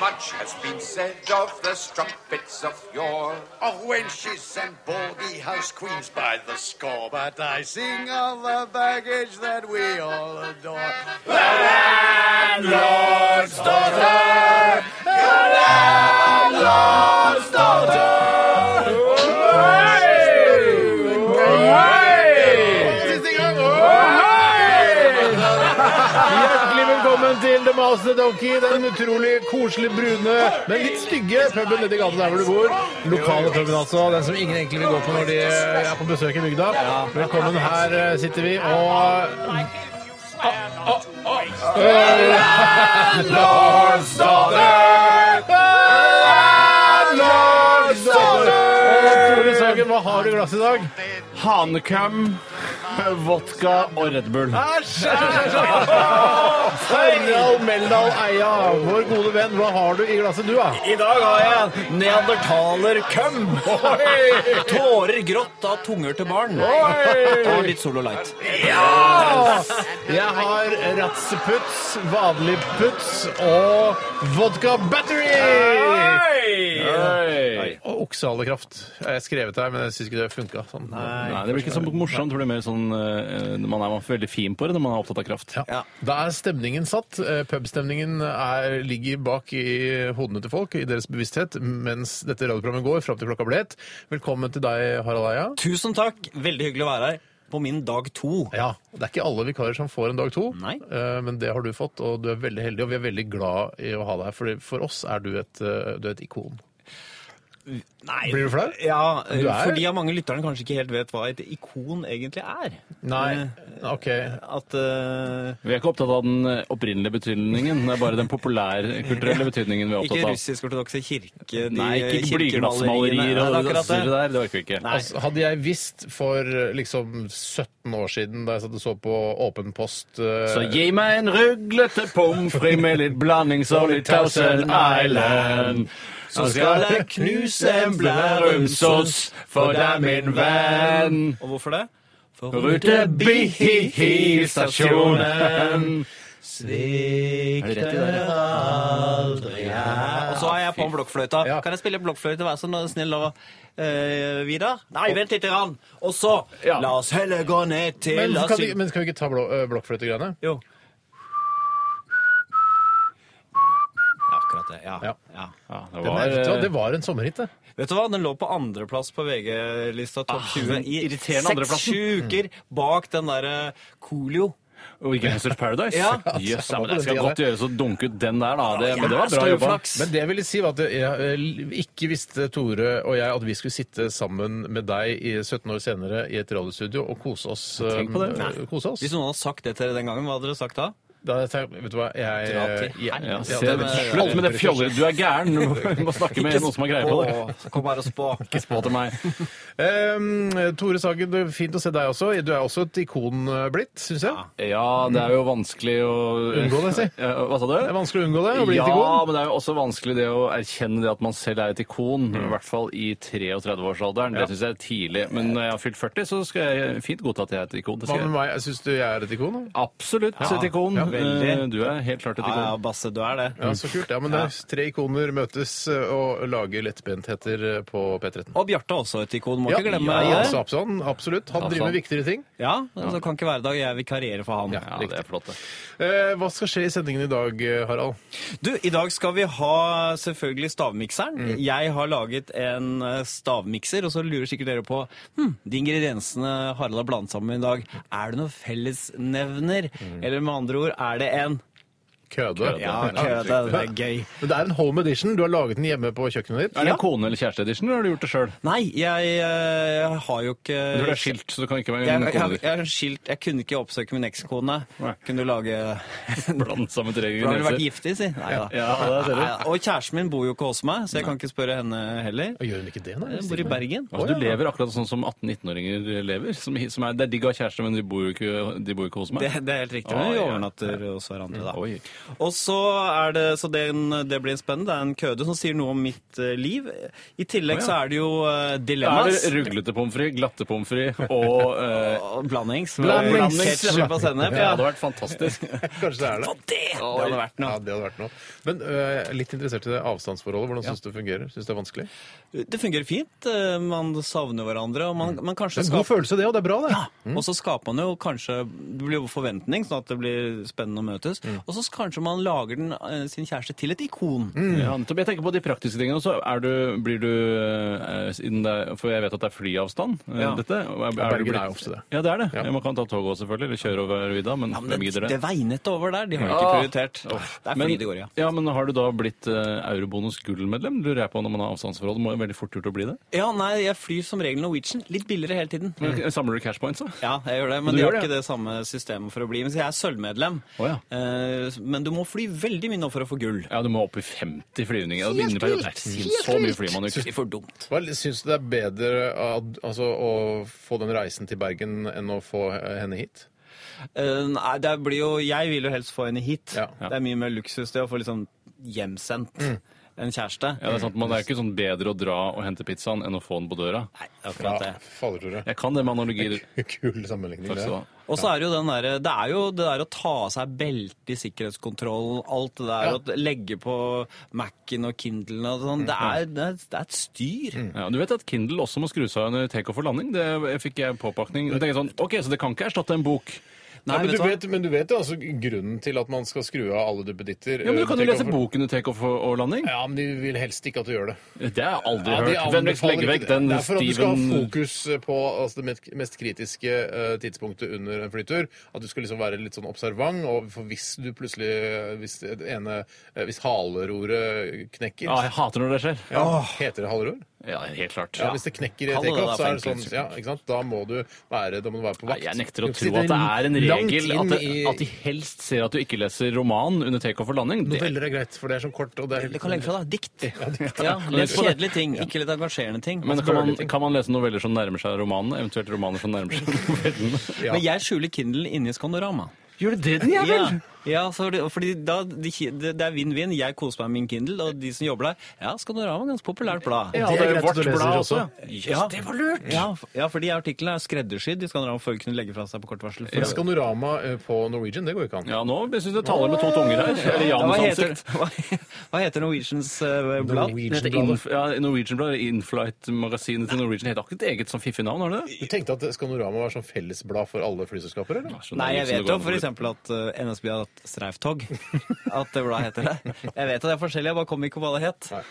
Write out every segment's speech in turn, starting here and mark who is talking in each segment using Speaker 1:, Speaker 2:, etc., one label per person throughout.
Speaker 1: Much has been said of the strumpets of yore, of wenches and baldy house queens by the score. But I sing of the baggage that we all adore. The landlord's daughter, your landlord's daughter.
Speaker 2: Hjertelig velkommen til The Master Donkey, den utrolig koselige, brune, men litt stygge puben nedi gata der hvor du bor. Lokale puben, altså. Den som ingen egentlig vil gå på når de er på besøk i bygda. Velkommen, her eh, sitter vi, og Tore Sagen, hva har du i glasset i dag? Hanekam, vodka og Red Bull. Harald Meldal Eia, vår gode venn, hva har du i glasset du, da?
Speaker 3: I dag har jeg neandertalerkøm. Tårer grått av tunger til barn. Og litt Solo Light.
Speaker 2: Jeg har ratseputs, vanlig puts og vodka battery! Og oksehallekraft. Jeg skrevet her, men jeg syns ikke det funka. Sånn.
Speaker 4: Nei, det blir ikke så morsomt. Det blir mer sånn eh, Man er veldig fin på det når man er opptatt av kraft.
Speaker 2: Ja. Da er stemningen satt. Eh, Pubstemningen er, ligger bak i hodene til folk, i deres bevissthet, mens dette radioprogrammet går fram til klokka ble ett. Velkommen til deg, Harald Eia.
Speaker 3: Tusen takk. Veldig hyggelig å være her på min dag to.
Speaker 2: Ja, Det er ikke alle vikarer som får en dag to,
Speaker 3: Nei.
Speaker 2: eh, men det har du fått. Og du er veldig heldig, og vi er veldig glad i å ha deg her. For for oss er du et, eh, du er et ikon.
Speaker 3: Nei.
Speaker 2: Blir du flau?
Speaker 3: Ja,
Speaker 2: Du er-
Speaker 3: fordi av mange lytterne kanskje ikke helt vet hva et ikon egentlig er.
Speaker 2: Nei. OK.
Speaker 3: At eh,
Speaker 4: Vi er ikke opptatt av den eh, opprinnelige betydningen, det er bare den populærkulturelle betydningen vi er
Speaker 3: Ikke
Speaker 4: opptatt av.
Speaker 3: russisk-ortodokse kirke... de
Speaker 4: Nei, ikke
Speaker 3: kirkemaleriene. Nei,
Speaker 4: blyglassmalerier og
Speaker 3: det er
Speaker 4: det
Speaker 3: akkurat det.
Speaker 4: der. Det orker vi ikke.
Speaker 3: Nei.
Speaker 2: Altså, hadde jeg visst for eh, liksom 17 år siden, da jeg satt og så på Åpen post eh,
Speaker 4: Så gi meg en ruglete pommes frites med litt blandingsål i Thousand Island. Så skal jeg knuse en blærumsos, for det er min venn.
Speaker 3: Og hvorfor det? For
Speaker 4: Rutebilstasjonen.
Speaker 3: Svikt
Speaker 4: det der?
Speaker 3: aldri Og så er jeg på blokkfløyta.
Speaker 2: Ja.
Speaker 3: Kan jeg spille blokkfløyte, vær så snill og eh, Vidar? Nei, vent litt. Grann. Og så
Speaker 4: Ja.
Speaker 3: La oss heller gå ned til
Speaker 2: Men
Speaker 3: la oss
Speaker 2: kan, vi,
Speaker 3: sy-
Speaker 2: men kan vi ikke ta blå, eh, blokkfløytegreiene?
Speaker 3: Jo. Ja, akkurat det. Ja.
Speaker 2: Ja.
Speaker 3: ja.
Speaker 4: Ja, det
Speaker 2: Den
Speaker 4: var,
Speaker 2: er- vet du hva,
Speaker 4: eh,
Speaker 2: Det var en sommerhit, det.
Speaker 3: Vet du hva? Den lå på andreplass på VG-lista topp 20 i
Speaker 4: irriterende andreplassen.
Speaker 3: seks-sju uker bak den derre Coolio.
Speaker 4: Og ikke Gangsters Paradise?
Speaker 3: Ja.
Speaker 4: Jøs, ja,
Speaker 2: var
Speaker 4: men
Speaker 2: på
Speaker 4: det
Speaker 2: den
Speaker 4: skal
Speaker 2: tida
Speaker 4: godt
Speaker 2: der.
Speaker 4: gjøres å dunke ut den der, da. Det, men det var bra
Speaker 3: Jævla
Speaker 4: jobba.
Speaker 3: uflaks.
Speaker 2: Men det vil si var at jeg eh, ikke visste, Tore og jeg, at vi skulle sitte sammen med deg i 17 år senere i et radiostudio og kose oss.
Speaker 4: Tenk på det.
Speaker 2: eh,
Speaker 4: Nei.
Speaker 2: Kose oss.
Speaker 3: Hvis noen hadde sagt det til dere den gangen, hva hadde dere sagt da?
Speaker 2: Da hadde jeg tenkt, vet du hva,
Speaker 3: Dra
Speaker 2: jeg,
Speaker 3: til
Speaker 2: jeg-
Speaker 3: helvete.
Speaker 4: Ja,
Speaker 2: jeg-
Speaker 4: se,
Speaker 2: jeg-
Speaker 3: men-
Speaker 2: jeg-
Speaker 4: slutt med det fjollet. Du er gæren. Du må- Du må snakke med noen som har greie på det.
Speaker 3: Å, Kom her og spå.
Speaker 4: Ikke spå til meg.
Speaker 2: Ehm, Tore Sagen, det er fint å se deg også. Du er også et ikon eh, blitt, syns jeg.
Speaker 4: Ja, det er jo vanskelig å
Speaker 2: Unngå det, si.
Speaker 4: Ja, Hva sa du?
Speaker 2: Det er vanskelig å unngå det, å bli
Speaker 4: ja,
Speaker 2: et ikon.
Speaker 4: men det er jo også vanskelig det å erkjenne det at man selv er et ikon,
Speaker 2: Mm.
Speaker 4: i hvert fall i 33-årsalderen. Det syns jeg er tidlig. Men når jeg har fylt 40, så skal jeg fint godta at jeg er et ikon. Det
Speaker 2: Hva
Speaker 4: skal
Speaker 2: med
Speaker 4: jeg.
Speaker 2: meg? Syns du jeg er et ikon? da?
Speaker 4: Absolutt et ikon.
Speaker 2: ja,
Speaker 4: Eh,
Speaker 3: veldig.
Speaker 4: du er helt klart et
Speaker 3: Ja, ja,
Speaker 4: ikon.
Speaker 3: Basse, du er det.
Speaker 2: Ja, så kult. Ja, men det er tre ikoner møtes eh, og lager lettbentheter eh, på P13.
Speaker 3: Og Bjarte er også et ikon, må
Speaker 2: Ja,
Speaker 3: ikke glemme
Speaker 2: ja,
Speaker 3: det.
Speaker 2: altså, absolutt. absolutt. Han driver med viktigere ting.
Speaker 3: Ja, så det kan ikke hver dag jeg vikarierer for han.
Speaker 4: Ja, det er flott, det.
Speaker 2: Eh, Hva skal skje i sendingen i dag, eh, Harald?
Speaker 3: Du, i dag skal vi ha selvfølgelig stavmikseren.
Speaker 4: Mm.
Speaker 3: Jeg har laget en eh, stavmikser, og så lurer sikkert dere på hm, de ingrediensene Harald har
Speaker 4: Mm.
Speaker 3: blandet sammen i dag. Er det noen fellesnevner? Eller med andre ord, er det en
Speaker 2: Køde.
Speaker 3: Ja, kø, det,
Speaker 2: køde.
Speaker 3: det er gøy.
Speaker 2: Men det er en home edition. Du har laget den hjemme på kjøkkenet ditt.
Speaker 4: Er det
Speaker 3: Ja.
Speaker 4: en kone- eller kjæreste-edition, eller har du gjort det sjøl?
Speaker 3: Nei, jeg, eh, har jo ikke
Speaker 4: Du
Speaker 2: Eh,
Speaker 4: er skilt, så det kan ikke være en
Speaker 3: Jeg, jeg,
Speaker 4: kone.
Speaker 3: jeg er skilt. Jeg kunne ikke oppsøke min ekskone.
Speaker 4: Nei.
Speaker 3: Kunne du lage
Speaker 4: Blant sammen tre
Speaker 3: Da har du vært
Speaker 4: ingredienser.
Speaker 3: giftig, si. Nei da.
Speaker 4: Ja, det ser du.
Speaker 3: Nei, Og kjæresten min bor jo ikke hos meg, så jeg kan ikke spørre henne heller.
Speaker 2: Og Gjør hun ikke det, nei?
Speaker 3: Jeg bor i Bergen.
Speaker 4: Altså, du lever akkurat sånn som 18-19-åringer lever. Som, som er, det er digg å ha kjæreste, men de bor jo ikke, de bor jo ikke hos meg.
Speaker 3: Det, det er helt riktig.
Speaker 4: Å,
Speaker 3: Vi
Speaker 4: ja.
Speaker 3: overnatter hos hverandre, da.
Speaker 4: Oi.
Speaker 3: Og så er det, så det, er en- det blir en spennende. Det er en køde som sier noe om mitt eh, liv. I tillegg
Speaker 4: Å, ja.
Speaker 3: så er det jo eh,
Speaker 4: Er
Speaker 3: dilemmas.
Speaker 4: det ruglete pommes frites, glatte pommes frites og eh,
Speaker 3: Og Blandings.
Speaker 2: Blandings.
Speaker 3: Ketchup og sennep.
Speaker 4: Ja, det
Speaker 3: Ja.
Speaker 4: hadde vært fantastisk.
Speaker 2: Kanskje det er det.
Speaker 3: Og det! Det hadde vært
Speaker 2: Ja,
Speaker 3: noe.
Speaker 2: det hadde vært noe. Men øh, jeg er litt interessert i det avstandsforholdet. Hvordan syns du det fungerer? Syns det er vanskelig?
Speaker 3: Det fungerer fint. eh, Man savner hverandre, og
Speaker 4: Mm.
Speaker 3: man, man kanskje
Speaker 2: Det er en
Speaker 3: skaper
Speaker 2: god følelse, det, og det er bra, det.
Speaker 3: Og så skaper man jo kanskje Det blir jo forventning, sånn at det blir spennende å møtes.
Speaker 4: Mm.
Speaker 3: Og så kanskje man lager den, eh, sin kjæreste til et ikon.
Speaker 4: Ja, nettopp. Jeg tenker på de praktiske tingene også. Er du, blir du, eh, siden det er, For jeg vet at det er flyavstand, eh,
Speaker 3: Ja.
Speaker 4: dette. Er, er
Speaker 2: Bergen
Speaker 4: du blitt-
Speaker 2: er jo ofte det.
Speaker 4: Ja, det er det.
Speaker 2: Ja.
Speaker 4: Ja, Man kan ta toget også, selvfølgelig, eller kjøre over vidda, men
Speaker 3: Ja, men
Speaker 4: hvem
Speaker 3: det,
Speaker 4: gidder
Speaker 3: det
Speaker 4: det?
Speaker 3: veinet over der, de har ikke prioritert. Det er
Speaker 4: Men,
Speaker 3: fordi det går, ja.
Speaker 4: ja, men har du da blitt eh, eurobonus gullmedlem? Lurer jeg på når man har avstandsforhold. Det må jo veldig fort gjort å bli det.
Speaker 3: Ja, nei, jeg flyr som regel Norwegian. Litt billigere hele tiden.
Speaker 4: Men, Samler du cash points, da?
Speaker 3: Ja, jeg gjør det, men
Speaker 4: Mm. Du
Speaker 3: de
Speaker 4: gjør
Speaker 3: har
Speaker 4: det,
Speaker 3: ikke det samme systemet for å bli. Men så jeg er sølvmedlem.
Speaker 4: Å, ja.
Speaker 3: Eh, Men du må fly veldig mye nå for å få gull.
Speaker 4: Ja, du må opp i 50 flyvninger. og vinne perioden. Det er sinnssykt så mye fly man ikke
Speaker 3: Det er for dumt.
Speaker 2: Hva Syns du det er bedre ad, altså, å få den reisen til Bergen enn å få eh, henne hit?
Speaker 3: Eh, Nei, det blir jo Jeg vil jo helst få henne hit.
Speaker 2: Ja.
Speaker 3: Det er mye mer luksus det å få liksom hjemsendt en kjæreste.
Speaker 4: Mm. Ja, det er sant, men det er ikke sånn bedre å dra og hente pizzaen enn å få den på døra.
Speaker 3: Nei, akkurat det.
Speaker 2: faller, Tore.
Speaker 4: Jeg kan det med analogier.
Speaker 2: Kul sammenligning.
Speaker 4: Takk skal du ha.
Speaker 2: det.
Speaker 3: Og så er det jo den der, det er jo det der å ta av seg beltet i sikkerhetskontrollen, alt det der,
Speaker 2: Ja.
Speaker 3: og legge på Mac-en og Kindlen og sånn,
Speaker 4: Mm,
Speaker 3: det er, det er, det er et styr.
Speaker 4: Ja, du vet at Kindle også må skru seg av under takeoff og landing. Det fikk jeg påpakning. Da tenker jeg sånn, ok, Så det kan ikke erstatte en bok?
Speaker 3: Nei,
Speaker 2: men,
Speaker 3: vet
Speaker 2: du
Speaker 3: du hva?
Speaker 2: vet, men du vet jo altså grunnen til at man skal skru av alle duppeditter?
Speaker 4: Ja, men Du
Speaker 2: eh,
Speaker 4: kan jo
Speaker 2: take
Speaker 4: lese
Speaker 2: over-
Speaker 4: boken under takeoff og og landing.
Speaker 2: Ja, men de vil helst ikke at du gjør det.
Speaker 4: Det har jeg aldri
Speaker 2: Ja, de
Speaker 4: hørt. Vennligst
Speaker 2: anbefaler
Speaker 4: legge
Speaker 2: ikke
Speaker 4: vekk
Speaker 2: det.
Speaker 4: den
Speaker 2: det er for at du skal ha
Speaker 4: Steven
Speaker 2: fokus på altså, det mest- mest kritiske eh, tidspunktet under en flytur. At du skal liksom være litt sånn observant, og for hvis du plutselig eh, Hvis, det ene, eh, hvis haleroret knekker
Speaker 4: Ah, Ja, jeg hater når det skjer.
Speaker 2: ja, Heter det haleror?
Speaker 4: Ja, helt klart.
Speaker 2: Ja, hvis det knekker i
Speaker 3: Kall det
Speaker 2: takeoff,
Speaker 3: da
Speaker 2: så er det
Speaker 3: for
Speaker 2: sånn
Speaker 3: enkelhet.
Speaker 2: ja, ikke sant? Da må du være, da må du være på vakt.
Speaker 4: Nei, jeg nekter å
Speaker 2: Du
Speaker 4: tro
Speaker 2: sitter
Speaker 4: at det er en
Speaker 2: langt
Speaker 4: regel at,
Speaker 2: inn
Speaker 4: det,
Speaker 2: i-
Speaker 4: at de helst ser at du ikke leser roman under takeoff og landing. Det,
Speaker 2: Noveller er greit, for det er sånn kort, og det er
Speaker 3: Det kan legge fra deg dikt. Ja,
Speaker 4: Les
Speaker 3: Les
Speaker 4: på det.
Speaker 3: kjedelige ting, ikke litt engasjerende ting. Altså,
Speaker 4: men kan man, kan man lese noveller som nærmer seg romanen? Eventuelt romaner som nærmer seg novellen?
Speaker 2: ja.
Speaker 3: Men jeg skjuler Kindlen inni skandorama.
Speaker 4: Gjør det det den gjør,
Speaker 3: Ja, ja fordi, fordi da, de, det det er vinn-vinn. Jeg koser meg med min Kindle, og de som jobber der, ja, Skandorama er et ganske populært blad.
Speaker 4: Ja,
Speaker 2: Det er
Speaker 4: det er
Speaker 2: greit at
Speaker 4: vårt
Speaker 2: du leser
Speaker 4: blad
Speaker 2: også.
Speaker 4: også. Yes, det var lurt!
Speaker 3: Ja, f- ja, for de artiklene er skreddersydd. De Skandorama for å kunne legge fra seg på kort varsel. For
Speaker 2: Men Skanorama eh, på Norwegian, det går jo ikke an.
Speaker 4: Ja, nå syns jeg det taler med to tunger her. Eller
Speaker 3: Ja, hva,
Speaker 4: Janus
Speaker 3: heter,
Speaker 4: ansikt.
Speaker 3: hva, hva heter Norwegians eh, blad?
Speaker 2: Norwegian.
Speaker 4: Det heter Inf ja, Norwegian-bladet. Inflight-magasinet til Norwegian heter akkurat et eget sånn fiffig navn, har det det?
Speaker 2: Du tenkte at Skanorama var sånn fellesblad for alle flyselskaper, eller?
Speaker 4: Så det er
Speaker 3: Nei, jeg
Speaker 4: liksom det
Speaker 3: vet jo
Speaker 4: går
Speaker 3: f.eks.
Speaker 4: an å-
Speaker 3: at eh, NSB har hatt streiftog. At det bladet heter det. Jeg vet at det er forskjellig, jeg bare kom ikke på hva det het.
Speaker 2: Ja,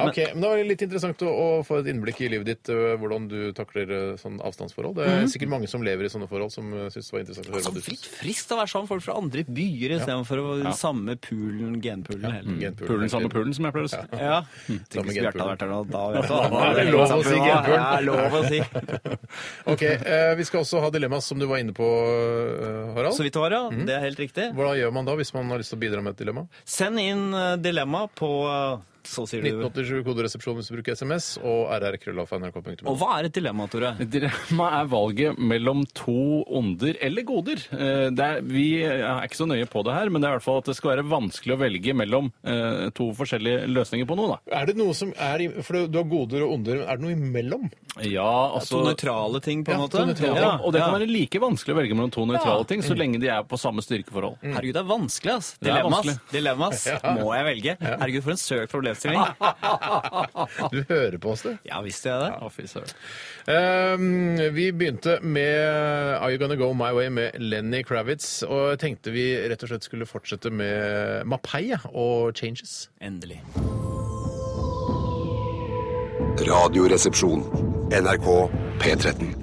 Speaker 2: Ah, Ok, men Det var litt interessant å, å få et innblikk i livet ditt, øh, hvordan du takler øh, sånn avstandsforhold. Det er sikkert mange som lever i sånne forhold, som øh, synes det var interessant å høre hva du
Speaker 3: Fritt
Speaker 2: syns.
Speaker 3: friskt å være sammen med folk fra andre byer istedenfor å samme poolen, genpoolen heller.
Speaker 2: Genpoolen,
Speaker 4: Pulen samme
Speaker 2: egentlig.
Speaker 4: pulen, som jeg pleier å si.
Speaker 3: Ja.
Speaker 2: Samme
Speaker 3: Tenk hvis Bjarte hadde
Speaker 2: genpoolen.
Speaker 3: vært her nå, da vet du hva.
Speaker 2: er det lov å si genpoolen.
Speaker 3: Ja, lov å si.
Speaker 2: Ok, eh, Vi skal også ha dilemmas, som du var inne på, øh, Harald.
Speaker 3: Så vidt det var, ja. Det er helt riktig.
Speaker 2: Hvordan gjør man da hvis man har lyst til å bidra med et dilemma?
Speaker 3: Send inn eh, dilemma på eh, Så sier du
Speaker 2: 1987 koderesepsjon hvis du bruker SMS, og rrkrøllalfa.nrk.no.
Speaker 3: Og hva er et dilemma, Tore?
Speaker 4: Dilemma er valget mellom to onder eller goder. Eh, Det er, vi er ikke så nøye på det her, men det er i hvert fall at det skal være vanskelig å velge mellom eh, to forskjellige løsninger på noe, da.
Speaker 2: Er det noe som er i- For du har goder og onder, men er det noe imellom?
Speaker 4: Ja,
Speaker 3: To
Speaker 4: altså...
Speaker 3: nøytrale ting, på en
Speaker 2: Ja,
Speaker 3: måte?
Speaker 2: to nøytrale
Speaker 3: Ja,
Speaker 4: og det kan
Speaker 3: ja.
Speaker 4: være like vanskelig å velge mellom to nøytrale ting, så lenge de er på samme styrkeforhold.
Speaker 3: Herregud, det er vanskelig, ass.
Speaker 4: er
Speaker 3: Dilemmas.
Speaker 4: vanskelig.
Speaker 3: Dilemmas. Må jeg velge? Herregud, for en søkt problemstilling.
Speaker 2: Du hører på oss, det.
Speaker 3: Ja, visste jeg det.
Speaker 4: Å, fy søren.
Speaker 2: Um, vi begynte med Are You Gonna Go My Way med Lenny Kravitz. Og jeg tenkte vi rett og slett skulle fortsette med Mapei ja, og Changes.
Speaker 3: Endelig.
Speaker 5: Radioresepsjon. NRK P13.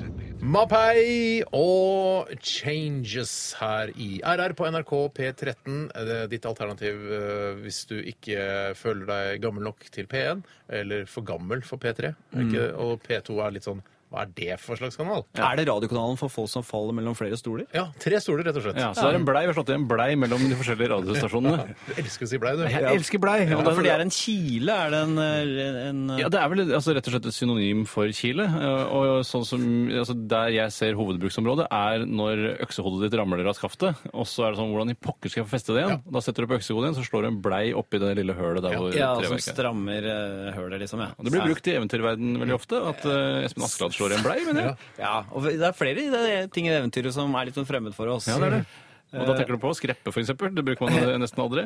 Speaker 2: Mapei og Changes her i RR på NRK P13. Eh, Ditt alternativ eh, hvis du ikke føler deg gammel nok til P1, eller for gammel for P3. Ikke?
Speaker 4: Mm.
Speaker 2: Og P2 er litt sånn Hva er det for slags kanal?
Speaker 3: Er det radiokanalen for folk som faller mellom flere stoler?
Speaker 2: Ja, tre stoler, rett og slett.
Speaker 4: Ja, så det er en blei, Vi har slått i en blei mellom de forskjellige radiostasjonene.
Speaker 2: Jeg elsker å si blei, du.
Speaker 4: Jeg elsker blei! og
Speaker 3: Ja, for det er en kile, er det en, eh, en eh,
Speaker 4: Ja, Det er vel altså, rett og slett et synonym for Chile. eh, Og sånn som, altså, Der jeg ser hovedbruksområdet, er når øksehodet ditt ramler av skaftet. Og så er det sånn Hvordan i pokker skal jeg få feste det igjen? Da setter du på øksehodet igjen, så slår du en blei oppi det lille hølet der hvor
Speaker 3: ja, som
Speaker 4: treverket er.
Speaker 3: strammer eh, hølet, liksom. Ja.
Speaker 4: Og Det blir brukt i eventyrverden veldig ofte at eh, Espen Askeladd slår i en blei, mener jeg.
Speaker 3: Ja, og det er flere i det- ting i det eventyret som er litt sånn fremmed for oss.
Speaker 4: Ja, det er det.
Speaker 3: Mm.
Speaker 4: Og da tenker du på skreppe, f.eks. Det bruker man nesten aldri.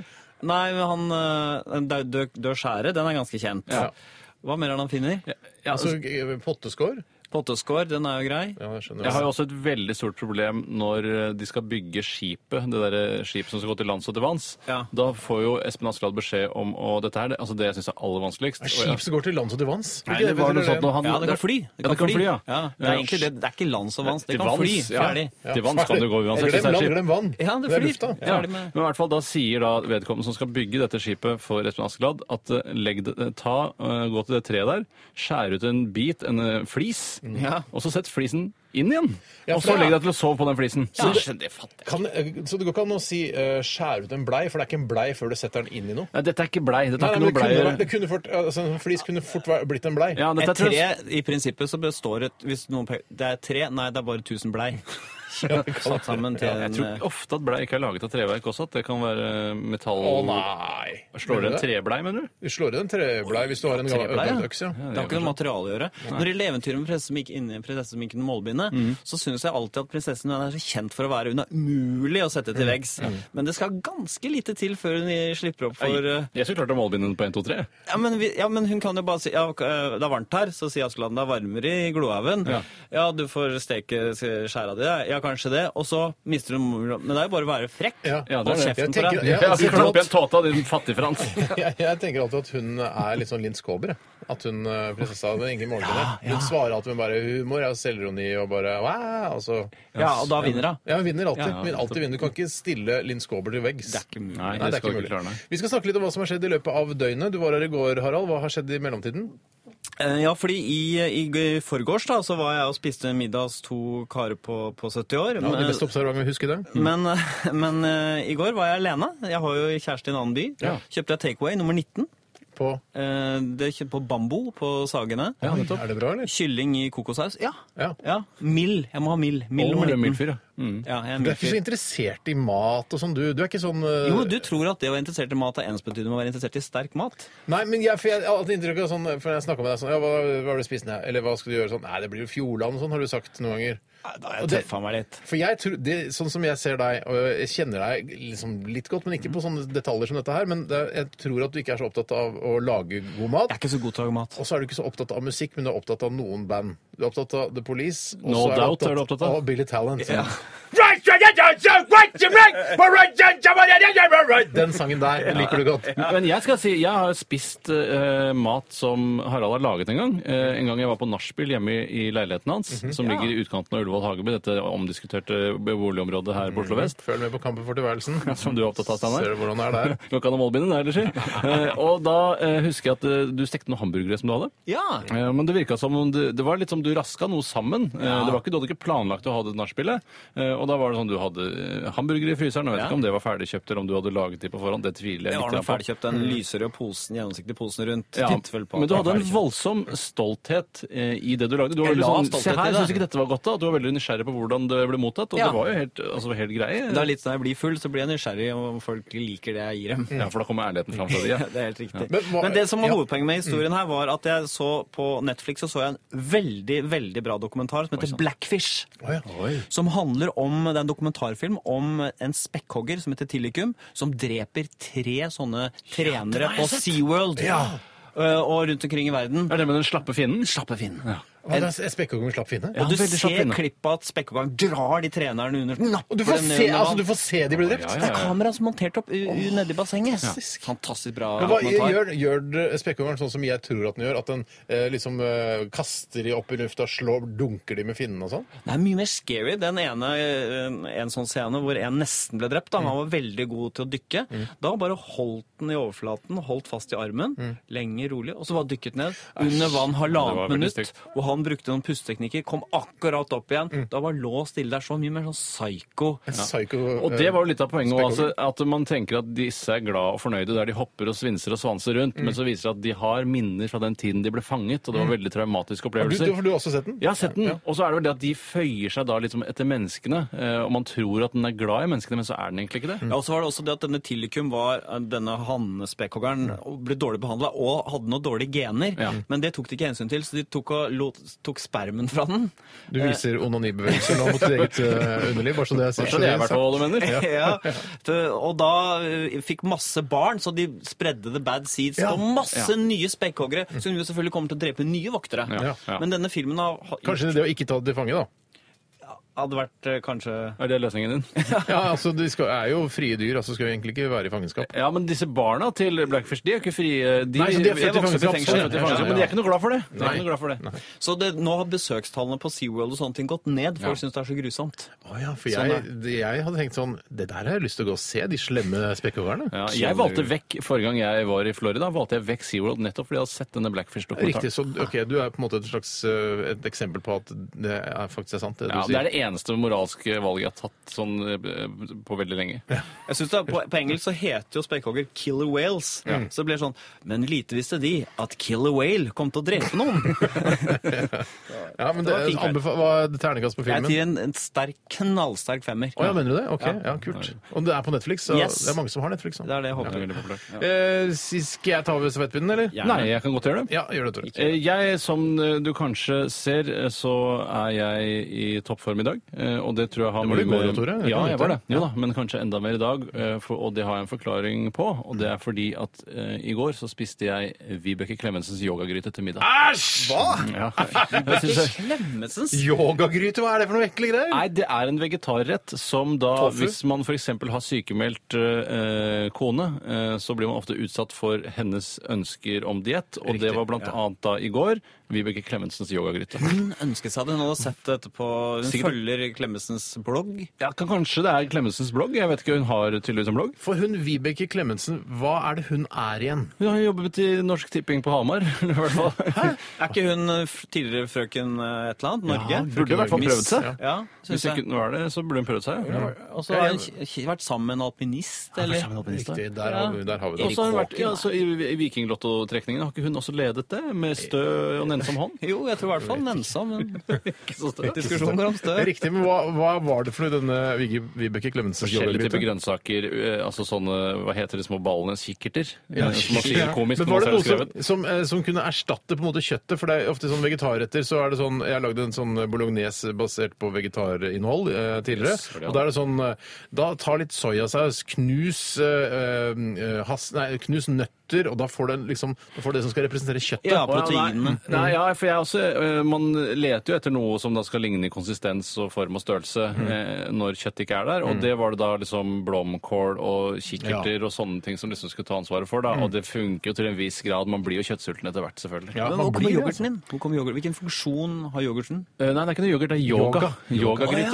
Speaker 3: Nei, men han eh, den Død død- død skjære, den er ganske kjent.
Speaker 2: Ja.
Speaker 3: Hva mer er det han finner?
Speaker 4: Ja,
Speaker 2: Altså, eh, potteskår.
Speaker 3: Potteskår, den er jo grei.
Speaker 2: Ja, jeg skjønner.
Speaker 4: Jeg har jo også et veldig stort problem når eh, de skal bygge skipet, det der skipet som skal gå til lands og til vanns.
Speaker 3: Ja.
Speaker 4: Da får jo Espen Askeladd beskjed om og dette er det, altså det jeg syns er aller vanskeligst. og jeg-
Speaker 2: Skip som går til lands og til vanns.
Speaker 4: Nei, det var noe sånt når han,
Speaker 3: Ja, det kan fly.
Speaker 4: Ja, det kan fly, ja.
Speaker 3: ja. Det er egentlig det, det er ikke land som vanns, det
Speaker 4: Til
Speaker 3: kan fly.
Speaker 4: vanns, ja.
Speaker 3: Ferdig.
Speaker 4: Ja. Til vanns kan det gå uansett.
Speaker 2: Glem
Speaker 4: hvis det er
Speaker 2: land,
Speaker 4: skip.
Speaker 2: glem vann.
Speaker 3: Ja, det
Speaker 2: er
Speaker 3: flyr.
Speaker 2: lufta.
Speaker 3: Ja. Ferdig med.
Speaker 4: Men i hvert fall da sier da vedkommende som skal bygge dette skipet for Espen Askeladd, at eh, legg, det- eh, ta, eh, gå til det treet der, skjær ut en bit, en eh, flis,
Speaker 3: Ja.
Speaker 4: og så sett flisen inn igjen.
Speaker 2: Ja,
Speaker 4: og
Speaker 2: for
Speaker 4: så
Speaker 2: det-
Speaker 4: legg deg til å sove på den flisen.
Speaker 2: Ja.
Speaker 4: Så det fatter jeg.
Speaker 2: Kan, eh, så det går ikke an å si eh, 'skjær ut en blei', for det er ikke en blei før du setter den inn i noe.
Speaker 4: Nei, dette er ikke blei. Dette
Speaker 2: Nei,
Speaker 4: er
Speaker 2: nei,
Speaker 4: ikke
Speaker 2: men
Speaker 4: noe
Speaker 2: det kunne vært,
Speaker 4: blei.
Speaker 2: det kunne fort, altså, en flis kunne fort vært- blitt en blei.
Speaker 4: Ja, dette
Speaker 3: Et
Speaker 4: er trøst.
Speaker 3: tre, I prinsippet så består et Hvis noen pe- Det er tre, nei, det er bare 1000 blei. Satt sammen til
Speaker 4: Jeg
Speaker 3: en
Speaker 4: tror
Speaker 3: eh,
Speaker 4: ofte at blei ikke er laget av treverk også, at det kan være eh, metall...
Speaker 2: Å nei!
Speaker 4: Slår det
Speaker 2: Mener
Speaker 4: en
Speaker 2: du det?
Speaker 4: treblei, mener du?
Speaker 2: Du slår i den treblei hvis du har en gammel
Speaker 3: treblei, ja.
Speaker 2: ødelagt øks, ja.
Speaker 3: Det har ikke noe materiale å gjøre. Når det gjelder eventyret med prinsessen som gikk inn i prinsessen som gikk inn i målbindet,
Speaker 4: Mm.
Speaker 3: så syns jeg alltid at prinsessen hun er så kjent for å være Hun er umulig å sette til
Speaker 4: Mm.
Speaker 3: veggs. Men det skal ganske lite til før hun slipper opp for eh,
Speaker 4: Jeg skulle klart å målbinde den på 1, 2, 3.
Speaker 3: ja men, vi, ja, men hun kan jo bare si ja, ok, eh, det er varmt her, så sier Askeladden det er varmere i glohaugen. Ja.
Speaker 4: Ja.
Speaker 3: du får steke skjæra di, ja. ja, kanskje det. Og så mister hun moren. Men det er jo bare å være frekk.
Speaker 2: Ja.
Speaker 4: Ja, det
Speaker 3: Hold
Speaker 4: er det.
Speaker 3: kjeften
Speaker 2: Jeg
Speaker 3: på deg.
Speaker 2: tenker- ja.
Speaker 4: Jeg har ikke
Speaker 2: sitter
Speaker 4: klart opp
Speaker 2: godt.
Speaker 4: igjen tåta, din fattig Frans.
Speaker 2: Jeg, jeg tenker alltid at hun er litt sånn Linn Skåber. jeg. At hun eh, prinsessa med ingen morgenbinne. Hun svarer alltid med bare humor og selvironi og bare wow, og så
Speaker 3: Ja, og da vinner hun.
Speaker 2: Ja, hun vinner alltid.
Speaker 4: Ja.
Speaker 2: Hun alltid vinner. Du kan ikke stille Linn Skåber til veggs.
Speaker 3: Det er ikke mulig.
Speaker 2: Nei,
Speaker 4: Nei,
Speaker 2: det er ikke
Speaker 4: skal du
Speaker 2: mulig.
Speaker 4: ikke klare, nei.
Speaker 2: Vi skal snakke litt om hva som har skjedd i løpet av døgnet. Du var her i går, Harald. Hva har skjedd i mellomtiden?
Speaker 3: Eh, Ja, fordi i, i g- forgårs da, så var jeg og spiste middag hos to karer på, på 70 år.
Speaker 2: Ja, de
Speaker 3: men, eh,
Speaker 2: beste Mm. observantene husker det.
Speaker 3: men, men eh, i går var jeg alene. Jeg har jo kjæreste i en annen by.
Speaker 2: Ja.
Speaker 3: Kjøpte jeg takeaway nummer 19.
Speaker 2: På
Speaker 3: Eh, Det kjøpte på Bambo på Sagene.
Speaker 2: Oi, Er det bra, eller?
Speaker 3: Kylling i kokosaus. Ja.
Speaker 2: Ja.
Speaker 3: Mild. Jeg må ha mild. Mild
Speaker 4: Åh,
Speaker 3: nummer
Speaker 4: det er
Speaker 3: 19.
Speaker 4: mild fyr, ja. Mm.
Speaker 3: Ja, jeg er
Speaker 2: Du
Speaker 3: mild
Speaker 2: er ikke så
Speaker 3: fyr.
Speaker 2: interessert i mat og sånn, du. Du er ikke sånn eh,
Speaker 3: Jo, du tror at det å være interessert i mat er ensbetydende med å være interessert i sterk mat.
Speaker 2: Nei, men jeg, for jeg har alltid inntrykk av sånn For når jeg snakker med deg sånn ja, hva, 'Hva har du spist ned?' Eller 'Hva skal du gjøre?' sånn Nei, det blir jo Fjordland og sånn, har du sagt noen ganger.
Speaker 3: Da
Speaker 2: Og
Speaker 3: har jeg
Speaker 2: det-
Speaker 3: tøffa meg litt.
Speaker 2: For jeg tror, det, Sånn som jeg ser deg, og jeg kjenner deg liksom litt godt, men ikke på sånne detaljer som dette her, men det, jeg tror at du ikke er så opptatt av å lage god mat.
Speaker 3: Jeg er ikke så god til å lage mat.
Speaker 2: Og så er du ikke så opptatt av musikk, men du er opptatt av noen band. Du er opptatt av The Police. og
Speaker 4: No
Speaker 2: så
Speaker 4: Doubt er du opptatt av.
Speaker 2: Billy Talent.
Speaker 3: Ja.
Speaker 2: Den sangen der den liker du godt.
Speaker 4: Ja, Men jeg skal si, jeg har spist eh, mat som Harald har laget en gang. Eh, en gang jeg var på nachspiel hjemme i, i leiligheten hans, som ligger i utkanten av Ullevål Hageby, dette omdiskuterte boligområdet her på Oslo vest.
Speaker 2: Følg med på Kampen for tilværelsen.
Speaker 4: Som du er opptatt av, Steinar.
Speaker 2: Ser du hvordan det er der?
Speaker 4: Går ikke an å målbinde det heller, si. Eh, og da eh, husker jeg at eh, du stekte noen hamburgere som du hadde.
Speaker 3: Ja.
Speaker 4: Eh, Men det virka som om det, det var litt som du raska noe sammen. Eh, Det var ikke, du hadde ikke planlagt å ha det nachspielet. Eh, Og da var det sånn du hadde eh, hamburgere i fryseren. Jeg vet
Speaker 3: Ja.
Speaker 4: ikke om det var ferdigkjøpt eller om du hadde laget de på forhånd. Det tviler
Speaker 3: Jeg
Speaker 4: jeg
Speaker 3: har
Speaker 4: litt
Speaker 3: nå
Speaker 4: på.
Speaker 3: ferdigkjøpt den lyserøde posen, gjennomsiktige posen rundt.
Speaker 4: Ja,
Speaker 3: Tittet vel på at
Speaker 4: men du
Speaker 3: den var
Speaker 4: hadde en
Speaker 3: ferdigkjøpt.
Speaker 4: voldsom stolthet eh, i det du lagde. Du var
Speaker 3: Jeg
Speaker 4: veldig
Speaker 3: la
Speaker 4: sånn,
Speaker 3: stolthet
Speaker 4: se
Speaker 3: i
Speaker 4: her,
Speaker 3: det.
Speaker 4: syns ikke dette var godt, da. Du var veldig nysgjerrig på hvordan det ble mottatt, og
Speaker 3: Ja.
Speaker 4: det var jo helt, altså, helt greie.
Speaker 3: Det er litt sånn, Når jeg blir full, så blir jeg nysgjerrig om folk liker det jeg gir dem.
Speaker 4: Ja, for da kommer ærligheten fram fra de. Ja.
Speaker 3: Det er helt riktig.
Speaker 2: Men
Speaker 3: Men,
Speaker 2: hva-
Speaker 3: det som var
Speaker 2: ja.
Speaker 3: hovedpoenget med historien her, var at jeg så på Netflix så så jeg en veldig veldig bra dokumentar som heter Blackfish.
Speaker 2: sånn. Å, ja.
Speaker 3: Som handler om, Det er en dokumentarfilm om en spekkhogger som heter Tillikum, som dreper tre sånne trenere på SeaWorld. Eh, Og rundt omkring i verden.
Speaker 4: Er det med den slappe finnen?
Speaker 3: Slappe finnen.
Speaker 2: Hva, det er Spekkhoggeren slapp finne?
Speaker 4: Ja,
Speaker 3: Du
Speaker 4: veldig slapp
Speaker 3: ser
Speaker 4: inne.
Speaker 3: klippet at Spekkhoggeren drar de trenerne under.
Speaker 2: Og du får, se, altså, du får se de blir drept?
Speaker 4: Ja, ja,
Speaker 3: Det er
Speaker 4: ja.
Speaker 3: kamera som er montert opp u- u- nedi bassenget.
Speaker 2: Fantastisk.
Speaker 3: Fantastisk bra
Speaker 2: Men hva,
Speaker 3: dokumentar.
Speaker 2: gjør gjør det- spekkhoggeren sånn som jeg tror at den gjør? At den eh, liksom eh, kaster de opp i lufta, slår, dunker de med finnene og sånn?
Speaker 3: Det er mye mer scary. Den ene, eh, en sånn scene hvor en nesten ble drept. Da.
Speaker 4: Mm.
Speaker 3: Han var veldig god til å dykke. Da bare holdt den i overflaten, holdt fast i armen, lenge rolig, og så var dykket ned. Under vann
Speaker 4: Mm. det var
Speaker 3: halvannet
Speaker 4: veldig
Speaker 3: minutt,
Speaker 4: stygt. Mm.
Speaker 3: hvor han brukte noen pusteteknikker, kom akkurat opp igjen. Da var lå stille der så mye mer sånn psycho.
Speaker 2: En psycho...
Speaker 4: Og det var jo litt av poenget òg. Altså,
Speaker 2: Spekkhoggeren.
Speaker 4: at man tenker at disse er glad og fornøyde der de hopper og svinser og svanser rundt, men så viser det at de har minner fra den tiden de ble fanget, og det var veldig traumatiske
Speaker 2: eh, du, du,
Speaker 4: opplevelser.
Speaker 2: for du har også sett den?
Speaker 4: Jeg har sett den, og så er det vel det at de føyer seg da liksom etter menneskene, eh, og man tror at den er glad i menneskene, men så er den egentlig ikke det.
Speaker 3: Ja, og så var det også det at denne Tillikum var eh, denne hannespekkhoggeren og ble dårlig behandla og hadde noen dårlige gener.
Speaker 4: Mm. Ja.
Speaker 3: Men det tok de ikke hensyn til, så de tok, og lot, tok spermen fra den.
Speaker 2: Du viser onanibevegelser nå mot ditt eget eh, underliv, bare så det er
Speaker 4: Så det er i hvert fall hva du mener.
Speaker 3: Ja. Så- Og da eh, fikk masse barn, så de spredde the bad seeds
Speaker 2: Ja.
Speaker 3: og masse nye spekkhoggere, som jo selvfølgelig kommer til å drepe nye voktere.
Speaker 4: Ja, ja.
Speaker 3: Men denne filmen har, har-
Speaker 2: Kanskje det å ikke ta det til fange, da.
Speaker 3: hadde vært eh, kanskje
Speaker 4: Er det løsningen din?
Speaker 2: Ja, altså, De skal, er jo frie dyr, altså skal jo egentlig ikke være i fangenskap.
Speaker 4: Ja, men disse barna til Blackfish, de er jo ikke frie. De,
Speaker 2: Nei, så de er født i
Speaker 4: vokste opp
Speaker 2: fangenskap,
Speaker 4: fengsel,
Speaker 2: sånn,
Speaker 4: født i
Speaker 2: ja.
Speaker 4: fangenskap, Men de er ikke noe glad for det. De er
Speaker 2: Nei.
Speaker 4: ikke noe glad for det.
Speaker 3: Så det, nå har besøkstallene på SeaWorld og sånne ting gått ned. Folk syns det er så grusomt.
Speaker 2: Å ja, for
Speaker 3: Sånn
Speaker 2: jeg, jeg hadde tenkt sånn Det der har jeg lyst til å gå og se, de slemme spekkhoggerne.
Speaker 4: Ja,
Speaker 3: Sånn
Speaker 4: jeg valgte vekk, Forrige gang jeg var i Florida, valgte jeg vekk SeaWorld nettopp fordi jeg hadde sett denne Blackfish-dokumentaren.
Speaker 2: Riktig. Så ok, du er på en måte et slags eh, et eksempel på at det er faktisk er sant, det du
Speaker 4: Ja,
Speaker 2: sier.
Speaker 4: Det er det eneste moralske valget jeg har tatt sånn, eh, på veldig lenge.
Speaker 3: Jeg synes det, er- på, på engelsk så heter jo spekkhogger killer whales. Så det blir sånn Men lite visste de at killer whale kom til å drepe noen.
Speaker 2: Ja, men
Speaker 3: Det
Speaker 2: det,
Speaker 3: var fint.
Speaker 2: anbefa- Hva er ternekast på
Speaker 3: Jeg
Speaker 2: filmen?
Speaker 3: gir en, en sterk, knallsterk femmer.
Speaker 2: Å ja, mener du det? Ok, ja, kult. Og det er på Netflix, så
Speaker 3: Yes.
Speaker 2: det er mange som har Netflix.
Speaker 3: Det
Speaker 2: nå.
Speaker 3: er det jeg håper.
Speaker 2: Eh, si- skal jeg ta over stafettpinnen, eller?
Speaker 3: Gjerne.
Speaker 4: Nei, jeg kan godt gjøre det.
Speaker 2: Ja, gjør det, Tore.
Speaker 4: Eh, Jeg, som eh, du kanskje ser, eh, så er jeg i toppform i dag. eh, Og det tror jeg har
Speaker 2: Det var du i
Speaker 4: mye
Speaker 2: går,
Speaker 4: med-
Speaker 2: Tore. Det
Speaker 4: Ja,
Speaker 2: kan
Speaker 4: jeg
Speaker 2: du
Speaker 4: var
Speaker 2: vite.
Speaker 4: det. Jo da, men kanskje enda mer i dag. eh, For, og det har jeg en forklaring på. Og det er fordi at eh, i går så spiste jeg Vibeke Klemensens yogagryte til middag.
Speaker 2: Hva?
Speaker 4: Ja. Jeg synes jeg-
Speaker 3: Klemmesens
Speaker 2: Yogagryte, hva er det for noe ekle greier?
Speaker 4: Nei, det er en vegetarrett som da
Speaker 2: Tofu?
Speaker 4: Hvis man f.eks. har sykemeldt eh, kone, eh, så blir man ofte utsatt for hennes ønsker om diett. Og det var blant annet da i går. Vibeke Klemensens yogagryte.
Speaker 3: Hun ønsket seg det. Hun hadde sett det etterpå. Hun
Speaker 4: Sikkert.
Speaker 3: følger Klemmesens blogg.
Speaker 4: Ja, kan- Kanskje det er Klemensens blogg? Jeg vet ikke, Hun har tydeligvis en blogg.
Speaker 2: For hun Vibeke Klemetsen, hva er det hun er igjen?
Speaker 4: Hun har jobbet i Norsk Tipping på Hamar. i hvert fall.
Speaker 3: Er ikke hun eh, f- tidligere frøken eh, et eller annet? Norge?
Speaker 2: Ja,
Speaker 4: Burde i hvert fall
Speaker 3: Miss-
Speaker 4: prøvd seg.
Speaker 3: Ja, synes
Speaker 4: Hvis ikke
Speaker 3: jeg.
Speaker 4: hun var det, så burde hun prøvd seg. ja.
Speaker 3: Og så har hun k- k- vært sammen med en alpinist, eller?
Speaker 2: Riktig, der har vi, der har vi det.
Speaker 4: Og så har hun vært ja, så i, i Vikinglottotrekningene. Har ikke hun også ledet det? Med stø og nennsom hånd?
Speaker 3: Jo, jeg tror i hvert fall Nensa, men diskusjonen går om stø.
Speaker 2: Riktig, men hva, hva var det for noe denne Vige- Vibeke Klemetsens
Speaker 4: Forskjellige typer
Speaker 2: yogagryte?
Speaker 4: grønnsaker, eh, altså sånne, hva heter det, små ballene, kikkerter? Ja, som
Speaker 2: Ja.
Speaker 4: man sier komisk,
Speaker 2: Men
Speaker 4: men
Speaker 2: var det
Speaker 4: også
Speaker 2: noe
Speaker 4: er det skrevet.
Speaker 2: som, som, eh, som kunne erstatte på en måte kjøttet? For det er ofte sånn vegetarretter, så er det sånn Jeg lagde en sånn bolognese basert på vegetarinnhold eh, tidligere.
Speaker 4: Yes, var det
Speaker 2: og da er det sånn eh, Da ta litt soyasaus, knus eh, eh, has, Nei, knus nøtter, og da får du en liksom Da får du det som skal representere kjøttet.
Speaker 3: Ja,
Speaker 4: Å, ja, nei.
Speaker 3: proteinene.
Speaker 4: Nei, ja, for jeg også, eh, man leter jo etter noe som da skal ligne i konsistens og form og størrelse
Speaker 3: Mm.
Speaker 4: eh, når kjøttet ikke er der, og det var det da liksom blomkål og kikkerter og sånne ting som liksom skulle ta ansvaret for
Speaker 3: Mm.
Speaker 4: da, og det funker jo til en viss grad, man blir jo kjøttsulten etter hvert selvfølgelig.
Speaker 2: Ja,
Speaker 3: Men
Speaker 2: man
Speaker 3: hvor kommer
Speaker 2: blir det,
Speaker 4: sånn.
Speaker 3: yoghurten din? Hvor kommer yoghurt? Hvilken funksjon har yoghurten?
Speaker 4: Eh, Nei, det er ikke noe yoghurt, det er yoga. Yogagryte.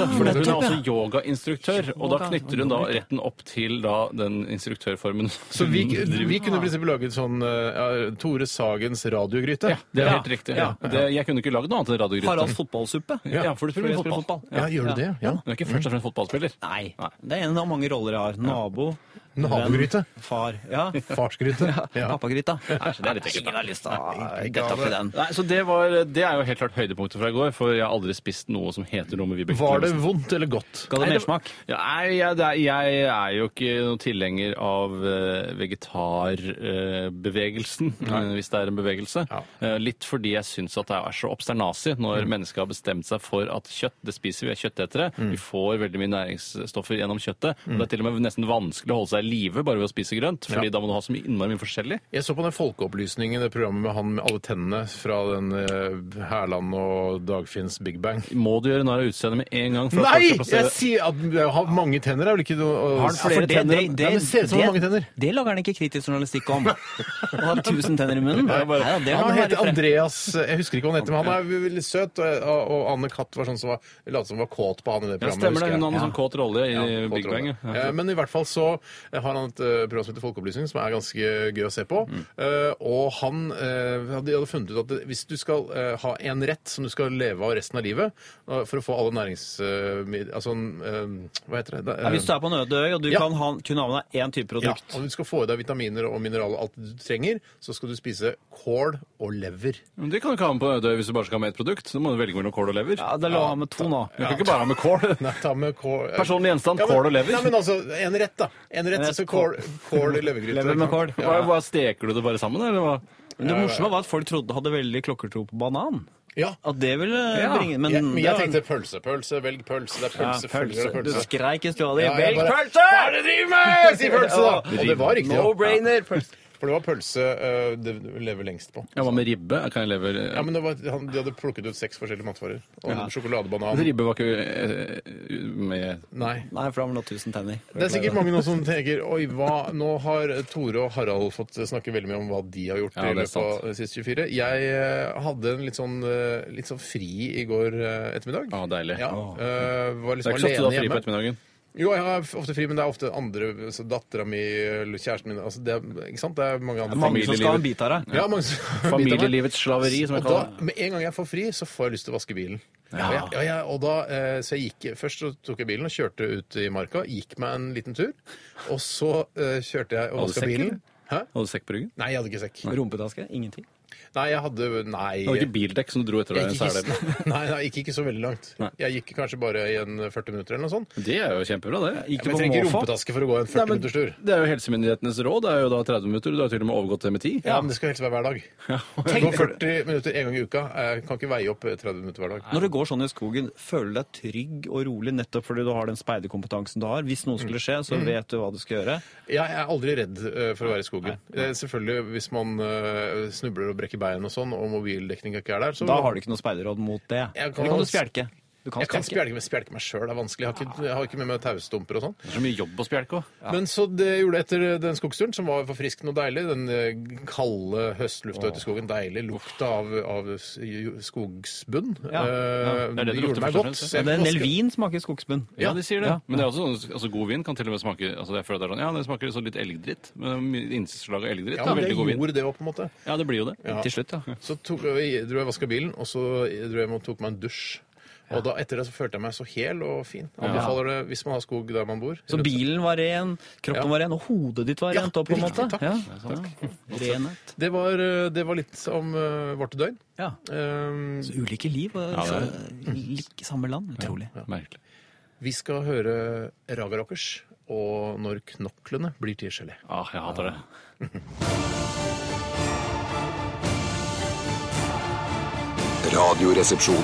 Speaker 3: Å, ja,
Speaker 4: fordi hun er
Speaker 3: nettopp, ja.
Speaker 4: også yogainstruktør, og da
Speaker 3: Yoga.
Speaker 4: knytter hun da retten opp til da den instruktørformen.
Speaker 2: Så vi, vi kunne i prinsippet laget sånn eh, ja, Tore Sagens radiogryte.
Speaker 4: Ja, det er
Speaker 3: Ja.
Speaker 4: helt riktig.
Speaker 3: Ja.
Speaker 4: Det, jeg kunne ikke lagd noe annet enn radiogryte.
Speaker 3: Haralds fotballsuppe?
Speaker 4: Ja, for du spiller
Speaker 3: jeg
Speaker 4: fotball.
Speaker 2: Ja, gjør du det? Ja.
Speaker 4: Du er ikke først og fremst fotballspiller.
Speaker 3: Nei. Det er en av mange roller jeg har. Nabo,
Speaker 2: Nabogryte.
Speaker 3: venn, far. Ja.
Speaker 2: Farsgryte. Ja.
Speaker 3: Pappagryta.
Speaker 4: det er litt ekkelt, da.
Speaker 3: Ingen har lyst til å gette opp i den.
Speaker 4: Nei, så det, var, det er jo helt klart høydepunktet fra i går, for jeg har aldri spist noe som heter noe med Vibeke
Speaker 2: Var det
Speaker 4: Klemmensen.
Speaker 2: vondt eller godt?
Speaker 3: Skal det
Speaker 4: Nei,
Speaker 3: mersmak?
Speaker 4: Ja, Nei, jeg, det er, jeg er jo ikke noen tilhenger av eh, vegetarbevegelsen, hvis det er en bevegelse.
Speaker 2: Ja. Mm.
Speaker 4: Eh, Litt fordi jeg syns at det er så obsternasig når mennesket har bestemt seg for at kjøtt, det
Speaker 2: Mm.
Speaker 4: spiser vi, vi er kjøttetere. Vi får veldig mye næringsstoffer gjennom kjøttet. og Det er til og med nesten vanskelig å holde seg i live bare ved å spise grønt. Fordi
Speaker 2: Ja.
Speaker 4: da må du ha så mye innmari mye forskjellig.
Speaker 2: Jeg så på den folkeopplysningen, det programmet med han med alle tennene fra den eh, Herland og Dagfinns Big Bang.
Speaker 4: Må du gjøre narr av utseendet med en gang? for at folk
Speaker 2: Nei!
Speaker 4: skal plassere-
Speaker 2: Jeg sier at å ha mange tenner er vel ikke noe å-
Speaker 3: Har han flere
Speaker 2: Ja, for det-
Speaker 3: tenner?
Speaker 2: det- Nei, men Det ser ut som han har mange tenner.
Speaker 3: det- det lager han ikke kritisk journalistikk om. Å ha tusen tenner i munnen. Nei, ja, det må
Speaker 2: Han
Speaker 3: være
Speaker 2: heter
Speaker 3: fre-
Speaker 2: Andreas Jeg husker ikke hva han heter, men han er veldig søt. Og, og- og Anne Katt var sånn som var, lot som var kåt på han i det
Speaker 4: Ja,
Speaker 2: programmet.
Speaker 4: stemmer det.
Speaker 2: husker jeg.
Speaker 4: Hun hadde en sånn kåt rolle i
Speaker 2: Ja,
Speaker 4: Big
Speaker 2: kåt
Speaker 4: Bang.
Speaker 2: rolle.
Speaker 4: ja. Ja.
Speaker 2: Eh, Men i hvert fall så har han et eh, program som heter Folkeopplysning, som er ganske gøy å se på.
Speaker 4: Mm.
Speaker 2: Eh, Og han eh, hadde- de hadde funnet ut at det- hvis du skal eh, ha en rett som du skal leve av resten av livet, eh, for å få alle nærings... eh, mid- Altså eh, Hva heter det? Da-
Speaker 3: Ja, hvis du er på en øde øy, og du
Speaker 2: Ja.
Speaker 3: kan ha, kun ha med deg én type
Speaker 2: ja,
Speaker 3: produkt
Speaker 2: og du skal få i deg vitaminer og mineraler og alt du trenger, så skal du spise kål og lever.
Speaker 4: Men Det kan du ikke ha med på en øde øy hvis du bare skal ha med ett produkt. Så må du velge mellom kål og lever.
Speaker 3: Ja, Det lå han med to nå.
Speaker 4: Du kan ikke bare ha med kål.
Speaker 2: Nei, ta med kål
Speaker 4: Personlig gjenstand, kål og lever.
Speaker 2: Nei, men altså, en rett, da. En rett,
Speaker 3: En rett,
Speaker 2: så kål, kål i levergryte.
Speaker 3: Lever med kål.
Speaker 4: Hva, hva Steker du det bare sammen, eller hva?
Speaker 3: Men det morsomme var at folk trodde hadde veldig klokkertro på banan.
Speaker 2: Ja.
Speaker 3: At det ville
Speaker 4: Ja.
Speaker 3: bringe Men,
Speaker 2: Jeg, men jeg
Speaker 3: det var-
Speaker 2: tenkte pølse, pølse, velg pølse. Det er
Speaker 3: ja,
Speaker 2: pølse, følger og
Speaker 3: Du
Speaker 2: pølse.
Speaker 3: skreik i stua di.
Speaker 2: Ja, jeg
Speaker 3: Velg
Speaker 2: bare-
Speaker 3: pølse!
Speaker 2: Hva er det du driver med?! Si pølse, da!
Speaker 3: Ja.
Speaker 2: Og det var riktig,
Speaker 3: No
Speaker 2: da.
Speaker 3: brainer! Pølse.
Speaker 2: For det var pølse eh, det lever lengst på.
Speaker 4: Ja, Hva med ribbe? Kan jeg lever eh,
Speaker 2: Ja, men det var, han, De hadde plukket ut seks forskjellige matvarer. Og
Speaker 4: Men
Speaker 2: sjokoladebanan.
Speaker 4: altså, Ribbe var ikke eh, med
Speaker 2: Nei.
Speaker 3: Nei, for da var det nå tusen tenner.
Speaker 2: Det er sikkert mange nå som tenker Oi, hva, nå har Tore og Harald fått snakke veldig mye om hva de har gjort
Speaker 4: Ja,
Speaker 2: i
Speaker 4: det er
Speaker 2: løpet av de siste 24. Jeg eh, hadde en litt sånn, eh, litt sånn fri i går eh, ettermiddag.
Speaker 4: Ja, deilig.
Speaker 2: Ja,
Speaker 4: Åh.
Speaker 2: eh, var
Speaker 4: Det er
Speaker 2: liksom
Speaker 4: ikke sånn at du
Speaker 2: alene
Speaker 4: har fri på
Speaker 2: hjemme.
Speaker 4: ettermiddagen.
Speaker 2: Jo, jeg har ofte fri, men det er ofte andre altså Dattera mi eller kjæresten min altså det, er- Ikke sant? Det er mange andre
Speaker 3: Mange som skal ha en bit av deg.
Speaker 2: Ja, mange som-
Speaker 4: Familielivets slaveri, som jeg
Speaker 2: og
Speaker 4: kaller det.
Speaker 2: da, Med en gang jeg får fri, så får jeg lyst til å vaske bilen. Og jeg, ja, jeg, og da, eh, så jeg gikk, Først så tok jeg bilen og kjørte ut i marka. Gikk meg en liten tur. Og så eh, kjørte jeg og
Speaker 4: Hadde du
Speaker 2: vaska
Speaker 4: sekk,
Speaker 2: bilen. Hæ?
Speaker 4: Hadde du sekk på ryggen?
Speaker 2: Nei, jeg hadde ikke sekk.
Speaker 3: Rumpetaske? Ingenting.
Speaker 2: Nei, jeg hadde Nei.
Speaker 4: Hadde du ikke bildekk som du dro etter
Speaker 2: Jeg
Speaker 4: deg? i en
Speaker 2: gikk,
Speaker 4: sele?
Speaker 2: ikke, nei, nei, jeg gikk ikke så veldig langt.
Speaker 4: Nei.
Speaker 2: Jeg gikk kanskje bare i en 40 minutter eller noe sånt.
Speaker 4: Det er jo kjempebra, det.
Speaker 3: Gikk du
Speaker 2: Men
Speaker 3: på
Speaker 2: jeg trenger ikke
Speaker 3: måfå?
Speaker 2: rumpetaske for å gå en
Speaker 4: Nei,
Speaker 2: 40
Speaker 4: men
Speaker 2: minutters tur.
Speaker 4: det er jo helsemyndighetenes råd. Det er jo da 30 minutter. Du har til og med overgått det med 10.
Speaker 2: Ja, men det skal helst være hver dag. Gå 40 minutter en gang i uka. Jeg kan ikke veie opp 30 minutter hver dag.
Speaker 3: Når du går sånn i skogen, føler du deg trygg og rolig nettopp fordi du har den speiderkompetansen du har? Hvis noe skulle skje,
Speaker 2: Mm.
Speaker 3: så vet du hva du skal gjøre.
Speaker 2: Jeg er aldri redd eh, for å være i skogen. Eh, Selvfølgelig hvis man eh, snubler og brekker bein og sånn, og mobildekninga ikke er der, så
Speaker 3: Da har du ikke noe speiderråd mot det.
Speaker 2: Mm. Jeg
Speaker 3: Eller
Speaker 2: kan-
Speaker 3: kan du spjelke? Du kan
Speaker 2: jeg kan
Speaker 3: spjelke.
Speaker 2: spjelke, men spjelke meg sjøl er vanskelig. Jeg har ikke, jeg har ikke med meg taustumper og sånn.
Speaker 4: Det er så mye jobb å spjelke òg.
Speaker 2: Men så det jeg gjorde etter eh, den skogsturen, som var forfriskende og deilig, den eh, kalde høstlufta ute i skogen, deilig lukta av, av s- jo- skogsbunn,
Speaker 3: Ja.
Speaker 2: eh,
Speaker 4: det er det det lukter
Speaker 2: gjorde meg
Speaker 4: først og
Speaker 2: godt.
Speaker 4: fremst,
Speaker 2: Så
Speaker 3: Ja,
Speaker 2: jeg
Speaker 3: det er en del
Speaker 2: vasker-
Speaker 3: vin smaker skogsbunn.
Speaker 4: Ja, de sier det. Men det er også sånn, altså, god vin kan til og med smake altså, jeg føler det er sånn, Ja, det smaker så litt elgdritt. Men mye innslag av elgdritt.
Speaker 2: Ja,
Speaker 4: Ja,
Speaker 2: men det
Speaker 4: veldig god vin.
Speaker 2: gjorde det òg, på en måte.
Speaker 4: Ja, det blir jo det.
Speaker 3: Til slutt, ja.
Speaker 2: Så tok, jeg dro jeg og vaska bilen, og så dro jeg og tok meg en dusj. Og da, etter det så følte jeg meg så hel og fin. Anbefaler det hvis man har skog der man bor.
Speaker 3: Så bilen var ren, kroppen
Speaker 2: Ja.
Speaker 3: var ren, og hodet ditt var
Speaker 2: Ja,
Speaker 3: rent òg, på en måte?
Speaker 2: riktig, takk.
Speaker 3: Ja, takk. Renhet.
Speaker 2: Det var, eh, det var litt om eh, vårt døgn.
Speaker 3: Ja.
Speaker 2: Eh,
Speaker 3: Så ulike liv og så like samme land. Utrolig.
Speaker 4: Merkelig.
Speaker 2: vi skal høre Raga Rockers og Når knoklene blir til gelé.
Speaker 4: Ah, jeg hater det.
Speaker 5: Radioresepsjon.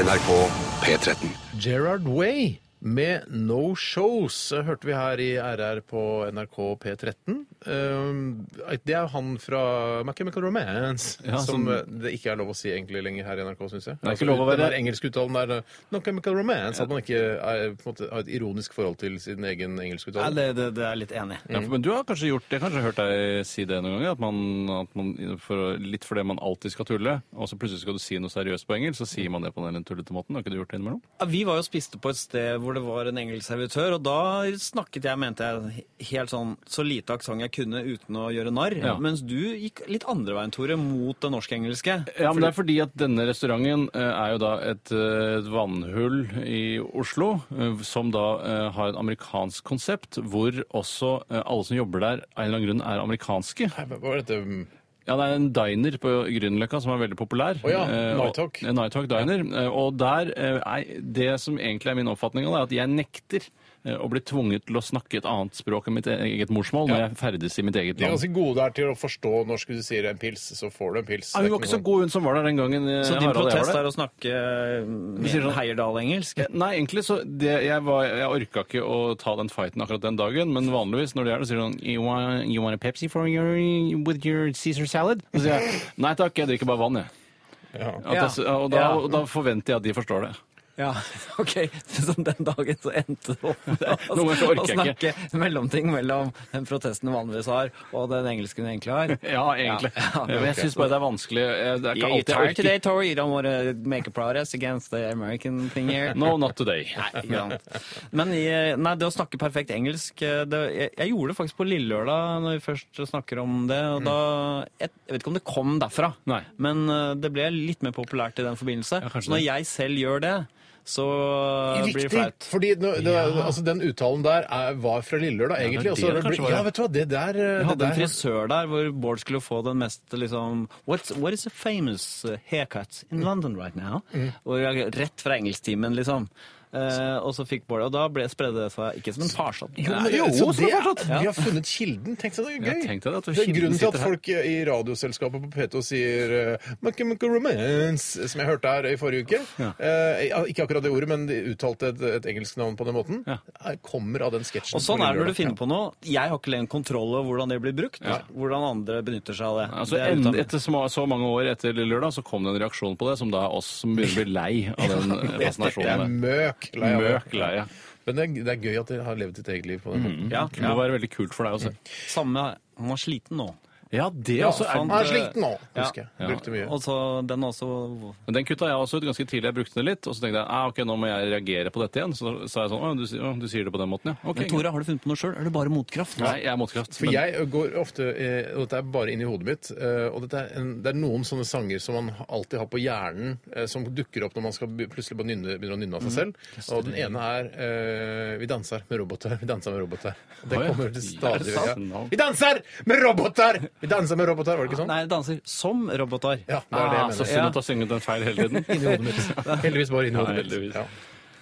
Speaker 5: NRK P13.
Speaker 2: Gerard Way med No Shows eh, hørte vi her i RR på NRK P13. Eh, det er han fra My Chemical Romance,
Speaker 4: Ja,
Speaker 2: som
Speaker 4: som-
Speaker 2: eh, det ikke er lov å si egentlig lenger her i NRK, syns jeg. Altså,
Speaker 4: er ikke lov å være-
Speaker 2: Den der engelske uttalen der eh, No Chemical Romance, at man ikke er, på en måte, har et ironisk forhold til sin egen engelske
Speaker 3: Nei,
Speaker 2: uttale.
Speaker 3: det, det, det er jeg litt enig. i.
Speaker 4: Ja, for- men du har kanskje gjort Jeg har kanskje hørt deg si det noen ganger, at man, at man for, litt fordi man alltid skal tulle, og så plutselig skal du si noe seriøst på engelsk, så sier man det på den tullete måten. Har ikke du gjort det innimellom?
Speaker 3: Ja, Vi var jo og spiste på et sted hvor det var en engelsk servitør, og da snakket jeg, mente jeg, helt sånn så lite aksent jeg kunne uten å gjøre narr.
Speaker 4: Ja.
Speaker 3: Mens du gikk litt andre veien, Tore, mot det norsk-engelske.
Speaker 4: Ja, men det er fordi at denne restauranten eh, er jo da et, eh, et vannhull i Oslo, eh, som da eh, har et amerikansk konsept, hvor også eh, alle som jobber der, av en eller annen grunn er amerikanske.
Speaker 2: Hva var dette? mm,
Speaker 4: Ja, det er en diner på Grünerløkka som er veldig populær.
Speaker 2: Å ja,
Speaker 4: Eh, og-
Speaker 2: Nighthawk.
Speaker 4: Eh, Nighthawk diner. Eh, Og der eh, er det som egentlig er min oppfatning av det, er at jeg nekter eh, å bli tvunget til å snakke et annet språk enn mitt e-, eget morsmål når jeg ferdes i mitt eget
Speaker 2: De er
Speaker 4: land.
Speaker 2: ganske gode der til å forstå norsk. Hvis du sier en pils, så får du en pils.
Speaker 4: Ja, hun var ikke så god, hun som var der den gangen. eh,
Speaker 3: Så din
Speaker 4: Harald og jeg var
Speaker 3: protest
Speaker 4: der.
Speaker 3: er å snakke eh, med
Speaker 4: sier sånn-
Speaker 3: Heierdal-engelsk?
Speaker 4: Eh, Nei, egentlig så det, jeg, var, jeg orka ikke å ta den fighten akkurat den dagen, men vanligvis når det er det, sier sånn you want, you want a Pepsi for your, with your Caesar salad? Og så sier jeg nei takk, jeg drikker bare vann, jeg. At jeg s- og, da,
Speaker 3: Ja.
Speaker 4: og da forventer jeg at de forstår det.
Speaker 3: Ja, OK. Så den dagen så endte det opp med å-
Speaker 4: Noen ganger så orker
Speaker 3: å
Speaker 4: jeg
Speaker 3: snakke mellomting mellom den protesten du vanligvis har, og den engelsken du egentlig har.
Speaker 4: Ja, egentlig.
Speaker 3: Ja.
Speaker 4: Men jeg syns bare det er vanskelig. eh, Det er ikke alltid jeg orker.
Speaker 3: Tori. You don't want to make a protest against the American thing here.
Speaker 4: No, not today.
Speaker 3: Nei, ikke sant. Men i, nei, det å snakke perfekt engelsk eh, det, jeg, jeg gjorde det faktisk på Lillelørdag, når vi først snakker om det. Og da, jeg, jeg vet ikke om det kom derfra,
Speaker 4: Mm. Nei.
Speaker 3: men eh, det ble litt mer populært i den forbindelse.
Speaker 4: Ja, kanskje
Speaker 3: så når
Speaker 4: det.
Speaker 3: jeg selv gjør det, så eh, blir
Speaker 2: Riktig,
Speaker 3: det flaut.
Speaker 2: fordi nå- det, altså, den uttalen der er, var fra Lillelørdag, egentlig. og
Speaker 4: det
Speaker 2: så har det
Speaker 4: kanskje
Speaker 2: blitt-
Speaker 4: var det.
Speaker 2: ja, vet du hva, det
Speaker 3: Jeg
Speaker 2: der, det
Speaker 3: hadde en
Speaker 2: der
Speaker 3: frisør der hvor Bård skulle få den mest liksom What's, What is a famous uh, haircut in London right now? Og jeg, rett fra engelsktimen, liksom. Eh, og så fikk Bård Og da ble, spredde det seg ikke som en farsott.
Speaker 2: Jo, men,
Speaker 4: Nei, jo,
Speaker 2: så
Speaker 4: som
Speaker 2: det
Speaker 4: er
Speaker 2: er,
Speaker 4: fortsatt.
Speaker 2: Vi har funnet kilden. Tenk deg det,
Speaker 4: Ja,
Speaker 2: gøy.
Speaker 4: tenk deg det, at
Speaker 2: det er
Speaker 4: kilden
Speaker 2: grunnen til at
Speaker 4: sitter her.
Speaker 2: folk eh, i radioselskapet på P2 sier uh, «Monkey Monkey Romance, som jeg hørte her i forrige uke. Eh, ja, ikke akkurat det ordet, men de uttalte et, et engelsk navn på den måten.
Speaker 4: Ja.
Speaker 2: Det Kommer av den sketsjen.
Speaker 3: Og sånn er det når du
Speaker 2: på
Speaker 3: finner på noe. Jeg har ikke lenger kontroll over hvordan det blir brukt. Hvordan andre benytter seg av det.
Speaker 4: Altså,
Speaker 3: det er
Speaker 4: en,
Speaker 3: uten-
Speaker 4: etter så, ma- så mange år etter Lørdag så kom det en reaksjon på det, som da er oss som begynner å bli lei av den eh,
Speaker 2: Lørdag. Det er
Speaker 4: fascinasjonen.
Speaker 2: møk.
Speaker 4: der.
Speaker 2: lei av det.
Speaker 4: Møk lei. ja.
Speaker 2: Men det er, det er gøy at dere har levd ditt eget liv på den måten.
Speaker 3: ja,
Speaker 4: Det må
Speaker 3: ja.
Speaker 4: være veldig kult for deg også.
Speaker 3: Samme Han var sliten nå.
Speaker 4: Ja, det
Speaker 3: Ja,
Speaker 4: også
Speaker 3: faen.
Speaker 2: Jeg
Speaker 4: er
Speaker 2: er sliten nå,
Speaker 3: Ja.
Speaker 2: husker jeg. Brukte mye.
Speaker 3: Og så den også
Speaker 4: Men den kutta jeg også ut ganske tidlig. Jeg brukte den litt, og så tenkte jeg ah, ok, nå må jeg reagere på dette igjen. Så da sa jeg sånn Å, du, sier- å, du sier det på den måten, ja. Ok.
Speaker 3: Men Tore, har du funnet på noe sjøl? Er det bare motkraft?
Speaker 4: Nei, jeg er motkraft.
Speaker 2: For jeg går ofte, eh, og dette er bare inni hodet mitt, eh, og dette er en, det er noen sånne sanger som man alltid har på hjernen, eh, som dukker opp når man skal be- plutselig bare nynne, begynner å nynne
Speaker 4: Mhm.
Speaker 2: av seg selv. Og den ene er eh, Vi danser med roboter, vi danser med roboter. Og Det
Speaker 4: Å, ja.
Speaker 2: kommer til
Speaker 4: Ja, det
Speaker 2: stadig
Speaker 4: er sant.
Speaker 2: vekk. Ja. Vi danser med roboter! Vi danser med roboter, var det ikke sånn?
Speaker 3: Nei, det danser som roboter.
Speaker 2: Ja, det er det
Speaker 4: Ah,
Speaker 2: jeg
Speaker 4: så
Speaker 2: mener.
Speaker 4: synd at du har sunget den feil hele tiden.
Speaker 2: Inni hodet mitt. Heldigvis bare inni
Speaker 4: Ja,
Speaker 2: hodet mitt.
Speaker 4: heldigvis.
Speaker 2: Ja.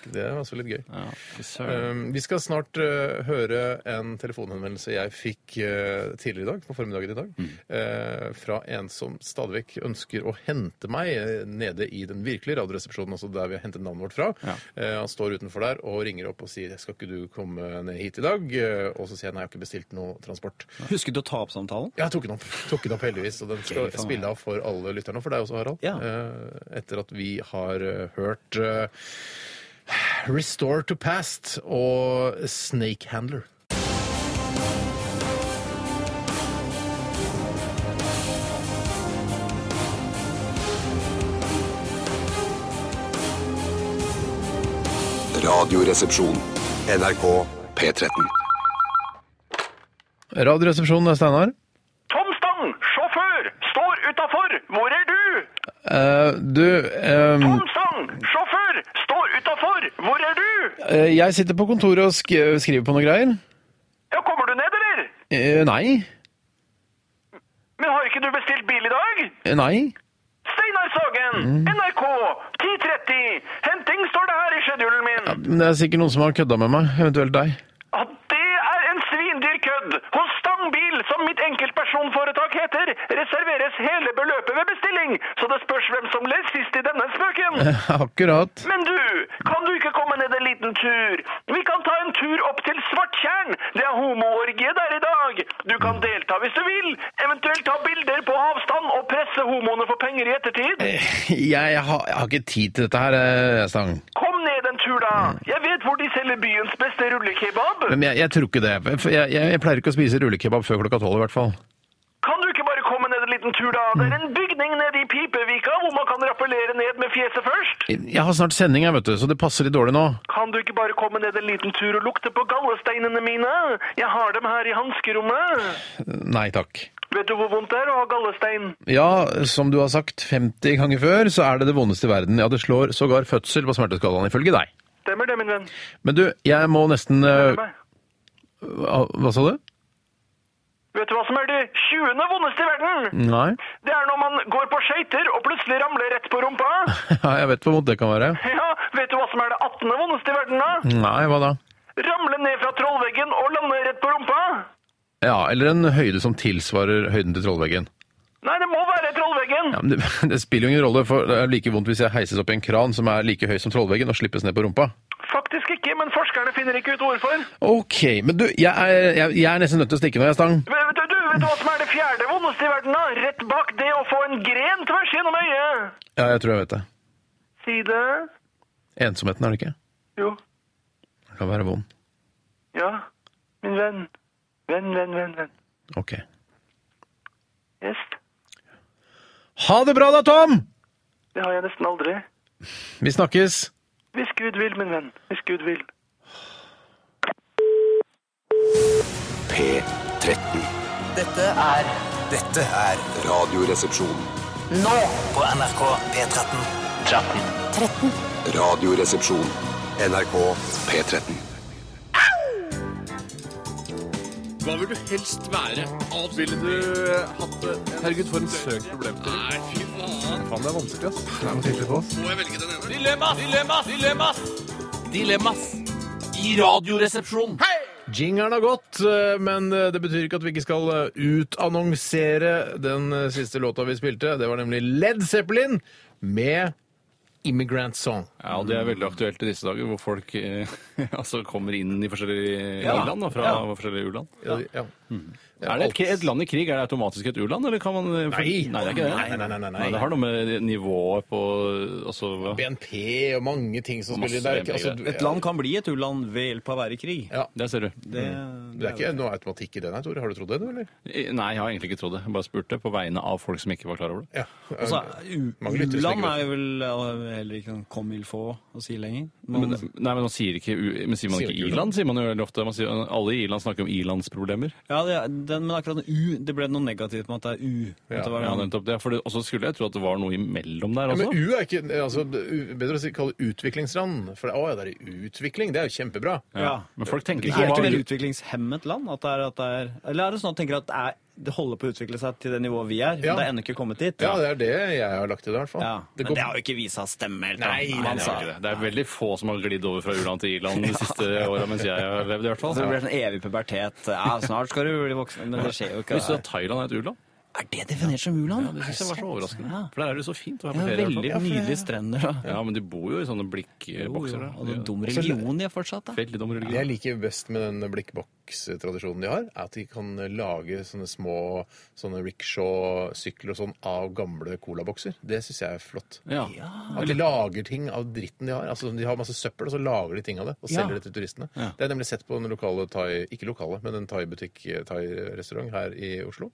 Speaker 2: Det var også litt gøy.
Speaker 4: Ja, fy søren.
Speaker 2: Um, vi skal snart uh, høre en telefonhenvendelse jeg fikk uh, tidligere i dag, på formiddagen i dag,
Speaker 4: Mm.
Speaker 2: uh, fra en som stadig vekk ønsker å hente meg uh, nede i den virkelige radioresepsjonen, altså der vi har hentet navnet vårt fra.
Speaker 4: Ja.
Speaker 2: Uh, han står utenfor der og ringer opp og sier skal ikke du komme ned hit i dag? Uh, og så sier jeg nei, jeg har ikke bestilt noe transport.
Speaker 3: Husket du å ta opp samtalen?
Speaker 2: Jeg tok den opp, tok den opp heldigvis, og den skal
Speaker 3: Gøy for meg.
Speaker 2: spille av for alle lytterne, og for deg også, Harald.
Speaker 3: Ja.
Speaker 2: Eh, Etter at vi har eh, hørt eh, Restore to Past og Snake Handler.
Speaker 6: Radioresepsjon.
Speaker 5: NRK P13.
Speaker 2: Radioresepsjonen er Steinar.
Speaker 7: Tom Stang, sjåfør, står utafor. Hvor er du?
Speaker 2: Eh, du,
Speaker 7: Tom Stang, sjåfør, står utafor. Hvor er du?
Speaker 2: eh, jeg sitter på kontoret og skriver på noen greier. Eh,
Speaker 7: Ja, kommer du ned, eller?
Speaker 2: nei.
Speaker 7: Men har ikke du bestilt bil i dag?
Speaker 2: Eh, Nei.
Speaker 7: Steinar Sagen, NRK, 10.30. Henting står det her i schedulen min.
Speaker 2: Det er sikkert noen som har kødda med meg, eventuelt deg.
Speaker 7: At det er en svindyr kødd! Hos Stang Bil, som mitt enkeltpersonforetak heter, reserveres hele beløpet ved bestilling, så det spørs hvem som ler sist i denne spøken.
Speaker 2: Akkurat.
Speaker 7: Men du, kan du ikke komme ned en liten tur? Vi kan ta en tur opp til Svarttjern. Det er homoorgie der i dag. Du kan delta hvis du vil, eventuelt ta bilder på avstand og presse homoene for penger i ettertid.
Speaker 2: Eh. Jeg, har, jeg har ikke tid til dette her, eh, Stang.
Speaker 7: Kom ned en tur, da. Jeg vet hvor de selger byens beste rullekebab.
Speaker 2: Men jeg, jeg tror ikke det. For Jeg, jeg, jeg pleier ikke å spise rullekebab før klokka tolv, i hvert fall.
Speaker 7: Kan du ikke bare komme ned en liten tur, da? Det er en bygning nede i Pipevika hvor man kan rappellere ned med fjeset først.
Speaker 2: Jeg har snart sending, jeg, vet du, så det passer litt dårlig nå.
Speaker 7: Kan du ikke bare komme ned en liten tur og lukte på gallesteinene mine? Jeg har dem her i hanskerommet.
Speaker 2: Nei takk.
Speaker 7: Vet du hvor vondt det er å ha gallestein?
Speaker 2: Ja, som du har sagt 50 ganger før, så er det det vondeste i verden. Ja, det slår sågar fødsel på smerteskalaen, ifølge deg.
Speaker 7: Stemmer det, min venn.
Speaker 2: Men du, jeg må nesten eh,
Speaker 7: Stemmer.
Speaker 2: Hva hva sa du?
Speaker 7: Vet du hva som er det 20. vondeste i verden?
Speaker 2: Nei.
Speaker 7: Det er når man går på skøyter og plutselig ramler rett på rumpa.
Speaker 2: Ja, jeg vet hvor vondt det kan være.
Speaker 7: Ja, Vet du hva som er det 18. vondeste i verden, da?
Speaker 2: Nei, hva da?
Speaker 7: Ramle ned fra trollveggen og lande rett på rumpa?
Speaker 2: Ja, eller en høyde som tilsvarer høyden til trollveggen.
Speaker 7: Nei, det må være trollveggen.
Speaker 2: Ja, men det, det spiller jo ingen rolle, for det er like vondt hvis jeg heises opp i en kran som er like høy som trollveggen og slippes ned på rumpa.
Speaker 7: Faktisk ikke, men forskerne finner ikke ut hvorfor.
Speaker 2: Ok, men du, jeg er, jeg, jeg er nesten nødt til å stikke nå, jeg, Stang.
Speaker 7: Men Vet du, du, vet du hva som er det fjerde vondeste i verden, da? Rett bak det å få en gren tvers gjennom øyet.
Speaker 2: Ja, jeg tror jeg vet det.
Speaker 7: Si det.
Speaker 2: Ensomheten, er det ikke?
Speaker 7: Jo.
Speaker 2: Det kan være vond.
Speaker 7: Ja. Min venn. Venn, venn, venn, venn.
Speaker 2: Ok.
Speaker 7: Yes.
Speaker 2: Ha det bra da, Tom!
Speaker 7: Det har jeg nesten aldri.
Speaker 2: Vi snakkes.
Speaker 7: Hvis Gud vil, min venn. Hvis Gud vil.
Speaker 5: P13.
Speaker 8: Dette er
Speaker 5: Dette er Radioresepsjon.
Speaker 8: nå på NRK P13.
Speaker 5: Radioresepsjon. NRK P13.
Speaker 2: Jingeren har gått, eh, men det betyr ikke at vi ikke skal eh, utannonsere den eh, siste låta vi spilte. Det var nemlig Led Zeppelin med Immigrant Song.
Speaker 4: Ja, og Det er veldig aktuelt i disse dager, hvor folk eh, altså kommer inn i forskjellige
Speaker 2: Ja.
Speaker 4: land. Da, fra
Speaker 2: Ja.
Speaker 4: forskjellige u-land.
Speaker 2: Ja. Ja.
Speaker 4: Er det et, et land i krig er det automatisk et u-land, eller kan man
Speaker 3: eh,
Speaker 4: Nei, nei, det er ikke det.
Speaker 2: Nei, nei, nei, nei, nei.
Speaker 4: Det har noe med nivået på altså, hva-
Speaker 2: BNP og mange ting som spiller
Speaker 4: Masse
Speaker 2: inn. Det er ikke, altså,
Speaker 4: BNP,
Speaker 2: du,
Speaker 3: Et land kan bli et u-land ved hjelp av å være i krig.
Speaker 2: Ja.
Speaker 4: Der ser du.
Speaker 3: Det,
Speaker 4: Mm.
Speaker 2: det er ikke noe automatikk i det, nei, Tore. Har du trodd det, du, eller?
Speaker 4: I- Nei, jeg har egentlig ikke trodd det. Jeg bare spurte på vegne av folk som ikke var klar over det.
Speaker 2: Ja.
Speaker 3: Altså,
Speaker 2: Mange lytter som
Speaker 3: U-land
Speaker 2: ikke
Speaker 3: er jo vel eh, heller ikke sånn comme il faut å si lenger. Man-
Speaker 4: Men, nei, men, man sier, ikke, u- men sier man
Speaker 2: Sier
Speaker 4: ikke
Speaker 2: ikke
Speaker 4: i-land, sier man jo veldig ofte. Man sier, alle i i-land snakker om i-landsproblemer.
Speaker 3: ja, det, er- den, men akkurat U, det ble noe negativt med at det er U. At det var,
Speaker 4: Ja, nettopp det. For det, og så skulle jeg tro at det var noe imellom der
Speaker 2: Ja,
Speaker 4: også.
Speaker 2: men U er ikke altså, u- Bedre å si- kalle det utviklingsland. For det, å, ja, det er i utvikling. Det er jo kjempebra.
Speaker 4: Ja. Men folk tenker
Speaker 3: Er
Speaker 4: ikke
Speaker 3: det
Speaker 4: på
Speaker 3: ikke
Speaker 4: hva
Speaker 3: et utviklingshemmet land? At det er, at det er, eller er det sånn at du tenker at det, er, det holder på å utvikle seg til det nivået vi er?
Speaker 2: Ja.
Speaker 3: Men det er ennå ikke kommet dit?
Speaker 2: Ja, det er det jeg har lagt til det, i hvert fall.
Speaker 3: Ja,
Speaker 2: Det
Speaker 3: Men
Speaker 2: går-
Speaker 3: det har jo ikke visa stemme helt. da.
Speaker 2: Nei, nei,
Speaker 3: Man
Speaker 4: Nei, det
Speaker 3: sa-
Speaker 4: er ikke det. Det er veldig få som har glidd over fra u-land til i-land de siste åra mens jeg har levd, i hvert fall.
Speaker 3: Så det blir sånn evig pubertet. Ja, snart skal du bli voksen. Men det skjer jo ikke.
Speaker 4: Visste du at Thailand er et u-land?
Speaker 3: Er det definert som u-land?
Speaker 4: Ja, det synes jeg var så overraskende.
Speaker 3: Ja.
Speaker 4: For der er det jo så fint å være
Speaker 3: Ja,
Speaker 4: på ferie. i hvert fall.
Speaker 3: veldig nydelige strender, da.
Speaker 4: Ja, men de bor jo i sånne blikkbokser. da.
Speaker 3: Og det er en
Speaker 4: De
Speaker 3: dum religion de er fortsatt, da.
Speaker 4: er Veldig dum
Speaker 2: Det jeg
Speaker 4: religion.
Speaker 2: liker best med den blikkbokstradisjonen de har, er at de kan lage sånne små sånne rickshaw-sykler og sånn av gamle colabokser. Det syns jeg er flott.
Speaker 4: Ja.
Speaker 2: At de lager ting av dritten de har. Altså De har masse søppel, og så lager de ting av det og selger det til turistene. Det er nemlig sett på den lokale thai... Ikke lokale, men en thai-butikk, eh, thai-restaurant her i Oslo.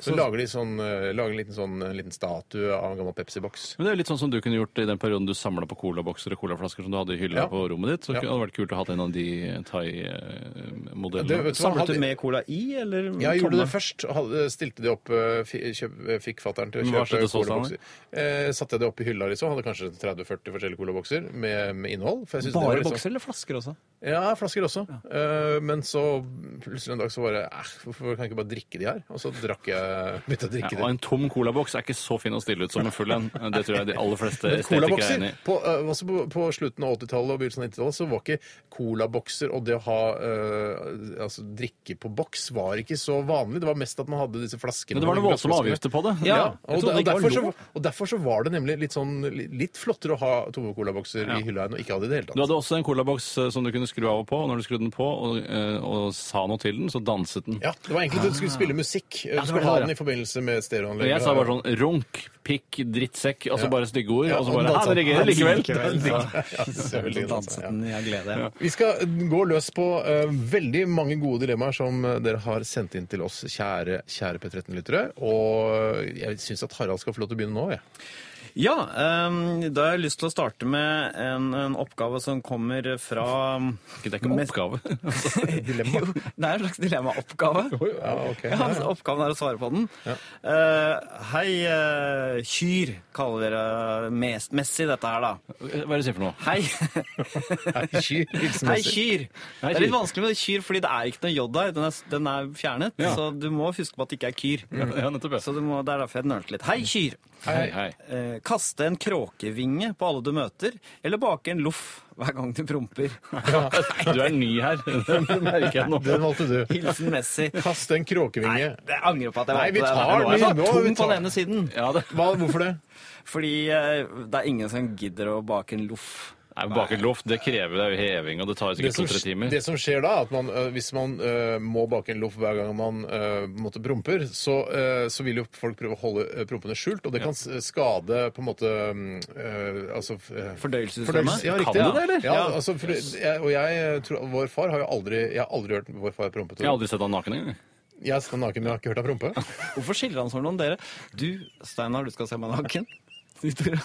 Speaker 2: Så lager de sånn, eh, lager en liten, sånn, en liten statue av en gammel Pepsi-boks.
Speaker 4: Men det er jo litt sånn som du kunne gjort i den perioden du samla på colabokser og colaflasker som du hadde i hylla
Speaker 2: Ja.
Speaker 4: på rommet ditt. Så
Speaker 2: Ja.
Speaker 4: hadde det vært kult å ha en av de
Speaker 2: Det-
Speaker 4: thai-modellene.
Speaker 2: vet du hva,
Speaker 3: Samlet
Speaker 2: hadde-
Speaker 3: du med cola i, eller
Speaker 2: Ja, jeg gjorde
Speaker 3: tomme?
Speaker 2: det først. og Hadde, stilte de opp, eh, fi- kjøp, fikk fatteren til å
Speaker 4: Men hva skjedde
Speaker 2: kjøpe
Speaker 4: så, Steinar?
Speaker 2: colabokser. Eh, satte jeg det opp i hylla, liksom. Hadde kanskje 30-40 forskjellige colabokser med, med innhold. for jeg synes det var
Speaker 3: Bare
Speaker 2: liksom-
Speaker 3: bokser eller flasker også?
Speaker 2: Ja, flasker også. Eh, men så plutselig en dag så bare eh, Hvorfor kan jeg ikke bare drikke de her? Og så drakk jeg, begynte jeg å
Speaker 4: Ja,
Speaker 2: drikke de.
Speaker 4: og en tom colaboks er ikke så fin å stille ut som en full en. Det tror jeg de aller fleste
Speaker 2: Men
Speaker 4: estetikere er enig
Speaker 2: colabokser
Speaker 4: i.
Speaker 2: på, eh, også på, på slutten av 80-tallet og begynnelsen av 90-tallet så var ikke colabokser og det å ha eh, altså, drikke på boks var ikke så vanlig. Det var mest at man hadde disse flaskene.
Speaker 4: Men det var noen voldsomme
Speaker 2: glassflaskene.
Speaker 4: avgifter på det.
Speaker 2: Ja,
Speaker 4: Jeg
Speaker 2: og, der,
Speaker 4: trodde
Speaker 2: og,
Speaker 4: det ikke var
Speaker 2: derfor så,
Speaker 4: lov.
Speaker 2: og derfor så var det nemlig litt, sånn, li- litt flottere å ha tomme colabokser i hylla enn å ikke ha det i det hele
Speaker 4: Du
Speaker 2: tatt.
Speaker 4: hadde også en colaboks eh, som du kunne skru av og på. Og når du skrudde den på og, eh, og sa noe til den, så danset den.
Speaker 2: Ja, Det var egentlig at du
Speaker 4: Ah.
Speaker 2: skulle spille musikk. Du
Speaker 3: var
Speaker 2: skulle
Speaker 3: det,
Speaker 2: ha
Speaker 3: ja.
Speaker 2: den i forbindelse med
Speaker 4: Og
Speaker 2: stereoanlegget.
Speaker 4: jeg sa bare sånn runk, pikk, drittsekk, altså
Speaker 2: Ja.
Speaker 4: bare stygge ord.
Speaker 2: Ja,
Speaker 4: og så
Speaker 2: og
Speaker 4: bare
Speaker 2: dansa.
Speaker 4: Han reagerer likevel.
Speaker 3: Likevel.
Speaker 2: Ja, det er veldig
Speaker 3: Så
Speaker 2: godt,
Speaker 3: danset
Speaker 2: ja.
Speaker 3: den, jeg gleder meg.
Speaker 2: Vi skal gå løs på eh, veldig mange gode dilemmaer som eh, dere har sendt inn til oss, kjære, kjære P13-lyttere. Og jeg syns at Harald skal få lov til å begynne nå. jeg.
Speaker 3: Ja, ehm, da har jeg lyst til å starte med en, en oppgave som kommer fra
Speaker 4: Det er ikke en oppgave.
Speaker 2: Dilemma.
Speaker 3: Jo, det er en slags dilemmaoppgave.
Speaker 2: Oi, ja, ok.
Speaker 3: Ja, altså, oppgaven er å svare på den. Eh, hei, eh, kyr, kaller dere mes Messi dette her, da.
Speaker 4: Hva er det du sier for noe?
Speaker 3: Hei,
Speaker 2: Hei, kyr. Hilsen
Speaker 3: hei
Speaker 2: Messi.
Speaker 3: kyr. Det
Speaker 4: Hei,
Speaker 3: er litt
Speaker 4: kyr.
Speaker 3: vanskelig med det kyr, fordi det er ikke noe j der. Den er, den er fjernet,
Speaker 4: Ja.
Speaker 3: så du må huske på at det ikke er kyr.
Speaker 4: Ja, nettopp. ja.
Speaker 3: Så du må, det er derfor jeg nølte litt. Hei, kyr.
Speaker 4: Hei, hei.
Speaker 3: Eh, kaste en kråkevinge på alle du møter, eller bake en loff hver gang du promper.
Speaker 4: Du er ny her. Det merker jeg nå.
Speaker 2: Den valgte du.
Speaker 3: Hilsen Messi.
Speaker 2: Kaste en
Speaker 3: Nei,
Speaker 2: kråkevinge.
Speaker 3: jeg angrer på at jeg
Speaker 2: Nei, vi
Speaker 3: valgte
Speaker 2: tar
Speaker 3: den. Jeg
Speaker 2: den.
Speaker 3: var
Speaker 2: Nå, vi
Speaker 3: tung
Speaker 2: tar
Speaker 3: på den
Speaker 2: den.
Speaker 3: ene siden.
Speaker 4: Ja, det
Speaker 2: Hva, hvorfor det?
Speaker 3: Fordi eh, det er ingen som gidder å bake en loff.
Speaker 4: Nei, men Bake et loff det krever det er jo heving, og det tar
Speaker 2: Det
Speaker 4: sikkert
Speaker 2: som,
Speaker 4: to-tre timer.
Speaker 2: det som skjer da, at man, øh, hvis man øh, må bake en loff hver gang man øh, på en måte promper, så, øh, så vil jo folk prøve å holde øh, prompene skjult, og det kan s- skade på en måte øh, altså, øh,
Speaker 3: Fordøyelsessystemet?
Speaker 2: fordøyelse- Ja,
Speaker 4: Kan
Speaker 2: riktig.
Speaker 4: det
Speaker 2: ja.
Speaker 4: det, eller?
Speaker 2: Ja, altså, for, jeg, og jeg øh, tror vår far har jo aldri Jeg har aldri hørt vår far prompe. Tore.
Speaker 4: Jeg har aldri sett han naken engang.
Speaker 2: Jeg er sånn naken, men jeg har ikke hørt deg prompe.
Speaker 3: Hvorfor skiller han seg mellom dere? Du, Steinar, du skal se meg naken. Du, Tore.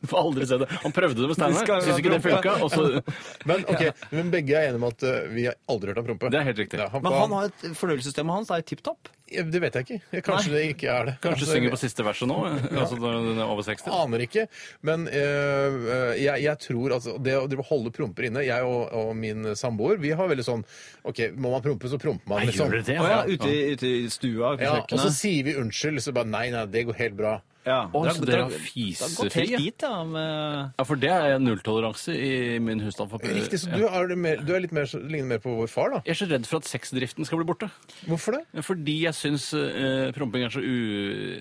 Speaker 3: Du får aldri se det.
Speaker 4: Han prøvde det med Steinar.
Speaker 3: Du skal jo
Speaker 4: Syns ikke det
Speaker 3: droppe.
Speaker 4: funka. og så-
Speaker 2: Men, ok, men begge er enige om at øh, vi har aldri hørt ham prompe.
Speaker 4: Det er helt riktig.
Speaker 2: Ja, han,
Speaker 3: Men han
Speaker 2: han,
Speaker 3: har et, fordøyelsessystemet hans er jo tipp topp.
Speaker 2: det vet jeg ikke. Kanskje det ikke er det.
Speaker 4: Kanskje
Speaker 2: Altså,
Speaker 4: synger på siste verset nå? Altså når den er over 60?
Speaker 2: Aner ikke. Men øh, øh, jeg, jeg tror altså, Det å drive og holde promper inne Jeg og, og min samboer vi har veldig sånn OK, må man prompe, så promper man. liksom.
Speaker 4: det?
Speaker 3: Å ja, ute, i- ute i stua på
Speaker 2: Ja, og så
Speaker 3: kjøkkenet.
Speaker 2: sier vi unnskyld, så bare nei, nei, det går helt bra.
Speaker 3: Ja.
Speaker 4: Å,
Speaker 3: Det
Speaker 4: så
Speaker 3: er-
Speaker 4: dere har
Speaker 3: det er- Det har gått
Speaker 4: fisefri?
Speaker 3: helt
Speaker 4: ja.
Speaker 3: dit, ja. Med...
Speaker 4: Ja, for det er nulltoleranse i min husstand. For,
Speaker 2: Riktig, så du er, mer, du er litt mer, ligner mer på vår far, da.
Speaker 4: Jeg er så redd for at sexdriften skal bli borte.
Speaker 2: Hvorfor det?
Speaker 4: Fordi jeg syns eh, promping er så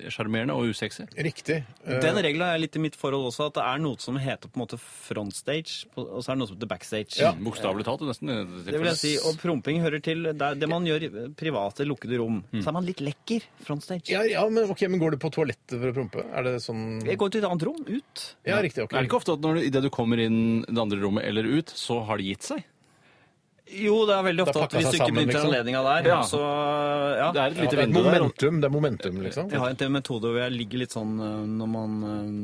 Speaker 4: usjarmerende og usexy.
Speaker 2: Riktig. Eh,
Speaker 3: Den regelen er litt i mitt forhold også, at det er noe som heter på en måte frontstage, og så er det noe som heter backstage.
Speaker 2: Ja.
Speaker 4: Bokstavelig talt. nesten. i dette
Speaker 3: Det vil jeg si,
Speaker 4: tilfellet.
Speaker 3: og promping hører til det, er det man gjør i private, lukkede rom. Så er man litt lekker frontstage.
Speaker 2: ja, ja, men, ok, men går du på toalettet for å prompe? Er det sånn
Speaker 3: Jeg går til et annet rom, ut.
Speaker 2: Ja, riktig. ok.
Speaker 4: Er det ikke ofte at når du, i det du kommer inn det andre rommet eller ut, så har de gitt seg?
Speaker 3: Jo, det er veldig
Speaker 2: Da
Speaker 3: ofte at
Speaker 2: pakka
Speaker 3: hvis
Speaker 2: seg
Speaker 3: du ikke
Speaker 2: sammen,
Speaker 3: benytter
Speaker 2: liksom.
Speaker 3: anledninga der,
Speaker 4: Ja.
Speaker 3: så ja.
Speaker 4: Det er et
Speaker 2: Ja,
Speaker 4: lite
Speaker 2: det er
Speaker 4: vindu der.
Speaker 2: momentum, det er momentum, liksom.
Speaker 3: Jeg har en metode hvor jeg ligger litt sånn øh, når man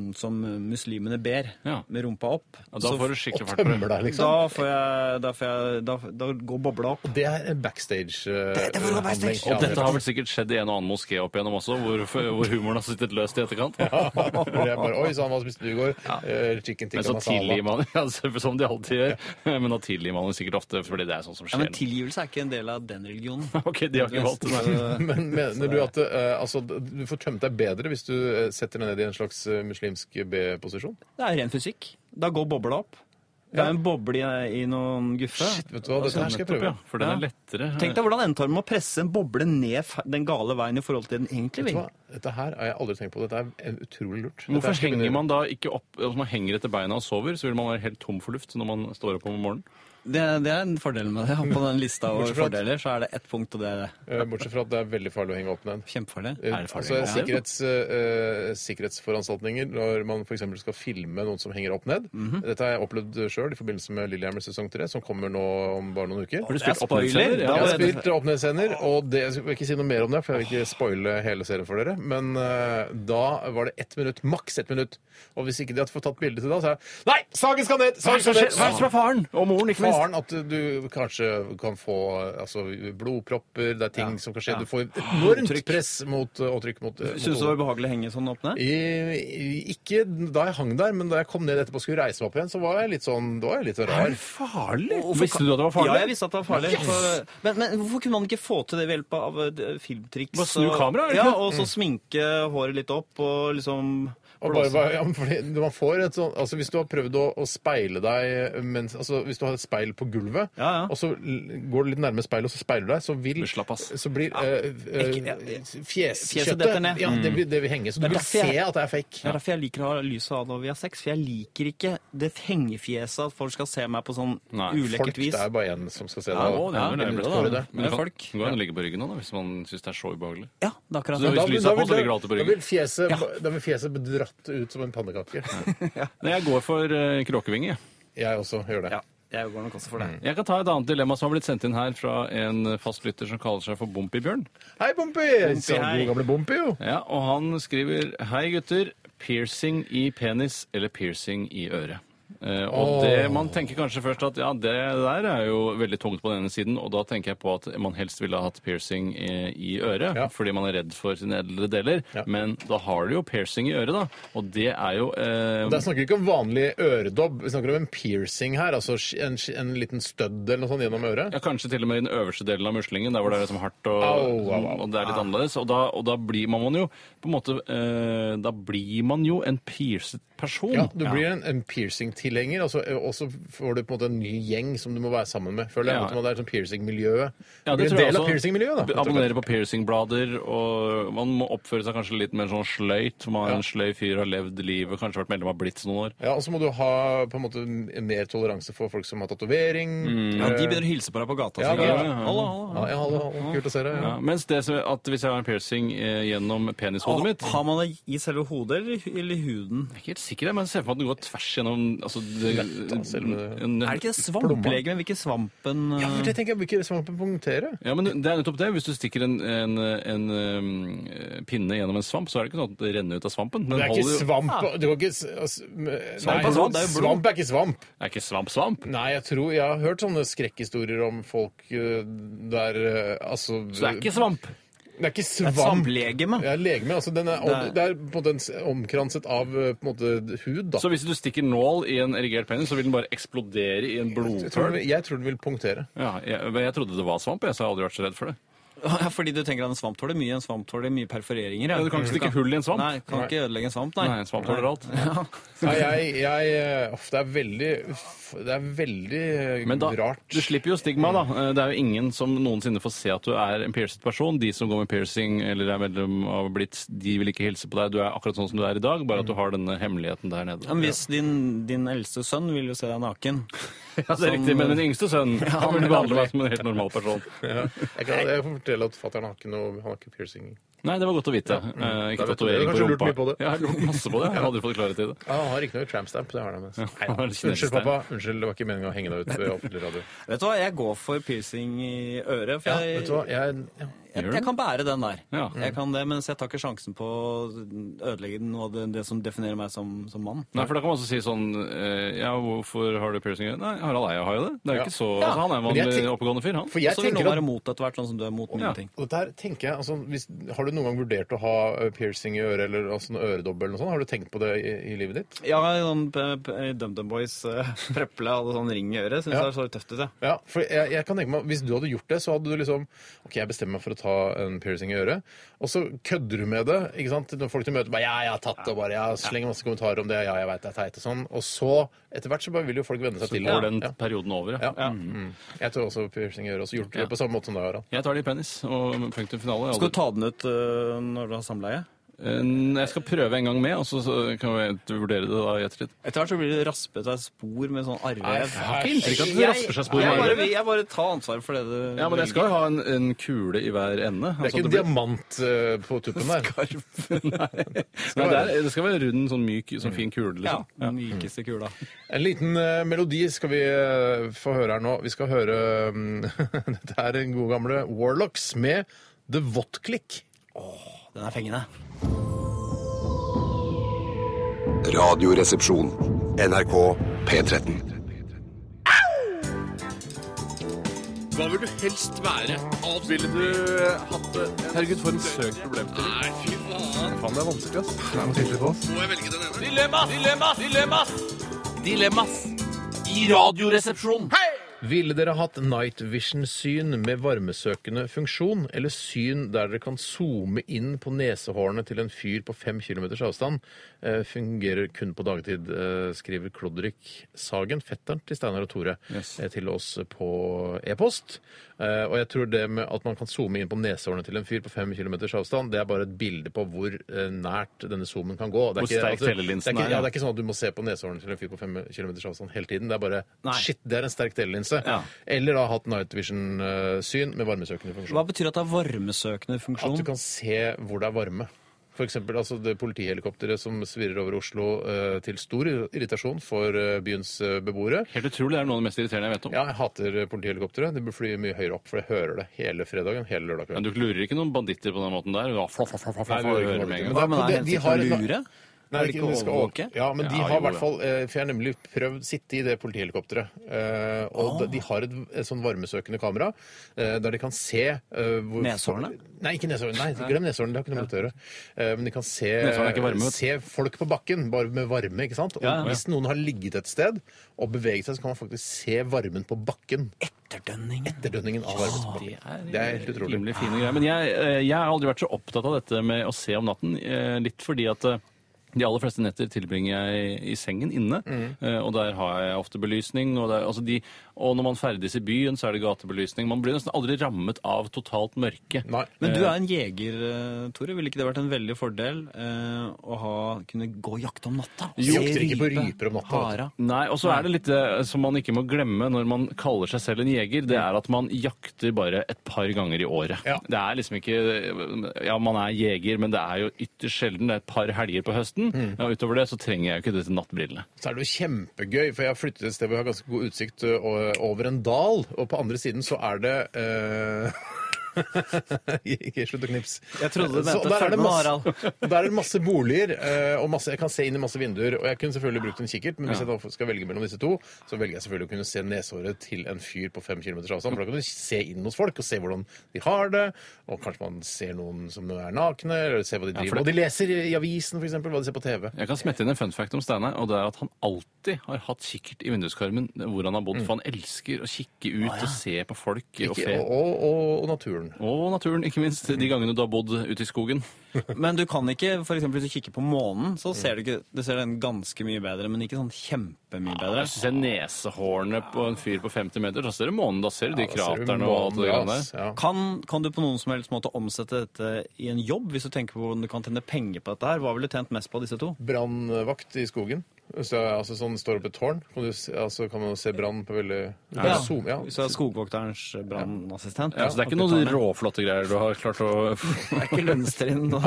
Speaker 3: øh, som muslimene ber,
Speaker 4: Ja.
Speaker 3: med rumpa opp.
Speaker 4: og Da
Speaker 3: Så
Speaker 4: får du skikkelig fart på
Speaker 2: Tømmer
Speaker 4: det.
Speaker 2: deg, liksom.
Speaker 3: da får jeg, da, får jeg da, da går bobla opp.
Speaker 2: Det er en backstage. eh, handling.
Speaker 4: Og dette har vel sikkert skjedd i en og annen moské opp igjennom også, hvor, hvor humoren har sittet løst i etterkant.
Speaker 2: Hvor jeg bare, Oi sann, hva spiste du i går? Eh, Chicken tikka
Speaker 4: Men så
Speaker 2: masala.
Speaker 4: tilgir man ja, som de alltid gjør. Men da tilgir man det sikkert ofte, fordi det er sånn som
Speaker 3: Ja,
Speaker 4: skjer.
Speaker 3: men tilgivelse er ikke en del av den religionen.
Speaker 4: Ok, de har ikke valgt det. nei.
Speaker 2: Men mener du at eh, altså, du får tømt deg bedre hvis du eh, setter deg ned i en slags eh, muslimsk B-posisjon?
Speaker 3: Det er ren fysikk. Da går bobla opp. Det er en boble i, i noen guffe.
Speaker 2: Vet du hva, dette her skal jeg
Speaker 4: Nettopp,
Speaker 2: prøve.
Speaker 4: ja, for den
Speaker 3: Ja.
Speaker 4: er lettere.
Speaker 3: Tenk deg hvordan endte han med å presse en boble ned fe- den gale veien i forhold til den egentlig
Speaker 2: Vet du
Speaker 3: vil.
Speaker 2: hva? Dette her har jeg aldri tenkt på. Dette er en- utrolig lurt. Dette
Speaker 4: Hvorfor
Speaker 2: her skal jeg
Speaker 4: henger
Speaker 2: begynne-
Speaker 4: man da ikke opp altså man henger etter beina og sover, så vil man være helt tom for luft når man står opp om morgenen?
Speaker 3: Det, det er en fordel med det. På den lista over
Speaker 2: Bortsett fra at-
Speaker 3: fordeler så er det ett punkt, og det er
Speaker 2: Eh, Bortsett fra at det er veldig farlig å henge opp den.
Speaker 3: kjempefarlig.
Speaker 2: Eh,
Speaker 4: det farlig?
Speaker 2: Altså,
Speaker 4: Ja.
Speaker 2: sikkerhets, eh, sikkerhetsforanstaltninger når man f.eks. skal filme noen som henger opp ned.
Speaker 4: Mhm.
Speaker 2: Dette har jeg opplevd sjøl i forbindelse med Lillehammer sesong 3, som kommer nå om bare noen uker.
Speaker 4: Har du
Speaker 3: Det er
Speaker 4: spilt opp med
Speaker 3: spoiler.
Speaker 4: scener?
Speaker 3: Ja,
Speaker 2: Jeg har
Speaker 3: det-
Speaker 2: spilt åpne scener, og det, jeg skal ikke si noe mer om det, for jeg vil ikke spoile hele serien for dere. Men eh, da var det ett minutt, maks ett minutt. Og hvis ikke de hadde fått tatt bilde til da, så er jeg Nei! Sagen skal ned! Sagen skal ned!
Speaker 4: med faren? Og moren, ikke
Speaker 2: Faren at du kanskje kan få eh, altså, blodpropper, det er ting som kan skje. Du får et enormt press mot, eh, og trykk mot, eh, mot
Speaker 3: Syns du det var behagelig å henge sånn åpne?
Speaker 2: I- Ikke da jeg hang der, men da jeg kom ned etterpå og skulle reise meg opp igjen, så var jeg litt sånn, da var jeg litt rar.
Speaker 4: Farlig? Visste du at det var farlig?
Speaker 3: Ja, jeg visste at det var farlig. for- Men, men hvorfor kunne man ikke få til det ved hjelp av eh, filmtriks?
Speaker 4: Bare snu
Speaker 3: og-
Speaker 4: kameraet, er det
Speaker 3: Ja,
Speaker 4: ikke?
Speaker 3: og så sminke håret litt opp og liksom
Speaker 2: Mm. Og bare, bare, ja, men fordi man får et sånn, altså Hvis du har prøvd å, å speile deg mens, altså Hvis du har et speil på gulvet,
Speaker 3: Ja, ja.
Speaker 2: og så l- går du litt nærme speilet og så speiler du deg, så vil
Speaker 4: Men slapp, ass.
Speaker 2: Så blir eh, eh,
Speaker 3: Ikke- ja. Fjeset
Speaker 2: fjeskjøttet
Speaker 3: detter ned.
Speaker 2: ja, det, vil- det vil henge. Så
Speaker 3: Det
Speaker 2: du
Speaker 3: er
Speaker 2: vil
Speaker 3: derfor
Speaker 2: se
Speaker 3: jeg-
Speaker 2: at det er fake.
Speaker 3: Det er derfor jeg liker å ha lyset av når vi har sex, for jeg liker ikke det hengefjeset at folk skal se meg på sånn
Speaker 4: Nei,
Speaker 2: Folk,
Speaker 3: ulekkert
Speaker 2: det
Speaker 3: vis.
Speaker 2: er bare én som skal se det.
Speaker 4: Ja, å, det
Speaker 3: Ja,
Speaker 4: er vel
Speaker 2: det
Speaker 4: nærmere
Speaker 2: står i
Speaker 4: det, da.
Speaker 2: det.
Speaker 4: Men det
Speaker 3: Det er
Speaker 4: kan
Speaker 3: folk.
Speaker 4: gå an å ligge på ryggen nå, da, hvis man syns det er så ubehagelig.
Speaker 3: Ja, det er akkurat
Speaker 4: Så
Speaker 3: det.
Speaker 4: hvis
Speaker 2: vil-
Speaker 4: lyset er på,
Speaker 2: vil
Speaker 4: så
Speaker 2: det-
Speaker 4: ligger det alltid
Speaker 2: da
Speaker 4: på ryggen.
Speaker 2: vil fjeset, da vil fjeset bli dratt ut som en pannekake.
Speaker 4: Nei, jeg går for uh, kråkevinge. jeg.
Speaker 2: Jeg også gjør det.
Speaker 3: Ja, jeg går nok også for det.
Speaker 4: Jeg kan ta et annet dilemma som har blitt sendt inn her fra en fastlytter som kaller seg for Bompibjørn.
Speaker 2: Hei, Bompi! Så
Speaker 3: hei.
Speaker 2: God gamle Bompi, jo.
Speaker 4: Ja, og han skriver Hei gutter, piercing i penis eller piercing i øret. Eh, og det, Man tenker kanskje først at ja, det der er jo veldig tungt på den ene siden, og da tenker jeg på at man helst ville ha hatt piercing i, i øret
Speaker 2: Ja.
Speaker 4: fordi man er redd for sine eldre deler,
Speaker 2: Ja.
Speaker 4: men da har du jo piercing i øret, da. Og det er jo eh,
Speaker 2: Der snakker vi ikke om vanlig øredobb, vi snakker om en piercing her. Altså sk- en, sk- en liten stødd eller noe sånt gjennom øret.
Speaker 4: Ja, Kanskje til og med i den øverste delen av muslingen, der hvor det er liksom hardt og,
Speaker 2: Au, au, Ah. au.
Speaker 4: og det er litt annerledes. Og da, og da blir man jo på en måte eh, Da blir man jo en pierced person.
Speaker 2: Ja, du blir en, en piercing-tilhenger, altså, ø, og så får du på en måte en ny gjeng som du må være sammen med. Føler jeg
Speaker 4: Ja.
Speaker 2: at man- Det er sånn piercing-miljøet.
Speaker 4: Ja,
Speaker 2: du blir en
Speaker 4: tror jeg
Speaker 2: del av
Speaker 4: også.
Speaker 2: piercing-miljøet, da. rett og slett.
Speaker 4: Abonnere på piercingblader, og man må oppføre seg kanskje litt mer sånn sløyt. for Man er en sløy fyr, har levd livet, kanskje vært medlem av Blitz noen år.
Speaker 2: Ja, og så må du ha på en måte mer toleranse for folk som har tatovering.
Speaker 4: Mm,
Speaker 3: Ja, de begynner å hilse på deg på gata.
Speaker 2: Ja,
Speaker 3: så
Speaker 2: ja,
Speaker 3: gøy.
Speaker 2: ja.
Speaker 3: Hallo, hallo.
Speaker 2: Ja, ja, hallo, kult å se deg. Ja.
Speaker 4: Ja, mens det som, at hvis jeg har en piercing eh, gjennom penishodet mitt
Speaker 3: Har man det i selve hodet eller, i- eller i huden?
Speaker 4: Jeg er ikke helt sikker, jeg, men jeg ser for meg at den går tvers gjennom altså, det,
Speaker 2: selve-
Speaker 4: nøtt-
Speaker 3: Er det ikke svamplege, men hvilke svampen
Speaker 2: Ja, for det tenker jeg ikke svampen punktere.
Speaker 4: Ja, men det er nettopp det. Hvis du stikker en, en, en um, pinne gjennom en svamp, så er det ikke sånn at det renner ut av svampen. Den
Speaker 2: Det er ikke
Speaker 4: holder jo-
Speaker 2: svamp Du kan ikke s- altså, m-
Speaker 4: Svamp
Speaker 2: nei,
Speaker 4: er svamp, det er jo blod.
Speaker 2: Svamp er ikke svamp.
Speaker 4: Det er ikke svamp, svamp.
Speaker 2: Nei, jeg tror Jeg har hørt sånne skrekkhistorier om folk eh, der eh, Altså
Speaker 4: Så det er ikke svamp.
Speaker 2: det er ikke
Speaker 3: Et
Speaker 2: svamp.
Speaker 3: svamplegeme.
Speaker 2: Det er legeme. Altså, den er, om- det er på en måte en s- omkranset av eh, på en måte hud, da.
Speaker 4: Så hvis du stikker nål i en erigert penis, så vil den bare eksplodere i en
Speaker 2: Jeg tror,
Speaker 4: blodpøl.
Speaker 2: den- jeg tror den vil punktere.
Speaker 4: Ja, jeg, men jeg trodde det var svamp, jeg, så jeg har aldri vært så redd for det.
Speaker 3: Ja, Fordi du tenker at en svamp tåler mye, en svamp tåler mye perforeringer.
Speaker 4: Ja, du kan ikke stikke hull i en svamp.
Speaker 3: Nei, kan ikke ødelegge en svamp, nei.
Speaker 4: Nei, en svamp tåler alt.
Speaker 2: Nei, jeg, jeg eh, Uff, det er veldig uff, Det er veldig eh,
Speaker 4: Men da,
Speaker 2: rart.
Speaker 4: du slipper jo stigma, da. Eh, Det er jo ingen som noensinne får se at du er en pierced person. De som går med piercing eller er medlem av Blitz, de vil ikke hilse på deg. Du er akkurat sånn som du er i dag, bare at du har denne hemmeligheten der nede.
Speaker 3: Ja, Men hvis din, din eldste sønn vil jo se deg naken
Speaker 4: Ja, det er riktig, men min yngste sønn han vil behandle meg som en helt normal person.
Speaker 2: Jeg, kan, jeg får fortelle at fatter'n har ikke noe Han har ikke piercing.
Speaker 4: Nei, det var godt å vite. Eh,
Speaker 2: Da
Speaker 4: ikke
Speaker 2: vet du det. Du
Speaker 4: tatovering
Speaker 2: har
Speaker 4: på
Speaker 2: kanskje lurt
Speaker 4: rumpa.
Speaker 2: mye på det.
Speaker 4: Jeg har lurt masse på det. Jeg har aldri fått klarhet i det.
Speaker 2: Ja, han har ikke noe trampstamp. Det har han. men- Nei,
Speaker 4: Han har kinesisk
Speaker 2: Unnskyld,
Speaker 4: stamp.
Speaker 2: pappa. Unnskyld, det var ikke meninga å henge deg ut ved offentlig radio.
Speaker 3: Vet du hva, jeg går for piercing i øret. For
Speaker 2: Ja,
Speaker 3: jeg,
Speaker 2: vet du hva? Jeg, ja.
Speaker 3: jeg, jeg kan bære den der.
Speaker 4: Ja.
Speaker 3: Jeg kan det, Mens jeg tar ikke sjansen på å ødelegge noe av det, det som definerer meg som, som mann.
Speaker 4: Nei, for da kan man også si sånn eh, Ja, hvorfor har du piercing? i øyet? Nei, Harald Eia har jo det. Det er jo
Speaker 2: Ja.
Speaker 4: ikke så altså, Han er en
Speaker 2: Men jeg
Speaker 4: vanlig
Speaker 2: tenk-
Speaker 4: oppegående fyr, han.
Speaker 2: For jeg
Speaker 3: Så vil noen
Speaker 2: tenker at
Speaker 3: være mot etter hvert, sånn som du er mot mine
Speaker 4: Ja.
Speaker 3: ting.
Speaker 2: og dette her tenker jeg, altså, hvis, Har du noen gang vurdert å ha eh, piercing i øret eller altså, noe øredobbel? Eller noe sånt? Har du tenkt på det i, i livet ditt?
Speaker 3: Ja, sånn p- p- DumDum Boys eh, Preple hadde sånn ring i øret. Syns
Speaker 2: Ja.
Speaker 3: jeg så litt tøft ut, jeg.
Speaker 2: Ja, for jeg, jeg kan tenke meg, Hvis du hadde gjort det, så hadde du liksom OK, jeg bestemmer meg for å ta en piercing i øret. Og så kødder du med det. ikke sant? Når folk du møter bare 'ja, jeg har tatt det', og bare, ja, slenger masse kommentarer om det, ja, jeg vet det er teit, og sånn. Og så, etter hvert, så bare vil jo folk venne seg til
Speaker 4: Går
Speaker 2: det.
Speaker 4: den
Speaker 2: Ja.
Speaker 4: perioden over,
Speaker 2: Ja. Mm. Jeg tar også piercing i øret. Og så gjort det på samme måte som deg, Harald.
Speaker 4: Jeg tar det i penis og punktum finale.
Speaker 3: Skal du ta den ut eh, når du har samleie?
Speaker 4: Eh, Jeg skal prøve en gang med, og så så kan vi vurdere det da i ettertid.
Speaker 3: Etter hvert så blir det raspet av spor med sånn arrvev.
Speaker 4: Jeg har ikke inntrykk av at det rasper seg spor i
Speaker 3: jeg, bare,
Speaker 4: armen.
Speaker 3: jeg bare tar ansvar for det du
Speaker 4: Ja, men jeg skal jo ha en, en kule i hver
Speaker 2: Det
Speaker 4: ende.
Speaker 2: er
Speaker 4: altså
Speaker 2: ikke en
Speaker 4: at blir-
Speaker 2: diamant eh, på tuppen der.
Speaker 4: Nei, Nei det, er, det skal være rund, sånn myk, sånn fin kule,
Speaker 3: Ja,
Speaker 4: liksom.
Speaker 3: den mykeste kula.
Speaker 2: En liten eh, melodi skal vi eh, få høre her nå. Vi skal høre mm, Dette er den gode gamle Warlocks med The Votklikk.
Speaker 3: Den er fengende.
Speaker 5: Radioresepsjon. NRK P13.
Speaker 2: Ville dere hatt night vision-syn med varmesøkende funksjon, eller syn der dere kan zoome inn på nesehårene til en fyr på fem kilometers avstand? Eh, fungerer kun på dagtid, eh, skriver Klodrik Sagen, fetteren til Steinar og Tore,
Speaker 4: Yes.
Speaker 2: eh, til oss på e-post. Eh, og jeg tror det med at man kan zoome inn på nesehårene til en fyr på fem kilometers avstand, det er bare et bilde på hvor eh, nært denne zoomen kan gå. Det
Speaker 4: Hvor sterk
Speaker 2: at du- det er.
Speaker 4: telelinsen
Speaker 2: Ikke, ja,
Speaker 4: er, ja.
Speaker 2: det er ikke sånn at du må se på nesehårene til en fyr på fem kilometers avstand hele tiden. Det er bare
Speaker 3: Nei.
Speaker 2: shit, det er en sterk telelinse.
Speaker 4: Ja.
Speaker 2: Eller da hatt night vision-syn med varmesøkende funksjon.
Speaker 3: Hva betyr at det er varmesøkende
Speaker 2: At
Speaker 3: funksjon?
Speaker 2: du kan se hvor det er varme. For eksempel altså, det politihelikopteret som svirrer over Oslo eh, til stor irritasjon for eh, byens eh, beboere.
Speaker 4: Helt utrolig. Det er noe av det mest irriterende jeg vet om.
Speaker 2: Ja, jeg hater politihelikopteret. De bør fly mye høyere opp, for jeg hører det hele fredagen, hele lørdag
Speaker 4: Men
Speaker 2: kveld.
Speaker 4: du lurer ikke noen banditter på den måten der. Ja, fla, fla, fla, fla, fla,
Speaker 2: Nei, du
Speaker 4: fla,
Speaker 2: gjør ikke
Speaker 4: hører
Speaker 2: noe
Speaker 4: med en
Speaker 2: banditter.
Speaker 4: gang.
Speaker 3: Hva, men
Speaker 2: det-
Speaker 3: er
Speaker 2: de har
Speaker 3: hensikten å
Speaker 2: et-
Speaker 3: lure?
Speaker 2: Nei,
Speaker 3: Er det ikke
Speaker 2: de skal
Speaker 3: overvåke?
Speaker 2: over- Ja, men de
Speaker 4: Ja,
Speaker 2: har i
Speaker 4: jo
Speaker 2: hvert
Speaker 4: da.
Speaker 2: fall eh, For jeg har nemlig prøvd sitte i det politihelikopteret. eh, Og de- de har et, et sånn varmesøkende kamera eh, der de kan se eh, hvor-
Speaker 3: Neshårene?
Speaker 2: Nei, ikke neshårene. Nei, glem neshårene. Det har ikke noe med det å gjøre. Eh, Men de kan se,
Speaker 4: Neshårene er ikke varme, vet du.
Speaker 2: se folk på bakken, bare med varme. ikke sant? Og
Speaker 4: Ja, ja, ja.
Speaker 2: Hvis noen har ligget et sted og beveget seg, så kan man faktisk se varmen på bakken.
Speaker 3: Etterdønning.
Speaker 2: Etterdønningen av varmen på bakken.
Speaker 4: Det er,
Speaker 2: Det er helt utrolig.
Speaker 4: rimelig fine greier. Men jeg, eh, jeg har aldri vært så opptatt av dette med å se om natten, eh, litt fordi at eh, de aller fleste netter tilbringer jeg i sengen inne,
Speaker 2: Mm.
Speaker 4: eh, og der har jeg ofte belysning. Og, det er- altså de, og når man ferdes i byen, så er det gatebelysning. Man blir nesten aldri rammet av totalt mørke.
Speaker 2: Nei.
Speaker 3: Men du er en jeger, eh, Tore. Ville ikke det vært en veldig fordel eh, å ha, kunne gå og jakte om natta?
Speaker 2: Jo,
Speaker 3: Se
Speaker 2: jakter ikke på ryper om natta, vet du.
Speaker 3: Hare.
Speaker 4: Nei, og så er det litt eh, som man ikke må glemme når man kaller seg selv en jeger, det er at man jakter bare et par ganger i året.
Speaker 2: Ja.
Speaker 4: Det er liksom ikke Ja, man er jeger, men det er jo ytterst sjelden. Det er et par helger på høsten.
Speaker 2: Mm.
Speaker 4: Ja, utover det så trenger jeg jo ikke disse nattbrillene.
Speaker 2: så er det jo kjempegøy, for jeg har flyttet et sted hvor jeg har ganske god utsikt ø, og- over en dal, og på andre siden så er det eh, Ikke slutt å knipse.
Speaker 3: Jeg trodde du
Speaker 2: Så
Speaker 3: mente
Speaker 2: der er det
Speaker 3: følg med,
Speaker 2: masse-
Speaker 3: Harald.
Speaker 2: Der er det masse boliger, eh, og masse, jeg kan se inn i masse vinduer. Og jeg kunne selvfølgelig brukt en kikkert, men hvis jeg da skal velge mellom disse to, så velger jeg selvfølgelig å kunne se neshåret til en fyr på fem kilometers avstand. For da kan du se inn hos folk og se hvordan de har det, og kanskje man ser noen som er nakne, eller ser hva de driver
Speaker 4: for
Speaker 2: med.
Speaker 4: det-
Speaker 2: Og de leser i avisen, f.eks., hva de ser på TV.
Speaker 4: Jeg kan smette inn en fun fact om Steinar, og det er at han alltid har hatt kikkert i vinduskarmen hvor han har bodd, for han elsker å kikke ut og se på folk og fe.
Speaker 2: Mm. Ikke, og, og, og, og naturen.
Speaker 4: Og naturen, ikke minst. De gangene du har bodd ute i skogen.
Speaker 3: Men du kan ikke, for eksempel hvis du kikker på månen, så ser du, ikke, du ser den ganske mye bedre, men ikke sånn kjempemye bedre.
Speaker 4: Jeg ser nesehårene på en fyr på 50 meter, da ser du månen. Da ser du de
Speaker 2: Da ser du
Speaker 4: kraterne og alt det
Speaker 2: månen,
Speaker 4: grann der.
Speaker 2: ass. altså, Ja.
Speaker 3: Kan, kan du på noen som helst måte omsette dette i en jobb, hvis du tenker på hvordan du kan tjene penger på dette her? Hva ville du tjent mest på av disse to?
Speaker 2: Brannvakt i skogen. Så, altså sånn Står oppe i et tårn, kan, du, se- altså, kan man se brann på veldig ja. Zoom, ja.
Speaker 3: Så er skogvokterens brannassistent.
Speaker 4: Ja, så Altså, det er ikke noen råflotte greier du har klart å
Speaker 3: Det er ikke lønnstrinn. og-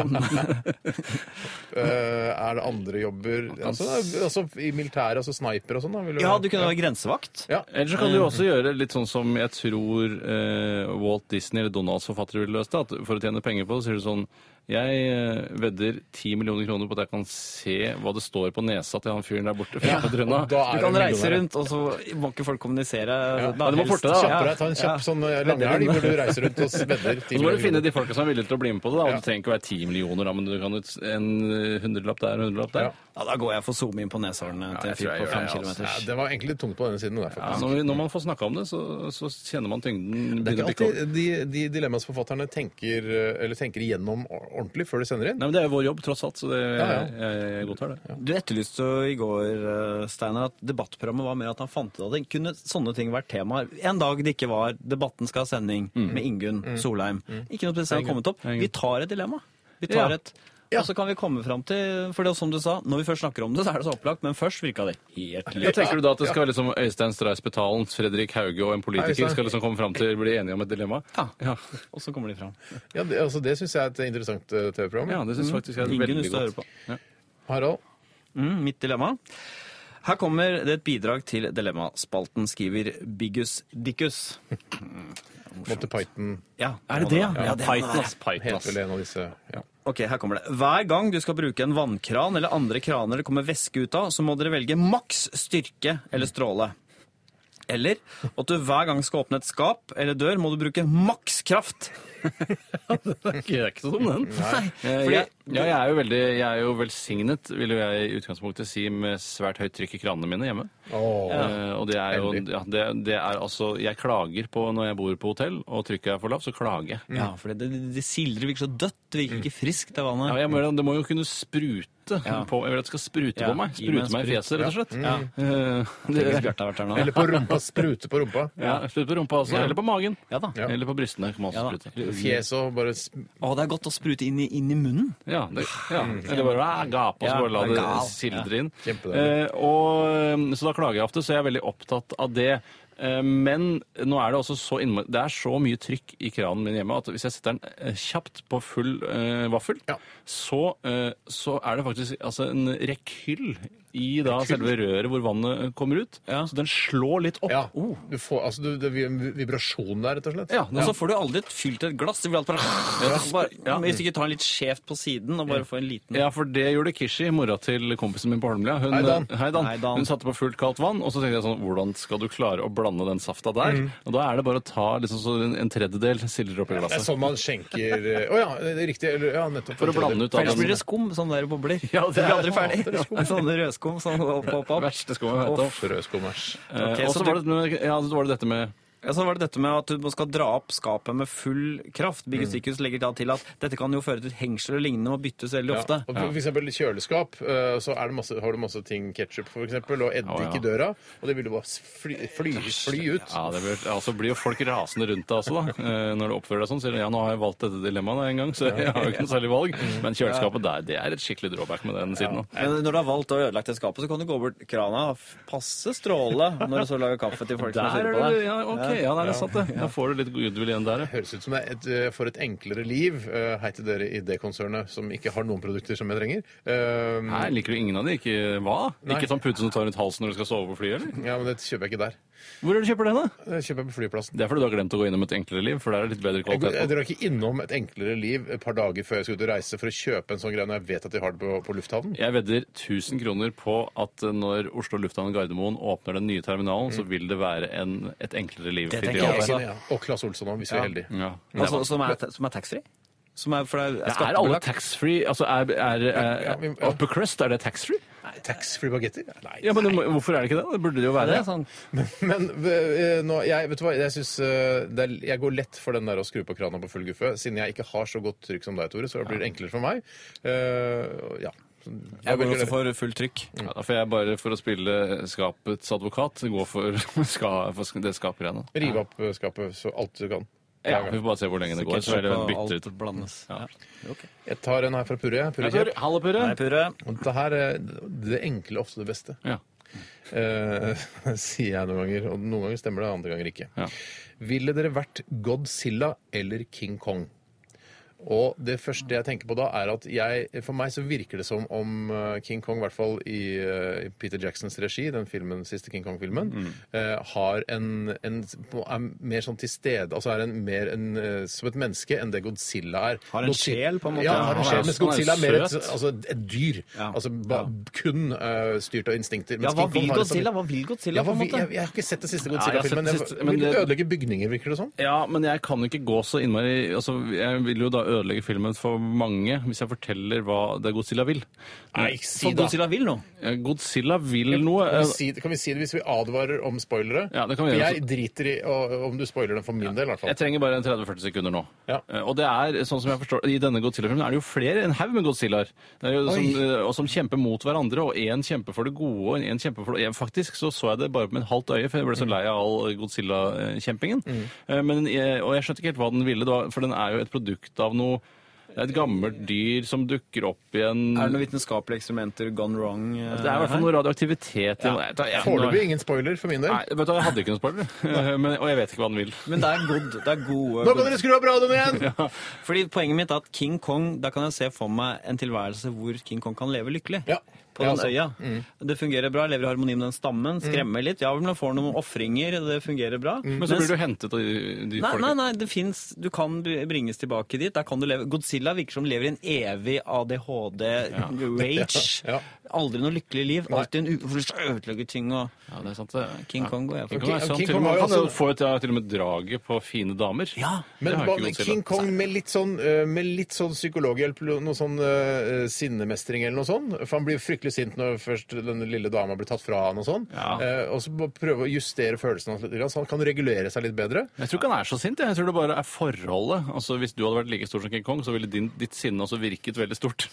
Speaker 2: Eh, Er det andre jobber altså, altså I militæret, altså sniper og sånn? da, vil
Speaker 3: Ja, du kunne være grensevakt.
Speaker 2: Ja.
Speaker 4: Eller så kan du jo også gjøre litt sånn som jeg tror eh, Walt Disney eller Donalds forfattere ville løst det. At for å tjene penger på det, så sier du sånn Jeg eh, vedder 10 millioner kroner på at jeg kan se hva det står på nesa til han fyren der borte. Ja, på
Speaker 2: og
Speaker 4: Trønda.
Speaker 2: da
Speaker 3: Du
Speaker 2: er
Speaker 3: kan
Speaker 2: det
Speaker 3: reise
Speaker 2: millionær.
Speaker 3: rundt, og så må ikke folk kommunisere. Da
Speaker 4: Ja, du må
Speaker 3: helst-
Speaker 4: forte deg, da.
Speaker 3: Ja.
Speaker 2: Kjappere, ta en kjapp sånn eh, langhelg hvor du reiser rundt og vedder
Speaker 4: Og
Speaker 2: ti
Speaker 4: så må du finne
Speaker 2: millioner
Speaker 4: de folka som er villige til å bli med på det. da, og
Speaker 2: Ja.
Speaker 4: Du trenger ikke være 10 millioner, da, men du kan ut en eh, hundrelapp der og en hundrelapp der.
Speaker 2: Ja.
Speaker 3: Ja, da går jeg for å zoome inn på neshårene til en
Speaker 4: jeg tror
Speaker 3: fyr
Speaker 4: jeg
Speaker 3: på fem
Speaker 4: gjør det, altså.
Speaker 2: kroner.
Speaker 3: kilometer.
Speaker 2: Ja, det var egentlig litt tungt på denne siden. Der,
Speaker 4: Ja,
Speaker 2: faktisk.
Speaker 4: når, vi, når man får snakka om det, så, så kjenner man
Speaker 2: Det
Speaker 4: tyngden
Speaker 2: er ikke
Speaker 4: begynner å bikke over.
Speaker 2: alltid de, de dilemmaene som forfatterne tenker, eh, eller tenker igjennom ordentlig før de sender inn.
Speaker 4: Nei, men Det er jo vår jobb, tross alt, så det,
Speaker 2: ja.
Speaker 4: jeg, jeg godtar det.
Speaker 3: Du etterlyste jo i går, eh, Steinar, at debattprogrammet var mer at han fant ut av det. Kunne sånne ting vært temaer? En dag det ikke var 'Debatten skal ha sending'
Speaker 4: Mm.
Speaker 3: med Ingunn Solheim. Ikke noe spesielt har kommet opp. Vi tar et dilemma. Vi tar
Speaker 4: Ja.
Speaker 3: et Og så kan vi komme fram til For det er som du sa, når vi først snakker om det, så er det så opplagt, men først virka det helt
Speaker 4: Ja,
Speaker 3: likt.
Speaker 4: tenker du da at det skal være liksom Øystein Stray Spetalen, Fredrik Hauge og en politiker
Speaker 2: Øystein.
Speaker 4: skal liksom komme fram til å bli enige om et dilemma?
Speaker 3: Ja. Og så kommer de fram.
Speaker 2: Ja, det, altså, det syns jeg er et interessant eh, TV-program.
Speaker 4: Ja, det syns faktisk jeg er
Speaker 3: Ingen
Speaker 4: veldig
Speaker 3: lyst til å høre
Speaker 4: godt.
Speaker 3: på.
Speaker 2: Harald?
Speaker 3: Mm, mitt dilemma. Her kommer det et bidrag til Dilemmaspalten, skriver Biggus Dickus.
Speaker 2: Monty Python
Speaker 3: Ja,
Speaker 4: Er det det, ja?
Speaker 3: Ja, det må det
Speaker 4: Python,
Speaker 3: være.
Speaker 4: ass. Python,
Speaker 2: het
Speaker 4: ass.
Speaker 2: vel en av disse. Ja.
Speaker 3: Ok, her kommer det. Hver gang du skal bruke en vannkran eller andre kraner det kommer væske ut av, så må dere velge maks styrke eller stråle. Eller at du hver gang skal åpne et skap eller dør, må du bruke maks kraft.
Speaker 4: Det er ikke så dum, den. Eh,
Speaker 3: Fordi-
Speaker 4: jeg- ja, jeg er jo veldig, jeg er jo velsignet, vil jo jeg i utgangspunktet si, med svært høyt trykk i kranene mine hjemme. Eh, og det er jo
Speaker 2: Heldig.
Speaker 4: ja, det, det er altså Jeg klager på når jeg bor på hotell, og trykket er for lavt, så klager jeg.
Speaker 3: Mm. Ja, for det, det, det sildrer virker så dødt. Det virker ikke friskt, det vannet.
Speaker 4: Mm. Ja, jeg må, gjøre det. det må jo kunne sprute
Speaker 3: Ja.
Speaker 4: på Jeg vil at det skal sprute
Speaker 3: Ja,
Speaker 4: på meg.
Speaker 3: gi meg en
Speaker 4: Sprute meg i fjeset, rett og slett.
Speaker 3: Ja. Mm.
Speaker 4: Eh,
Speaker 3: Hvis
Speaker 4: det,
Speaker 3: Bjarte har vært her nå.
Speaker 2: Eller på rumpa. Sprute på rumpa.
Speaker 4: ja, Sprut på rumpa også. Eller på magen.
Speaker 3: Ja da.
Speaker 2: Ja.
Speaker 4: Eller på brystene. kan man
Speaker 3: Ja,
Speaker 4: også
Speaker 3: da.
Speaker 4: sprute.
Speaker 2: Fjes og bare sm-
Speaker 3: Å, det er godt å sprute inn i, inn i munnen.
Speaker 4: Ja, det, ja. Eller bare ah, gape, og så
Speaker 3: Ja,
Speaker 4: bare la det
Speaker 3: gal.
Speaker 4: sildre inn.
Speaker 2: Kjempedeilig.
Speaker 4: Eh, og, eh, så da klager jeg ofte, så jeg er veldig opptatt av det. Eh, Men nå er det også så innmari, det er så mye trykk i kranen min hjemme at hvis jeg setter den eh, kjapt på full eh, vaffel,
Speaker 2: Ja.
Speaker 4: så, eh, så er det faktisk altså, en rekyll i da selve røret hvor vannet eh, kommer ut.
Speaker 3: Ja.
Speaker 4: Så den slår litt opp.
Speaker 2: Ja.
Speaker 4: Oh.
Speaker 2: Du får, altså, du, det blir en vibrasjon der, rett og slett.
Speaker 4: Ja,
Speaker 3: Men så får du aldri fylt et glass. Det blir alt bare, bare, Hvis du ikke tar den litt skjevt på siden og bare får en liten
Speaker 4: Ja, for det gjorde Kishi, mora til kompisen min på Holmlia. Hun,
Speaker 2: Hei, Dan.
Speaker 4: Hei, Dan.
Speaker 3: Hei, Dan.
Speaker 4: Hun satte på fullt kaldt vann, og så tenkte jeg sånn Hvordan skal du klare å blande den safta der? Og da er det bare å ta liksom så en, en tredjedel sildre oppi
Speaker 2: Det er
Speaker 4: glasset.
Speaker 2: sånn man skjenker eh, Å ja, det er riktig. Eller, ja, nettopp.
Speaker 4: altså. For å blande ut
Speaker 3: For
Speaker 4: av
Speaker 3: ellers blir
Speaker 4: den
Speaker 3: det skum, sånn der bobler.
Speaker 4: Ja, det
Speaker 3: det blir aldri
Speaker 4: er-
Speaker 3: ferdig.
Speaker 4: hater skum.
Speaker 3: Sånne rødskum sånn opp, opp, opp.
Speaker 4: verste skummet jeg vet om.
Speaker 2: Uff, Rødskummers.
Speaker 4: Eh,
Speaker 3: Ok,
Speaker 4: og
Speaker 3: så
Speaker 4: så
Speaker 3: du-
Speaker 4: var, det- men, ja, så var det dette med
Speaker 3: Ja, så var det dette med at du skal dra opp skapet med full kraft.
Speaker 4: Mm.
Speaker 3: Biggus Dickus legger da til at dette kan jo føre til hengsler og lignende og byttes veldig
Speaker 2: Ja.
Speaker 3: ofte.
Speaker 2: Og for eksempel i kjøleskap eh, så er det masse, har du masse ting, ketsjup f.eks., og eddik
Speaker 4: Å, ja.
Speaker 2: i døra, og det vil jo bare fly, fly, fly ut.
Speaker 4: Ja, det blir, altså blir jo folk rasende rundt deg også, da. Eh, Når du oppfører deg sånn. Sier du, ja, nå har jeg valgt dette dilemmaet da en gang, så jeg har jo ikke noe særlig valg. Men kjøleskapet der, det er et skikkelig drawback med den siden. da.
Speaker 3: Men når du har valgt å ødelegge det skapet, så kan du gå bort krana og f- passe stråle når du så lager kaffe til folk som er
Speaker 4: Der
Speaker 3: sure
Speaker 4: er
Speaker 3: på
Speaker 4: det,
Speaker 3: deg.
Speaker 4: ja, ok, ja, der er det satt det. Da får du litt goodwill igjen der, ja.
Speaker 2: Høres ut som det er et, eh, for et enklere liv. eh, Hei til dere i det konsernet som ikke har noen produkter som jeg trenger. Um,
Speaker 4: Nei, liker du ingen av de? Ikke hva? Ikke sånn pute som du tar rundt halsen når du skal sove på flyet, eller?
Speaker 2: Ja, men det kjøper jeg ikke der.
Speaker 4: Hvor er det du kjøper den, da?
Speaker 2: Det kjøper jeg på flyplassen.
Speaker 4: Det er fordi du har glemt å gå innom et enklere liv, for der er det litt bedre
Speaker 2: Jeg, går- jeg
Speaker 4: kvalitet. på.
Speaker 2: drar Eh, ikke innom et enklere liv et par dager før jeg skal ut og reise for å kjøpe en sånn greie når jeg vet at de har det på, på lufthavnen.
Speaker 4: Jeg vedder 1000 kroner på at når Oslo lufthavn Gardermoen åpner den nye terminalen, så vil det være en, et enklere liv.
Speaker 3: Det
Speaker 4: for de
Speaker 3: tenker jeg
Speaker 4: alle.
Speaker 3: også.
Speaker 2: Ja, Og Claes Olsson òg, hvis vi er heldige.
Speaker 4: Ja.
Speaker 3: Altså, som er, som er taxfree? Som er, for det er,
Speaker 4: Ja, Er alle
Speaker 3: skattebelagt.
Speaker 4: taxfree? Altså, er, er, er,
Speaker 2: Ja, vi- ja.
Speaker 4: Upper Crust, er det taxfree?
Speaker 2: Taxfree bagetter? Nei.
Speaker 4: Ja, men det må- hvorfor er det ikke det? Det burde det jo være
Speaker 3: Det
Speaker 4: det.
Speaker 3: er sånn.
Speaker 2: Men eh, nå, jeg, vet du hva, jeg synes eh, det er, jeg går lett for den der å skru på krana på full guffe. Siden jeg ikke har så godt trykk som deg, Tore, så blir det enklere for meg. Eh, ja. Så
Speaker 3: Jeg går
Speaker 2: velger
Speaker 3: også
Speaker 2: det.
Speaker 3: for fullt trykk.
Speaker 4: Ja, da får jeg bare, for å spille skapets advokat, gå for, ska, for sk- det skapgreiene.
Speaker 2: Rive opp eh, skapet så alt du kan.
Speaker 4: Ja, vi får bare se hvor lenge det går. Så er det bytter ut.
Speaker 3: alt blandes. Ja.
Speaker 2: Jeg tar en her fra Purre. jeg. Purre Kjepp.
Speaker 4: Hallo, Purre.
Speaker 3: Nei, Purre.
Speaker 2: Og Dette her, eh, det enkle er ofte det beste,
Speaker 4: Ja.
Speaker 2: eh, sier jeg noen ganger. Og noen ganger stemmer det, andre ganger ikke.
Speaker 4: Ja.
Speaker 2: Ville dere vært Godzilla eller King Kong? Og det første jeg tenker på da, er at jeg, for meg så virker det som om eh, King Kong, i hvert fall i eh, i Peter Jacksons regi, den filmen, siste King Kong-filmen,
Speaker 3: Mm.
Speaker 2: eh, har en, en på- er mer sånn til stede, altså er en, mer en, eh, som et menneske enn det Godzilla er.
Speaker 3: Har en
Speaker 2: Godzi-
Speaker 3: sjel, på en måte.
Speaker 2: Ja, har en
Speaker 4: Han er-
Speaker 2: sjel, mens Godzilla er mer et,
Speaker 4: søt.
Speaker 2: altså, et dyr.
Speaker 3: Ja.
Speaker 2: Altså ba, kun eh, styrt av instinkter.
Speaker 3: Ja,
Speaker 2: mens
Speaker 3: hva
Speaker 2: King Kong
Speaker 3: vil
Speaker 2: har et-
Speaker 3: Godzilla? Hva vil Godzilla,
Speaker 2: Ja, hva
Speaker 3: på en
Speaker 2: vil-
Speaker 3: måte?
Speaker 2: jeg, jeg har ikke sett den siste
Speaker 4: jeg har sett
Speaker 2: Godzilla-filmen.
Speaker 4: den
Speaker 2: men
Speaker 4: siste,
Speaker 2: jeg-
Speaker 4: men
Speaker 2: Vil det
Speaker 4: det-
Speaker 2: ødelegge bygninger, virker det som?
Speaker 4: Ja, men jeg kan jo ikke gå så innmari altså, Jeg vil jo da ødelegge filmen for mange hvis jeg forteller hva det er Godzilla vil.
Speaker 2: Nei, si
Speaker 3: For Godzilla vil noe.
Speaker 4: Eh, Godzilla vil noe.
Speaker 2: Kan
Speaker 4: eh,
Speaker 2: vi, si, kan vi si det hvis vi advarer om spoilere?
Speaker 4: Ja, det kan vi
Speaker 2: For
Speaker 4: gjøre.
Speaker 2: jeg driter i å- om du spoiler den for min del, i hvert fall.
Speaker 4: Jeg trenger bare en 30-40 sekunder nå.
Speaker 2: Ja.
Speaker 4: Eh, Og det er, sånn som jeg forstår, I denne Godzilla-filmen er det jo flere, en haug med Godzillaer, Det er jo som, eh, og som kjemper mot hverandre. og Én kjemper for det gode, og én kjemper for det jeg, Faktisk så så jeg det bare med et halvt øye, for jeg ble så lei av all Godzilla-kjempingen. Eh, Men, jeg- Og jeg skjønte ikke helt hva den ville, da, for den er jo et produkt av noe det er Et gammelt dyr som dukker opp igjen.
Speaker 3: Er det noen vitenskapelige eksperimenter gone wrong? eh,
Speaker 4: Det er i hvert fall
Speaker 3: her?
Speaker 4: noe radioaktivitet. i- Jeg tar- jeg-
Speaker 2: Foreløpig ingen spoiler for min del.
Speaker 4: Nei, vet du, hva, jeg hadde ikke noen spoiler, Eh, men- og jeg vet ikke hva den vil.
Speaker 3: Men det er good. Det er gode
Speaker 2: Nå kan dere skru opp radioen igjen!
Speaker 3: Fordi Poenget mitt er at King Kong, da kan jeg se for meg en tilværelse hvor King Kong kan leve lykkelig.
Speaker 2: Ja.
Speaker 3: På
Speaker 2: Ja,
Speaker 3: den
Speaker 2: altså.
Speaker 3: øya. Det fungerer bra, lever i harmoni med den
Speaker 2: Mm.
Speaker 3: stammen, skremmer litt. Ja, men man får noen ofringer, det fungerer bra.
Speaker 4: Men så blir du hentet av de, de
Speaker 3: Nei,
Speaker 4: folka.
Speaker 3: nei, nei, det finnes, du kan br- bringes tilbake dit. Der kan du leve. Godzilla virker som lever i en evig ADHD-rage.
Speaker 2: Ja.
Speaker 3: Aldri noe lykkelig liv. Alltid en uforløst ødelegge ting. Og
Speaker 4: Ja, det er sant. det.
Speaker 3: King Kong går jeg for.
Speaker 4: King Kong er
Speaker 2: King-
Speaker 4: sant.
Speaker 2: King
Speaker 4: Til og
Speaker 2: Kong
Speaker 4: med,
Speaker 2: har jo
Speaker 4: han
Speaker 2: også-
Speaker 4: får jo til- til og med draget på fine damer.
Speaker 3: Ja.
Speaker 4: Det
Speaker 2: Men
Speaker 4: har jo
Speaker 2: hva-
Speaker 4: ikke Godzilla.
Speaker 2: King Kong med litt sånn, eh, med litt sånn psykologhjelp, noe sånn eh, sinnemestring eller noe sånt. For han blir fryktelig sint når først den lille dama blir tatt fra han og sånn.
Speaker 4: Ja.
Speaker 2: Eh, og så må prøve å justere følelsene hans litt, grann, så han kan regulere seg litt bedre.
Speaker 4: Jeg tror ikke han er så sint. jeg. Jeg tror det bare er forholdet. Altså, Hvis du hadde vært like stor som King Kong, så ville din, ditt sinne også virket veldig stort.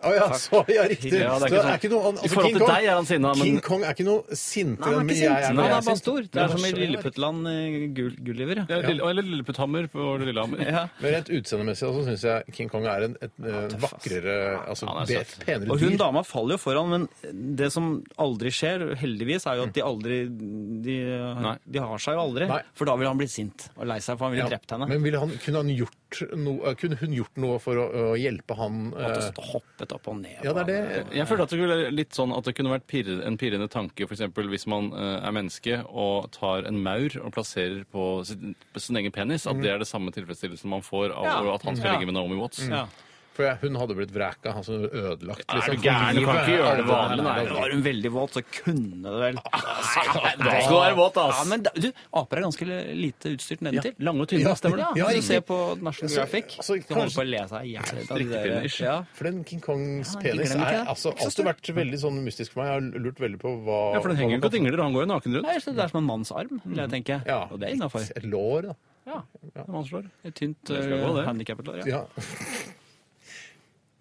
Speaker 2: Å ja, så, ja, riktig.
Speaker 4: Ja, det
Speaker 2: Så
Speaker 4: er ikke sånn-
Speaker 2: noe, han-
Speaker 4: I
Speaker 2: altså,
Speaker 4: forhold
Speaker 2: King
Speaker 4: til
Speaker 2: Kong-
Speaker 4: deg er han sinna, men-
Speaker 2: King Kong er ikke noe sintere
Speaker 3: Nei, han er
Speaker 2: enn
Speaker 3: ikke
Speaker 2: jeg er
Speaker 3: sint.
Speaker 2: når
Speaker 3: Han
Speaker 2: jeg
Speaker 3: er bare stor. Det
Speaker 2: Ja,
Speaker 3: er som i
Speaker 2: skjønner.
Speaker 3: Lilleputtland eh, Gul- Gulliver. ja.
Speaker 4: Ja. Lille- Eller Lilleputthammer på Lillehammer.
Speaker 3: Ja.
Speaker 2: Men rent utseendemessig altså, syns jeg King Kong er en, et, eh, vakrere altså,
Speaker 4: Han er
Speaker 2: be,
Speaker 4: søt.
Speaker 2: penere
Speaker 3: Og hun
Speaker 2: dyr.
Speaker 3: dama faller jo foran, men det som aldri skjer, heldigvis, er jo at de aldri De,
Speaker 4: Nei.
Speaker 3: de har seg jo aldri.
Speaker 2: Nei.
Speaker 3: For da ville han blitt sint og lei seg, for han ville
Speaker 2: Ja,
Speaker 3: drept henne.
Speaker 2: Men ville han, kunne, han gjort noe, kunne hun gjort noe for å, å hjelpe han?
Speaker 3: At
Speaker 2: eh,
Speaker 3: hun hoppet opp og ned.
Speaker 2: ja, det
Speaker 3: på
Speaker 2: er det.
Speaker 3: henne.
Speaker 4: Jeg føler at det kunne være litt sånn at det kunne vært pirre, en pirrende tanke for eksempel, hvis man eh, er menneske og tar en maur og plasserer på sin, på sin egen penis, at det er det samme tilfredsstillelsen man får av
Speaker 3: Mm. Ja.
Speaker 4: at han skal
Speaker 3: Ja.
Speaker 4: ligge med Naomi Watts.
Speaker 3: Ja.
Speaker 2: For jeg, hun hadde blitt vraka, altså ødelagt. liksom.
Speaker 4: Er du
Speaker 2: for
Speaker 4: gæren? Du kan
Speaker 2: livet.
Speaker 4: ikke gjøre det vanlig,
Speaker 2: Nei,
Speaker 4: nei.
Speaker 2: nei, nei.
Speaker 3: Var hun veldig våt, så kunne det vel
Speaker 2: Ah,
Speaker 4: Da skal du være våt, ass!
Speaker 3: Ja, men da, du, Aper er ganske lite utstyrt nedentil.
Speaker 4: Lange og tynne,
Speaker 2: Ja.
Speaker 3: Stemmer det?
Speaker 2: Ja,
Speaker 3: Ja, Hvis
Speaker 2: riktig.
Speaker 3: du ser på National Geographic, de
Speaker 2: altså,
Speaker 3: holder
Speaker 2: kanskje-
Speaker 3: på å le seg i hjel. av de der-
Speaker 4: Strikkefinish.
Speaker 3: Ja.
Speaker 2: For den King Kongs
Speaker 3: Ja,
Speaker 2: penis
Speaker 3: glem ikke
Speaker 2: er
Speaker 3: det.
Speaker 2: altså
Speaker 3: Ikke så
Speaker 2: alltid vært veldig sånn mystisk for meg. Jeg har lurt veldig på hva
Speaker 4: Ja, for den henger jo ikke og dingler, han går jo naken rundt.
Speaker 3: Nei, så Det er som en manns arm, vil jeg tenke.
Speaker 2: Mm. Ja.
Speaker 3: Og det er innafor.
Speaker 2: Et lår, da.
Speaker 4: Ja, han slår.
Speaker 3: Et tynt
Speaker 4: Det skal gå, det.
Speaker 3: handikappet lår. Ja.
Speaker 2: Ja.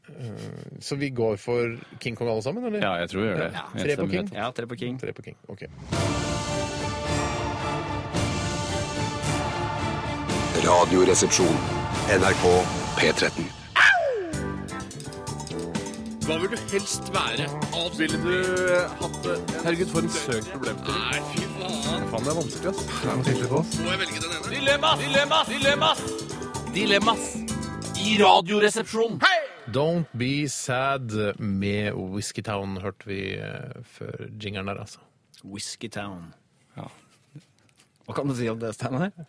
Speaker 2: Eh, Så vi går for King Kong alle sammen, eller?
Speaker 4: Ja, jeg tror vi gjør det.
Speaker 2: Ja, tre på King.
Speaker 3: ja, tre på King.
Speaker 2: Tre på King. Ok.
Speaker 5: Radioresepsjon. NRK P13.
Speaker 4: Hva vil du helst være? Ville du eh, hatt det? Herregud, for en søk problem til. Nei, fy faen. Faen, det er vanskelig, ass. Må jeg velge den ene? Dilemmas! Dilemmas! Dilemmas! Dilemmas! I radioresepsjonen!
Speaker 2: Don't Be Sad med Whiskytown hørte vi eh, før jingeren der, altså.
Speaker 3: Whiskytown.
Speaker 4: Ja.
Speaker 3: Hva kan du si om det, Steinar?
Speaker 2: Det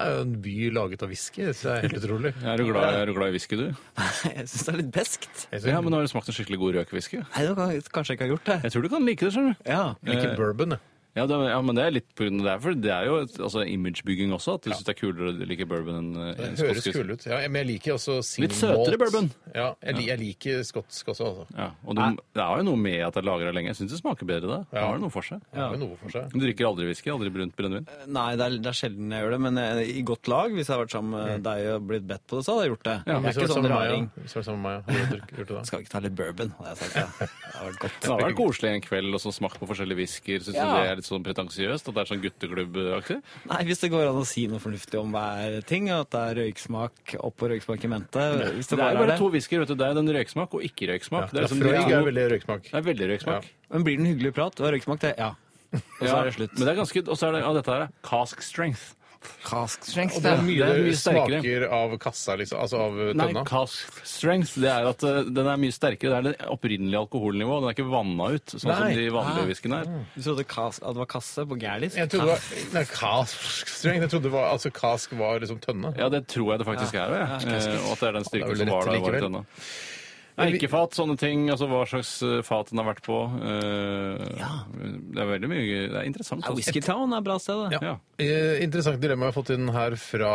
Speaker 2: er jo en by laget av whisky. Det er helt utrolig.
Speaker 4: Er du glad, er du glad i whisky, du?
Speaker 3: Jeg syns det er litt beskt.
Speaker 4: Ja, men har du smakt en skikkelig god røkewhisky?
Speaker 3: Nei, det kan, Kanskje jeg ikke har gjort det.
Speaker 4: Jeg tror du kan like det, skjønner du.
Speaker 3: Ja. eh,
Speaker 2: Jeg liker bourbon, jeg.
Speaker 4: Ja, det, ja, men det er litt på grunn av det her, for det er jo et, altså, imagebygging også, at du synes det er kulere å like bourbon enn
Speaker 2: Det
Speaker 4: en
Speaker 2: høres
Speaker 4: skotsk whisky.
Speaker 2: kul ut. Ja, men jeg liker også single
Speaker 4: Litt søtere
Speaker 2: malt.
Speaker 4: bourbon.
Speaker 2: Ja, jeg, li- jeg liker skotsk også, altså.
Speaker 4: Ja, og det, det er jo noe med at det er lagret lenge. Jeg synes det smaker bedre da. Det har jo noe for seg.
Speaker 2: Det er jo noe for seg.
Speaker 4: Du drikker aldri whisky, aldri brunt brennevin.
Speaker 3: Nei, det er, det er sjelden jeg gjør det, men eh, i godt lag, hvis jeg har vært sammen med deg og blitt bedt på det, så hadde jeg gjort det.
Speaker 4: Ja,
Speaker 3: jeg
Speaker 2: Hvis
Speaker 3: er
Speaker 2: du
Speaker 3: ikke
Speaker 2: var
Speaker 3: sånn
Speaker 2: sammen med meg,
Speaker 3: raring.
Speaker 2: ja. Hvis du var sammen med meg, hadde du gjort det da?
Speaker 3: Skal vi ikke ta litt bourbon, hadde jeg sagt. Ja. Det hadde vært godt.
Speaker 4: Det har vært koselig en kveld og så smakt på forskjellige whiskyer. Syns du det er litt sånn pretensiøst? At det er sånn gutteklubbaktig?
Speaker 3: Nei, hvis det går an å si noe fornuftig om hver ting, og at det er røyksmak opp og røyksmak i mente hvis
Speaker 4: Det
Speaker 3: det
Speaker 4: er jo
Speaker 3: bare er
Speaker 4: bare
Speaker 3: det.
Speaker 4: to whiskyer. vet du. Det er den røyksmak og ikke røyksmak.
Speaker 2: Ja,
Speaker 4: det, er liksom
Speaker 2: Frøy
Speaker 4: de
Speaker 2: er
Speaker 4: to-
Speaker 2: veldig røyksmak.
Speaker 4: det er veldig røyksmak.
Speaker 3: Men blir det en hyggelig prat? Du har røyksmak, det? Ja. Og så
Speaker 4: Ja,
Speaker 3: er det slutt.
Speaker 4: Men det er ganske, og så er det, ja, dette her er cask strength.
Speaker 3: Cask strength,
Speaker 2: Det er
Speaker 3: det.
Speaker 2: mye,
Speaker 4: det er mye sterkere.
Speaker 2: smaker av kassa, liksom. Altså av eh,
Speaker 4: Nei,
Speaker 2: tønna.
Speaker 4: cask strength det er at eh, den er mye sterkere. Det er det opprinnelige alkoholnivået. Den er ikke vanna ut, sånn som
Speaker 2: Nei.
Speaker 4: de vanlige whiskyene er.
Speaker 3: Du trodde kas, at det var kasse på Gærlis?
Speaker 2: Jeg trodde det var nei, kask streng. Jeg trodde det var, altså, kask var liksom tønne.
Speaker 4: Ja, det tror jeg det faktisk er. Ja. Eh, Og at det er den
Speaker 2: Ja,
Speaker 4: styrken
Speaker 2: det er vel
Speaker 4: som var
Speaker 2: rett
Speaker 4: der. var i
Speaker 2: likevel.
Speaker 4: denne. Eikefat, sånne ting. altså Hva slags eh, fat den har vært på. eh, Det er veldig mye Det er interessant.
Speaker 3: Ja,
Speaker 4: altså.
Speaker 3: Whiskytown er et bra sted, det.
Speaker 4: Ja.
Speaker 2: Eh, interessant dilemma jeg har fått inn her fra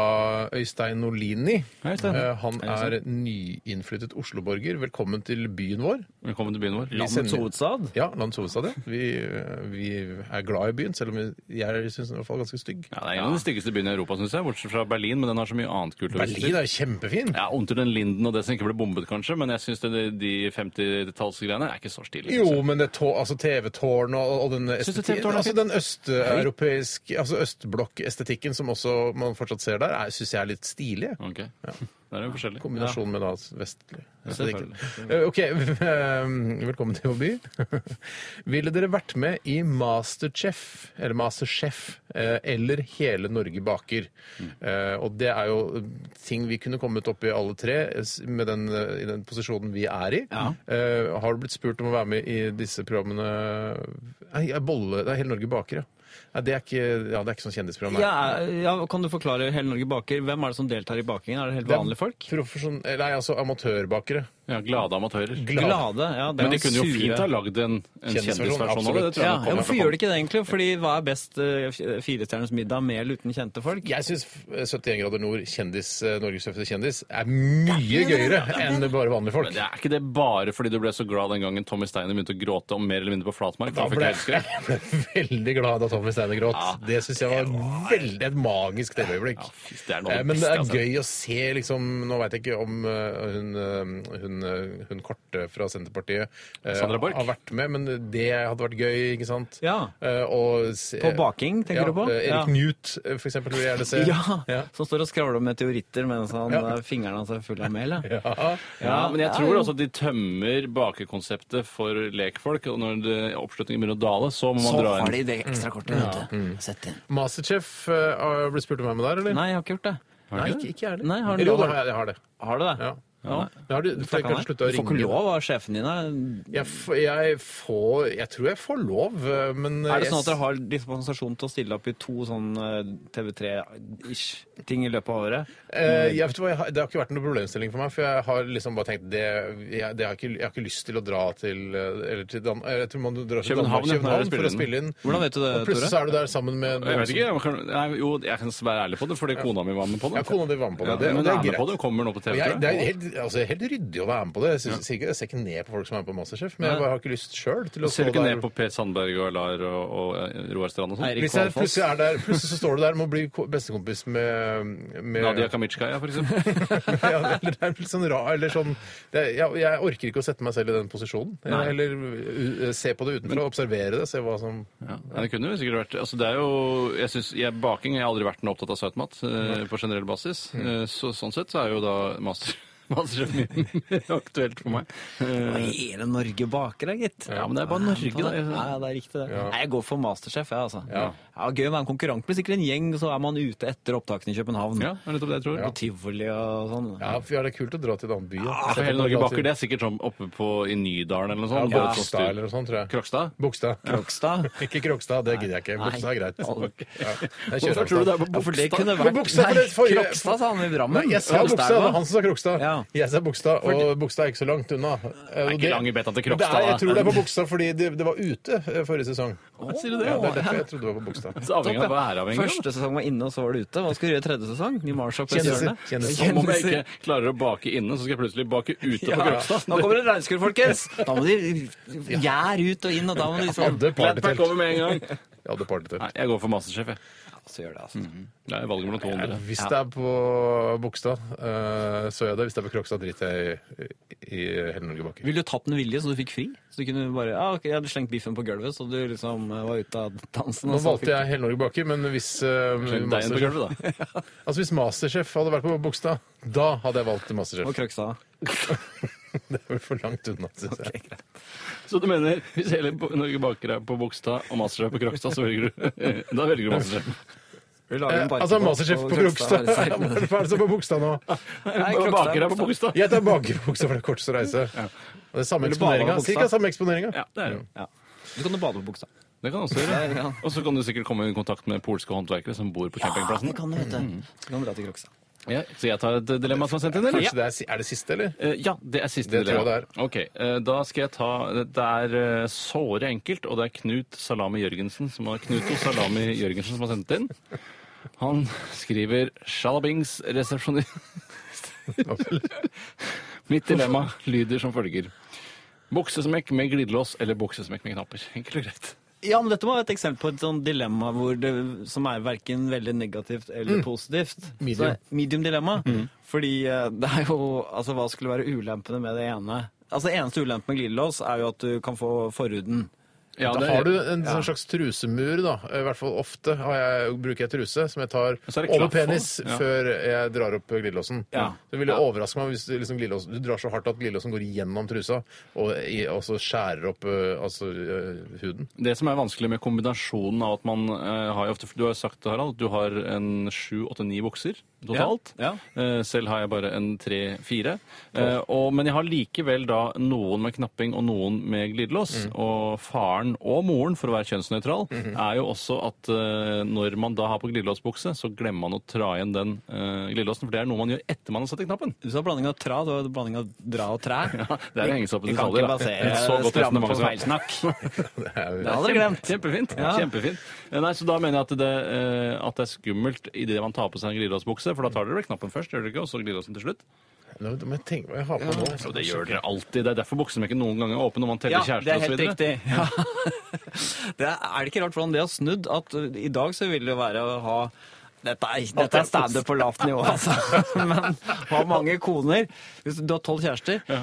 Speaker 2: Øystein Nolini.
Speaker 4: Hei, Øystein.
Speaker 2: Eh, han
Speaker 4: Hei,
Speaker 2: er nyinnflyttet Osloborger. Velkommen til byen vår.
Speaker 4: Velkommen til byen vår.
Speaker 2: Vi
Speaker 3: Landets
Speaker 2: sender-
Speaker 3: hovedstad.
Speaker 2: Ja, landets hovedstad. ja. Vi, eh, vi er glad i byen, selv om vi- jeg syns den er i hvert fall ganske stygg.
Speaker 4: Ja, det er en av de styggeste byene i Europa, synes jeg. Bortsett fra Berlin, men den har så mye annet kult. å vise til.
Speaker 2: Berlin er jo kjempefin!
Speaker 4: Ja, Ondt den Linden og det som ikke ble bombet, kanskje, men jeg syns de, de 50-tallsgreiene er ikke så stilige. synes
Speaker 2: Jo, men det tå- altså TV-tårnet og, og den
Speaker 4: Syns du
Speaker 2: estetikken
Speaker 4: TV-tårnet er
Speaker 2: Altså
Speaker 4: fint?
Speaker 2: den østeuropeiske Altså østblokk-estetikken som også man fortsatt ser der, syns jeg er litt stilig.
Speaker 4: jeg. Ok. Det er jo forskjellig.
Speaker 2: Kombinasjon med da vestlig estetikk.
Speaker 4: selvfølgelig.
Speaker 2: Eh, Ok, eh, velkommen til vår by. Ville dere vært med i Masterchef, eller Masterchef, eh, eller Hele Norge baker? Eh, Og det er jo ting vi kunne kommet opp i alle tre eh, s- med den, eh, i den posisjonen vi er i. Eh, Har du blitt spurt om å være med i disse programmene? Nei, ja, bolle, det er Hele Norge baker, ja. Nei, det er ikke, ja, det er ikke sånn kjendisprogram. nei.
Speaker 3: Ja, ja, kan du forklare Hele Norge baker? Hvem er det som deltar i bakingen? Er det helt
Speaker 2: Det er
Speaker 3: vanlige folk?
Speaker 2: Profesjon... Nei, altså amatørbakere.
Speaker 4: Ja, Glade amatører.
Speaker 3: Glade? Ja, det er
Speaker 4: Men de
Speaker 3: jo
Speaker 4: kunne jo
Speaker 3: sure.
Speaker 4: fint ha lagd en, en
Speaker 2: Kjendisversjon,
Speaker 4: kjendisversjon av det. det tror jeg
Speaker 3: ja,
Speaker 4: nok
Speaker 3: ja,
Speaker 4: kommer
Speaker 3: Hvorfor
Speaker 4: fra
Speaker 3: gjør de ikke det, egentlig? Fordi hva er best eh, f- Firestjerners middag med eller uten kjente folk?
Speaker 2: Jeg syns 71 grader nord, kjendis, eh, Norges tøffeste kjendis, er mye gøyere enn bare vanlige folk.
Speaker 4: Men det er ikke det bare fordi du ble så glad den gangen Tommy Steiner begynte å gråte om mer eller mindre på flatmark?
Speaker 2: Da
Speaker 4: Da fikk
Speaker 2: ble jeg
Speaker 4: jeg elskere.
Speaker 2: jeg ble veldig glad da Tommy Steiner gråt. Det syns jeg var veldig et magisk TV-øyeblikk.
Speaker 4: Ja, fy, det er noe altså.
Speaker 2: Eh, Men det
Speaker 4: av det beste
Speaker 2: er
Speaker 4: jeg har sett.
Speaker 2: gøy å se liksom Nå veit jeg ikke om eh, hun, eh, hun hun, eh, hun korte fra Senterpartiet eh,
Speaker 4: Sandra Borch?
Speaker 2: har vært med, men det hadde vært gøy, ikke sant?
Speaker 3: Ja.
Speaker 2: Eh, og se-
Speaker 3: På baking, tenker
Speaker 2: ja,
Speaker 3: du på?
Speaker 2: eh, Erik
Speaker 3: Ja.
Speaker 2: Knut, eh, for eksempel, vil jeg gjerne se.
Speaker 3: Ja,
Speaker 2: ja.
Speaker 3: Som står og skravler om meteoritter mens han,
Speaker 2: Ja.
Speaker 3: eh, fingrene hans er fulle av mel. Ja.
Speaker 2: Ja.
Speaker 4: Ja, men jeg
Speaker 3: det er
Speaker 4: tror
Speaker 3: jo-
Speaker 4: altså at de tømmer bakekonseptet for lekfolk, og når det- oppslutningen begynner å dale, så må man
Speaker 3: Så
Speaker 4: dra
Speaker 3: har
Speaker 4: inn.
Speaker 3: de det ekstrakortet, vet du. Sett inn.
Speaker 2: Masterchef, eh, ble spurt om jeg er med der, eller?
Speaker 3: Nei, jeg har ikke gjort det.
Speaker 2: Nei, ikke, ikke jeg heller.
Speaker 3: Nei, har du
Speaker 2: Eller jo,
Speaker 3: lov?
Speaker 2: da har jeg, jeg har det.
Speaker 3: Har du det?
Speaker 2: Ja.
Speaker 3: Ja. Nei.
Speaker 2: Har du, for jeg
Speaker 3: Takk,
Speaker 2: kan
Speaker 3: Anne.
Speaker 2: slutte å
Speaker 3: Du
Speaker 2: ringe.
Speaker 3: får ikke lov av sjefen din. da.
Speaker 2: Jeg, f jeg får Jeg tror jeg får lov, eh, men
Speaker 3: Er det sånn at dere har dispensasjon til å stille opp i to sånn eh, TV3-ish-ting i løpet av året?
Speaker 2: Eh, jeg vet hva, jeg har, det har ikke vært noen problemstilling for meg, for jeg har liksom bare tenkt det, jeg, det har ikke, jeg har ikke lyst til å dra til eh, eller til Dan, eh, Jeg tror man drar til
Speaker 4: København,
Speaker 2: Danmark,
Speaker 4: ja, når
Speaker 2: København for
Speaker 4: dere
Speaker 2: å
Speaker 4: spiller
Speaker 2: spille inn.
Speaker 3: Hvordan vet du det,
Speaker 2: Og plutselig så
Speaker 3: Tore?
Speaker 2: er du der sammen med
Speaker 4: Jeg vet ikke, jeg kan, nei, jo, jeg kan være ærlig på det, fordi kona mi var med på det.
Speaker 2: Ja, kona di var med på det.
Speaker 4: Ja,
Speaker 2: Det-
Speaker 4: men
Speaker 2: det er
Speaker 4: er med
Speaker 2: greit.
Speaker 4: på det og kommer nå på TV.
Speaker 2: Og jeg,
Speaker 4: tror
Speaker 2: det
Speaker 4: jeg.
Speaker 2: er helt, altså, helt ryddig å være med på det. Jeg, synes, sier ikke- jeg ser ikke ned på folk som er med på Masterchef, men jeg bare har ikke lyst sjøl til å
Speaker 4: Ser
Speaker 2: stå
Speaker 4: du ikke ned
Speaker 2: der.
Speaker 4: på Per Sandberg og Lar og, og Roar Strand og sånn?
Speaker 3: Eirik
Speaker 2: Hvis jeg
Speaker 3: Kvalfoss?
Speaker 2: plutselig er der, plutselig så står du der og må bli ko- bestekompis med, med
Speaker 4: Nadia Kamitsjkaja, for eksempel.
Speaker 2: ja, eller det er litt sånn ra, eller sånn det, er- jeg, jeg orker ikke å sette meg selv i den posisjonen. Jeg- Eller uh, se på det utenfra, observere det, se hva som
Speaker 4: Ja, Nei, det kunne jo sikkert vært altså, det er jo, jeg synes, jeg, Baking jeg har aldri vært noe opptatt av søtmat eh, på generell basis. Eh, så, sånn sett så er jo da master, Masterchef min aktuelt for meg.
Speaker 3: Og
Speaker 4: Eh,
Speaker 3: Hele Norge baker deg, gitt.
Speaker 4: Ja, men det er bare Norge,
Speaker 2: sånn
Speaker 4: da.
Speaker 3: Ja, ja, det er riktig, det. Nei, jeg går for masterchef, jeg, altså.
Speaker 2: Ja.
Speaker 3: Ja, gøy å være en konkurrent, blir sikkert en gjeng, så er man ute etter opptakene i København.
Speaker 4: ja, det er nettopp det jeg tror.
Speaker 3: På tivoli og sånn.
Speaker 2: Ja, for ja, det er kult å dra til en annen by.
Speaker 4: Ja, Ah, for hele Norge baker, det er sikkert sånn oppe på, i Nydalen eller noe sånt.
Speaker 2: Ja,
Speaker 4: Bare sånn styr.
Speaker 2: Krokstad eller noe sånt, tror jeg.
Speaker 4: Krokstad?
Speaker 2: Bogstad.
Speaker 3: Krokstad.
Speaker 2: Ikke Krokstad, det gidder jeg ikke.
Speaker 3: Nei.
Speaker 2: Bogstad er greit.
Speaker 3: Aldri.
Speaker 2: Ok. Ja. Jeg kjører
Speaker 4: Hvorfor tror du det er på
Speaker 3: Ja, for det kunne
Speaker 4: Bogstad?
Speaker 3: vært
Speaker 2: Men Bogstad, for
Speaker 3: Nei,
Speaker 2: det forrige-
Speaker 3: Krokstad sa han i Drammen.
Speaker 2: Nei, jeg sa
Speaker 3: Krokstad,
Speaker 2: Bogstad, det
Speaker 3: hva?
Speaker 2: var han som sa Krokstad.
Speaker 3: Ja.
Speaker 2: Jeg sa Bogstad, og Bogstad er ikke så langt unna. Det
Speaker 4: ikke lang i beta til Krokstad,
Speaker 2: Det er, jeg
Speaker 4: da.
Speaker 2: tror det er på Bogstad fordi det, det var ute eh, forrige sesong.
Speaker 4: Sier du det?
Speaker 2: Ja, det er derfor jeg trodde det var på Bogstad.
Speaker 4: Så avhengig av væravhengig.
Speaker 3: Første sesong var inne, og så var det ute. Hva skal du gjøre i tredje sesong? I mars oppe i
Speaker 2: Kjendiser.
Speaker 3: hjørnet?
Speaker 2: Kjendiser.
Speaker 4: Som om jeg ikke klarer å bake inne, så skal jeg plutselig bake ute
Speaker 3: Ja.
Speaker 4: på Krokstad.
Speaker 3: Nå kommer det regnskur, folkens! Da må de gjær ut og inn, og da må de
Speaker 2: Jeg
Speaker 3: sånn
Speaker 2: hadde
Speaker 4: Gladpack
Speaker 2: partytelt.
Speaker 4: over med en gang.
Speaker 2: Jeg hadde partytelt.
Speaker 4: Nei, jeg går for Masterchef, jeg.
Speaker 3: Så gjør det, altså.
Speaker 4: Det er valget mellom to andre.
Speaker 2: Hvis det er på Bogstad, eh, så gjør jeg det. Hvis det er på Krokstad, driter jeg i, i hele Norge baker.
Speaker 3: Ville du tatt den vilje, så du fikk fri? Så du kunne bare Ja, ok, jeg hadde slengt biffen på gulvet, så du liksom eh, var ute av dansen.
Speaker 2: Nå
Speaker 3: og så fikk-
Speaker 2: valgte jeg hele Norge baker, men hvis, eh,
Speaker 4: Deigen på
Speaker 2: Masterchef,
Speaker 4: gulvet, da.
Speaker 2: altså hvis Masterchef hadde vært på Bogstad, da hadde jeg valgt Masterchef.
Speaker 3: Og Krøkstad.
Speaker 2: Det er vel for langt unna, syns jeg.
Speaker 4: Så du mener hvis hele Bo- Norge baker er på Bogstad og Masterchef på Krokstad, så velger du Da velger du Masterchef.
Speaker 3: Vi
Speaker 2: Eh,
Speaker 3: lager en
Speaker 2: altså
Speaker 3: barkebåt,
Speaker 2: Masterchef
Speaker 3: og
Speaker 2: på
Speaker 3: Krøkstad
Speaker 2: Krokstad.
Speaker 3: er i
Speaker 2: Hva
Speaker 3: seilen.
Speaker 2: er det som er på Bogstad nå?
Speaker 3: Nei,
Speaker 4: Og
Speaker 3: Krokstad
Speaker 4: Baker er på Bogstad.
Speaker 2: Jeg tar baker på Bogstad, for det er kortest å reise. Og det er samme
Speaker 3: Vil du bade på
Speaker 2: eksponeringa.
Speaker 3: Bogstad?
Speaker 2: Cirka samme eksponeringa.
Speaker 4: Ja, det er det.
Speaker 3: Ja. Du kan jo bade på Bogstad.
Speaker 4: Mm. Det kan du
Speaker 3: Ja,
Speaker 4: også
Speaker 3: det
Speaker 4: gjøre.
Speaker 3: kan.
Speaker 4: Og så kan du sikkert komme i kontakt med polske håndverkere som bor på campingplassen.
Speaker 3: kan du, vet Mm. du. Så kan du dra til Krøkstad.
Speaker 4: Ja, så jeg tar et dilemma som er sendt inn, eller?
Speaker 2: Kanskje det er, si- er det siste, eller?
Speaker 4: Eh, Ja, det er siste
Speaker 2: Det tror jeg
Speaker 4: dilemma. Ok, eh, Da skal jeg ta Det er eh, såre enkelt, og det er Knut Salami Jørgensen som har, Knuto Salami Jørgensen som har sendt det inn. Han skriver 'Sjalabings resepsjonist'. Mitt dilemma lyder som følger. Buksesmekk med glidelås eller buksesmekk med knapper. Enkelt og greit.
Speaker 3: Ja, men dette må være et eksempel på et sånn dilemma hvor det, som er verken veldig negativt
Speaker 4: Mm.
Speaker 3: eller positivt.
Speaker 2: Medium.
Speaker 3: Så, medium dilemma. Fordi eh, det er jo Altså, hva skulle være ulempene med det ene? Altså, Eneste ulempe med glidelås er jo at du kan få forhuden.
Speaker 4: Ja,
Speaker 2: Da har du en sånn slags trusemur, da. I hvert fall ofte har jeg, bruker jeg truse som jeg tar
Speaker 4: Så er det
Speaker 2: over
Speaker 4: klaff
Speaker 2: penis
Speaker 4: også, ja.
Speaker 2: før jeg drar opp glidelåsen.
Speaker 3: Ja.
Speaker 2: Det ville
Speaker 3: Ja.
Speaker 2: overraske meg hvis du, liksom glidelåsen, du drar så hardt at glidelåsen går gjennom trusa og, i, og så skjærer opp eh, altså, eh, huden.
Speaker 4: Det som er vanskelig med kombinasjonen av at man eh, har jo ofte, Du har jo sagt det, Harald, at du har en sju, åtte, ni bukser totalt.
Speaker 3: Ja,
Speaker 4: Eh, selv har jeg bare en tre-fire. men jeg har likevel da noen med knapping og noen med glidelås.
Speaker 3: Mm.
Speaker 4: Og faren og moren, for å være kjønnsnøytral,
Speaker 3: Mhm.
Speaker 4: er jo også at eh, når man da har på glidelåsbukse, så glemmer man å tra igjen den eh, glidelåsen. For det er noe man gjør etter man har satt i knappen.
Speaker 3: Du sa blanding av tra, det var blanding av dra og træ.
Speaker 4: Det er å henge seg opp i
Speaker 3: Vi kan
Speaker 4: detaljer.
Speaker 3: ikke
Speaker 4: da. Et så
Speaker 3: basere
Speaker 4: godt
Speaker 3: stram
Speaker 4: resonnement
Speaker 3: på
Speaker 4: som-
Speaker 3: feilsnakk.
Speaker 2: Det er,
Speaker 3: Det hadde dere glemt.
Speaker 4: Kjempefint.
Speaker 3: Ja.
Speaker 4: kjempefint. Eh, Nei, så Da mener jeg at det, eh, at det er skummelt idet man tar på seg en glidelåsbukse, for da tar dere vel knappen først, gjør dere ikke, og så glidelåsen til slutt?
Speaker 2: Nå må jeg tenke hva jeg har på nå.
Speaker 4: Jo, det gjør dere alltid. Det er derfor buksemekken noen ganger er åpen når man teller
Speaker 3: Ja, det
Speaker 4: kjærester
Speaker 3: er helt
Speaker 4: osv.
Speaker 3: riktig. Ja. Det er, er det ikke rart hvordan det har snudd? At uh, i dag så vil det jo være å ha Dette er, dette er standup på lavt nivå, altså. Men ha mange koner. Hvis du har tolv kjærester, ja.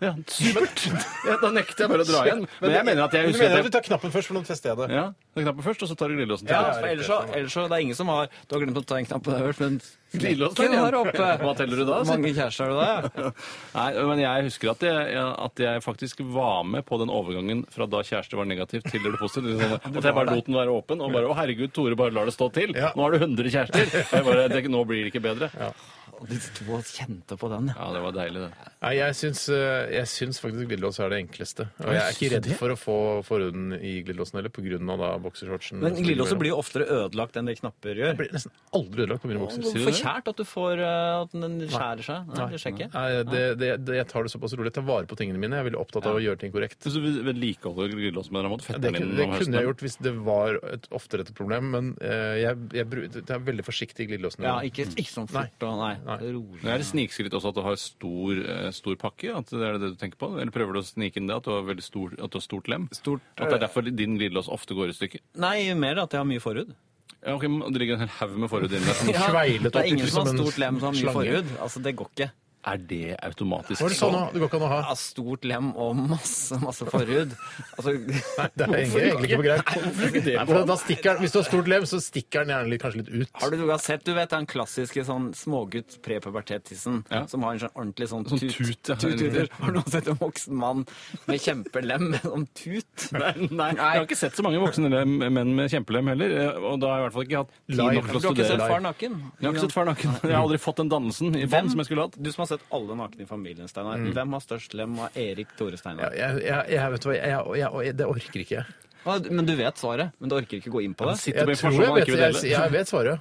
Speaker 4: Ja, supert! Ja, da nekter jeg bare å dra igjen. Men jeg mener at jeg
Speaker 2: Du
Speaker 4: husker
Speaker 2: mener
Speaker 4: at
Speaker 2: at du
Speaker 4: jeg
Speaker 2: tar knappen først, for nå tester jeg det.
Speaker 4: ja, tar knappen først, og så tar du glidelåsen til.
Speaker 3: ja
Speaker 4: slutt.
Speaker 3: for ellers, så, ellers så det er ingen som har Du har glemt å ta en knapp på deg, men
Speaker 4: Glidelåsen
Speaker 3: Hvem har oppe?
Speaker 4: Hva teller du da?
Speaker 3: Hvor
Speaker 4: sier du?
Speaker 3: mange kjærester har du da? ja?
Speaker 4: Nei, men jeg husker at jeg, at jeg faktisk var med på den overgangen fra da kjæreste var negativ til det ble positivt. Litt sånn At jeg bare lot den være åpen, og bare 'Å, herregud, Tore, bare lar det stå til'.
Speaker 2: Ja.
Speaker 4: Nå har du 100 kjærester. Og jeg bare, det, 'Nå blir det ikke bedre'. Ja,
Speaker 3: Og De to kjente på den, ja.
Speaker 4: det var deilig, det.
Speaker 2: Nei, jeg syns, eh, jeg syns faktisk glidelås er det enkleste. Og jeg er ikke redd for å få forhuden i glidelåsen heller, pga. boksershortsen.
Speaker 3: Men glidelåser blir jo oftere ødelagt enn det knapper gjør.
Speaker 2: blir nesten aldri ødelagt på mine bokser.
Speaker 4: du
Speaker 3: For
Speaker 4: det?
Speaker 3: kjært at du får eh, At den skjærer seg. Nei, det skjer ikke.
Speaker 2: Nei, det, det, det, jeg tar det såpass rolig. Jeg tar vare på tingene mine. Jeg er veldig opptatt av å gjøre ting korrekt.
Speaker 4: Hvis du vedlikeholder glidelåsen med en måte,
Speaker 2: Det,
Speaker 4: fetter den
Speaker 2: kunne-
Speaker 4: inn
Speaker 2: det
Speaker 4: om
Speaker 2: kunne jeg
Speaker 4: høsten.
Speaker 2: gjort hvis det var et, oftere et problem, men eh, jeg, jeg, bru- det er veldig forsiktig i glidelåsene.
Speaker 3: Ja, ikke, ikke sånn fort og nei. Rolig.
Speaker 4: Men er det snikskritt også at du har stor, eh, stor pakke? At det er det du tenker på? Eller prøver du å snike inn det at du har, veldig stor, at du har stort lem? at
Speaker 2: eh,
Speaker 4: det er derfor din glidelås ofte går i stykker?
Speaker 3: Nei, mer at jeg har mye forhud.
Speaker 4: Ja, ok, men Det ligger en hel haug med forhud inni der.
Speaker 2: Ja. Sveilet
Speaker 3: det
Speaker 2: opp,
Speaker 3: er ingen som har
Speaker 2: som en
Speaker 3: stort lem som har mye
Speaker 2: slange.
Speaker 3: forhud. Altså, det går ikke.
Speaker 4: Er det automatisk
Speaker 2: Hva er det sånn nå?
Speaker 4: sånn?
Speaker 2: Det går ikke an å ha.
Speaker 3: Ja, stort lem og masse, masse forhud. Altså,
Speaker 2: Det er egentlig egentlig ikke på
Speaker 3: ikke
Speaker 2: greit.
Speaker 3: det
Speaker 2: Nei, for da- da stikker den- Hvis du har stort lem, så stikker den gjerne litt, kanskje litt ut.
Speaker 3: har du noen gang sett du vet, den klassiske sånn smågutt prepubertet-tissen?
Speaker 4: Ja.
Speaker 3: Som har en sånn ordentlig sånn,
Speaker 4: Sånn
Speaker 3: tut.
Speaker 4: tut, ja.
Speaker 3: tuter. Har du noen sett en voksen mann med kjempelem med sånn tut?
Speaker 4: Nei, Jeg har ikke sett så mange voksne lem, menn med kjempelem heller. eh, Og da har jeg i hvert fall ikke hatt tid
Speaker 2: Live.
Speaker 4: nok til å
Speaker 3: Du har ikke
Speaker 4: studere.
Speaker 3: sett far naken?
Speaker 4: Jeg har ikke sett far naken. Jeg har aldri fått den dannelsen i bånn som jeg skulle hatt.
Speaker 3: Du som har sett alle nakne i familien, Steinar.
Speaker 4: Mm.
Speaker 3: Hvem har størst lem av Erik Tore
Speaker 2: Ja,
Speaker 3: Steinar?
Speaker 2: jeg, jeg, jeg vet hva, jeg, jeg, jeg, det orker ikke jeg.
Speaker 3: Ah, Men du vet svaret, men du orker ikke gå inn på det?
Speaker 4: Sitter på
Speaker 2: Jeg tror
Speaker 4: informasjon
Speaker 2: jeg
Speaker 4: man
Speaker 2: vet,
Speaker 4: sånn ikke vil
Speaker 2: jeg,
Speaker 4: dele.
Speaker 2: jeg vet svaret.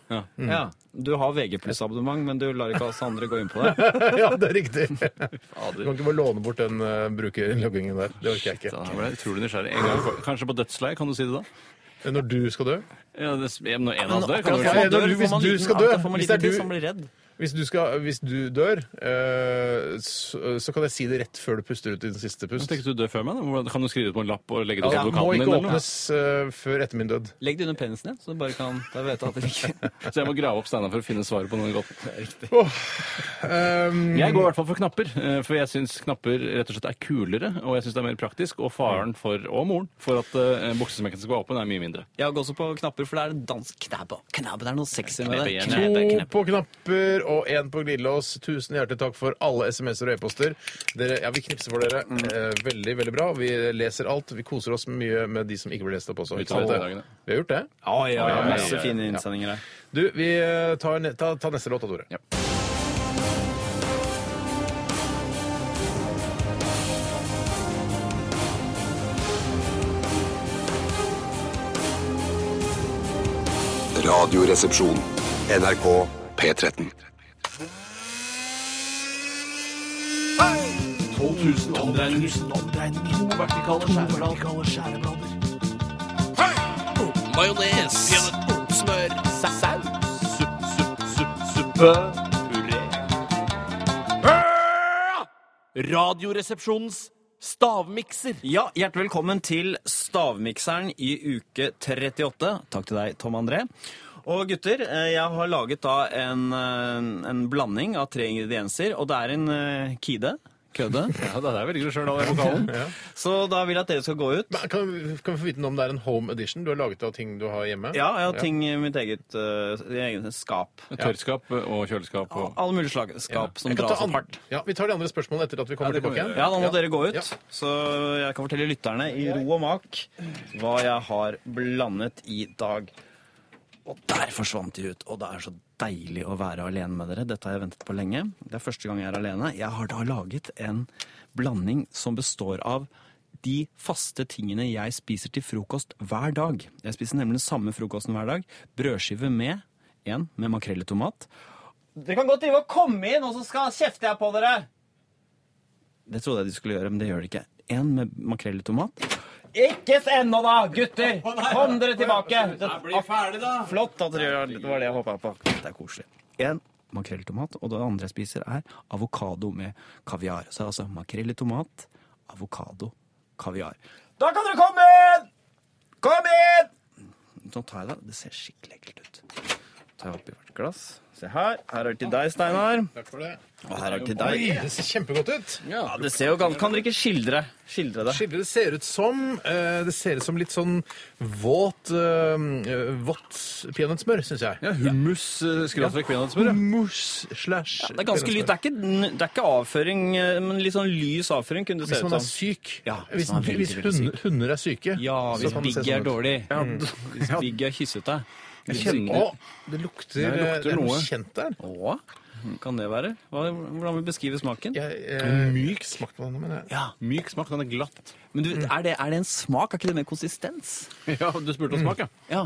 Speaker 3: Ja, Du har VG pluss-abonnement, men du lar ikke oss andre gå inn på det.
Speaker 2: Ja, det er riktig. Du kan ikke bare låne bort den uh, brukerinnloggingen der. Det orker jeg
Speaker 4: Da
Speaker 2: ikke.
Speaker 4: ble jeg utrolig nysgjerrig. En gang, for- kanskje på dødsleiet, kan du si det da?
Speaker 2: Når du skal dø?
Speaker 4: Ja, det, når en av oss dør, kan du
Speaker 3: Akkurat
Speaker 4: si
Speaker 3: som man dør,
Speaker 2: Ja,
Speaker 4: det.
Speaker 2: når du-
Speaker 3: får man
Speaker 2: hvis du
Speaker 3: liten-
Speaker 2: skal dø,
Speaker 3: akkurat får man
Speaker 2: hvis
Speaker 3: liten
Speaker 2: det er
Speaker 3: tiss,
Speaker 2: du-
Speaker 3: man blir redd.
Speaker 2: Hvis du, skal, hvis du dør, eh, så, så kan jeg si det rett før du puster ut din siste
Speaker 4: Jeg
Speaker 2: pust.
Speaker 4: tenkte du dør før meg. da. Hvordan- Kan du skrive det på en lapp og legge det hos
Speaker 2: Ja, må
Speaker 4: advokaten din?
Speaker 2: ikke
Speaker 4: eller noe?
Speaker 2: åpnes eh, før etter min død.
Speaker 3: Legg det under penisen din, så du bare kan da vet jeg at det ikke
Speaker 4: Så jeg må grave opp Steinar for å finne svaret på noe godt.
Speaker 2: Um,
Speaker 4: Jeg går i hvert fall for knapper, eh, for jeg syns knapper rett og slett er kulere. Og jeg syns det er mer praktisk. Og faren for, og moren for at eh, buksesmekken skal være åpen, er mye mindre.
Speaker 3: Jeg har gått også på knapper, for det er en dansk knæbe. Knæbe, det er noe sexy med det.
Speaker 4: Knæbe,
Speaker 3: Knæbe,
Speaker 2: To
Speaker 3: knæbe.
Speaker 2: på knapper og én på glidelås. Tusen hjertelig takk for alle SMS-er og e-poster. Dere, ja, Vi knipser for dere.
Speaker 3: Mm.
Speaker 2: Eh, veldig, veldig bra. Vi leser alt. Vi koser oss mye med de som ikke blir lest opp også.
Speaker 4: Vi
Speaker 2: Ikke sant?
Speaker 4: tar det.
Speaker 2: Vi har gjort det.
Speaker 3: Ja, ja, ja,
Speaker 2: ja,
Speaker 3: masse
Speaker 2: ja, ja.
Speaker 3: fine innsendinger her.
Speaker 2: Du, vi eh, tar, ne ta, ta neste låt, da, Tore.
Speaker 4: Ja.
Speaker 5: Radioresepsjon. NRK P13.
Speaker 4: 12 000 omdreininger. To vertikale skjæreblader. Majones. Smør. Saus. Supp, supp, supp, suppe. Puré. Radioresepsjonens stavmikser.
Speaker 3: Ja, hjertelig velkommen til Stavmikseren i uke 38. Takk til deg, Tom André. Og gutter, eh, jeg har laget da en, eh, en blanding av tre ingredienser, og det er en eh, kide. Kødde.
Speaker 4: Ja, det der velger du sjøl, da. Vokalen.
Speaker 3: Så da vil jeg at dere skal gå ut.
Speaker 2: Men Kan, vi- kan vi få vite noe om det er en home edition du har laget av ting du har hjemme?
Speaker 3: Ja, jeg har ting i mitt eget, eh, i eget skap.
Speaker 4: Tørrskap og kjøleskap og
Speaker 3: Alle mulige slag skap som
Speaker 2: Jeg kan
Speaker 3: dras
Speaker 2: ta
Speaker 3: opp
Speaker 2: andre,
Speaker 3: hardt.
Speaker 2: ja, vi tar de andre spørsmålene etter at vi kommer
Speaker 4: Ja, det kan
Speaker 2: tilbake.
Speaker 4: vi
Speaker 2: igjen.
Speaker 3: Ja, da må dere gå ut,
Speaker 2: Ja.
Speaker 3: så jeg kan fortelle lytterne i ro og mak hva jeg har blandet i dag. Og der forsvant de ut, og det er så deilig å være alene med dere. Dette har jeg ventet på lenge. Det er første gang jeg er alene. Jeg har da laget en blanding som består av de faste tingene jeg spiser til frokost hver dag. Jeg spiser nemlig den samme frokosten hver dag. Brødskive med, en med makrell i tomat. Dere kan godt drive og komme inn, og så skal kjefte jeg på dere! Det trodde jeg de skulle gjøre, men det gjør de ikke. En med makrell i tomat. Ikke ennå, da, gutter! Kom dere tilbake! Bli ferdig, da! Flott at dere gjør det. Det var det jeg håpa på. Det er koselig. En makrell i tomat, og det andre jeg spiser, er avokado med kaviar. Så det er altså makrell i tomat, avokado, kaviar. Da kan dere komme inn! Kom inn! Nå tar jeg det. Det ser skikkelig ekkelt ut. tar jeg oppi hvert glass. Se her. Her er det til deg, Steinar.
Speaker 2: Takk for det.
Speaker 3: Og her er det til
Speaker 2: Oi,
Speaker 3: deg.
Speaker 2: det ser kjempegodt ut.
Speaker 3: Ja, det ser jo gans- Kan dere ikke skildre, skildre det?
Speaker 2: Skille, det ser ut som eh, Det ser ut som litt sånn våt uh, vått peanøttsmør, syns jeg.
Speaker 4: Ja, hummus eh, skråstrek peanøttsmør. ja.
Speaker 2: Mousse slash
Speaker 3: Det er ganske lys. Det er ikke, det er ikke avføring, eh, men litt sånn lys avføring kunne det se
Speaker 2: Hvis
Speaker 3: ut
Speaker 2: man er
Speaker 3: som.
Speaker 2: syk.
Speaker 3: Ja, hvis
Speaker 2: hvis
Speaker 3: man er veldig,
Speaker 2: hvis
Speaker 3: veldig
Speaker 2: hunder, hunder er syke.
Speaker 3: Ja,
Speaker 2: så
Speaker 3: hvis
Speaker 2: kan det se
Speaker 3: Biggie
Speaker 2: sånn
Speaker 3: er
Speaker 2: ut.
Speaker 3: dårlig. Hvis Biggie har kysset deg.
Speaker 4: Jeg
Speaker 2: Å,
Speaker 4: kjenner
Speaker 2: det lukter,
Speaker 4: det lukter
Speaker 2: det er
Speaker 4: noe.
Speaker 2: noe kjent der.
Speaker 3: Å, kan det være? Hva, hvordan vil du beskrive smaken?
Speaker 2: Jeg, eh, Myk smak på denne, men jeg
Speaker 4: myk smak. Den er glatt.
Speaker 9: Men du, er, det, er det en smak? Er ikke det mer konsistens?
Speaker 4: Ja, du spurte om smak, ja.
Speaker 9: Ja.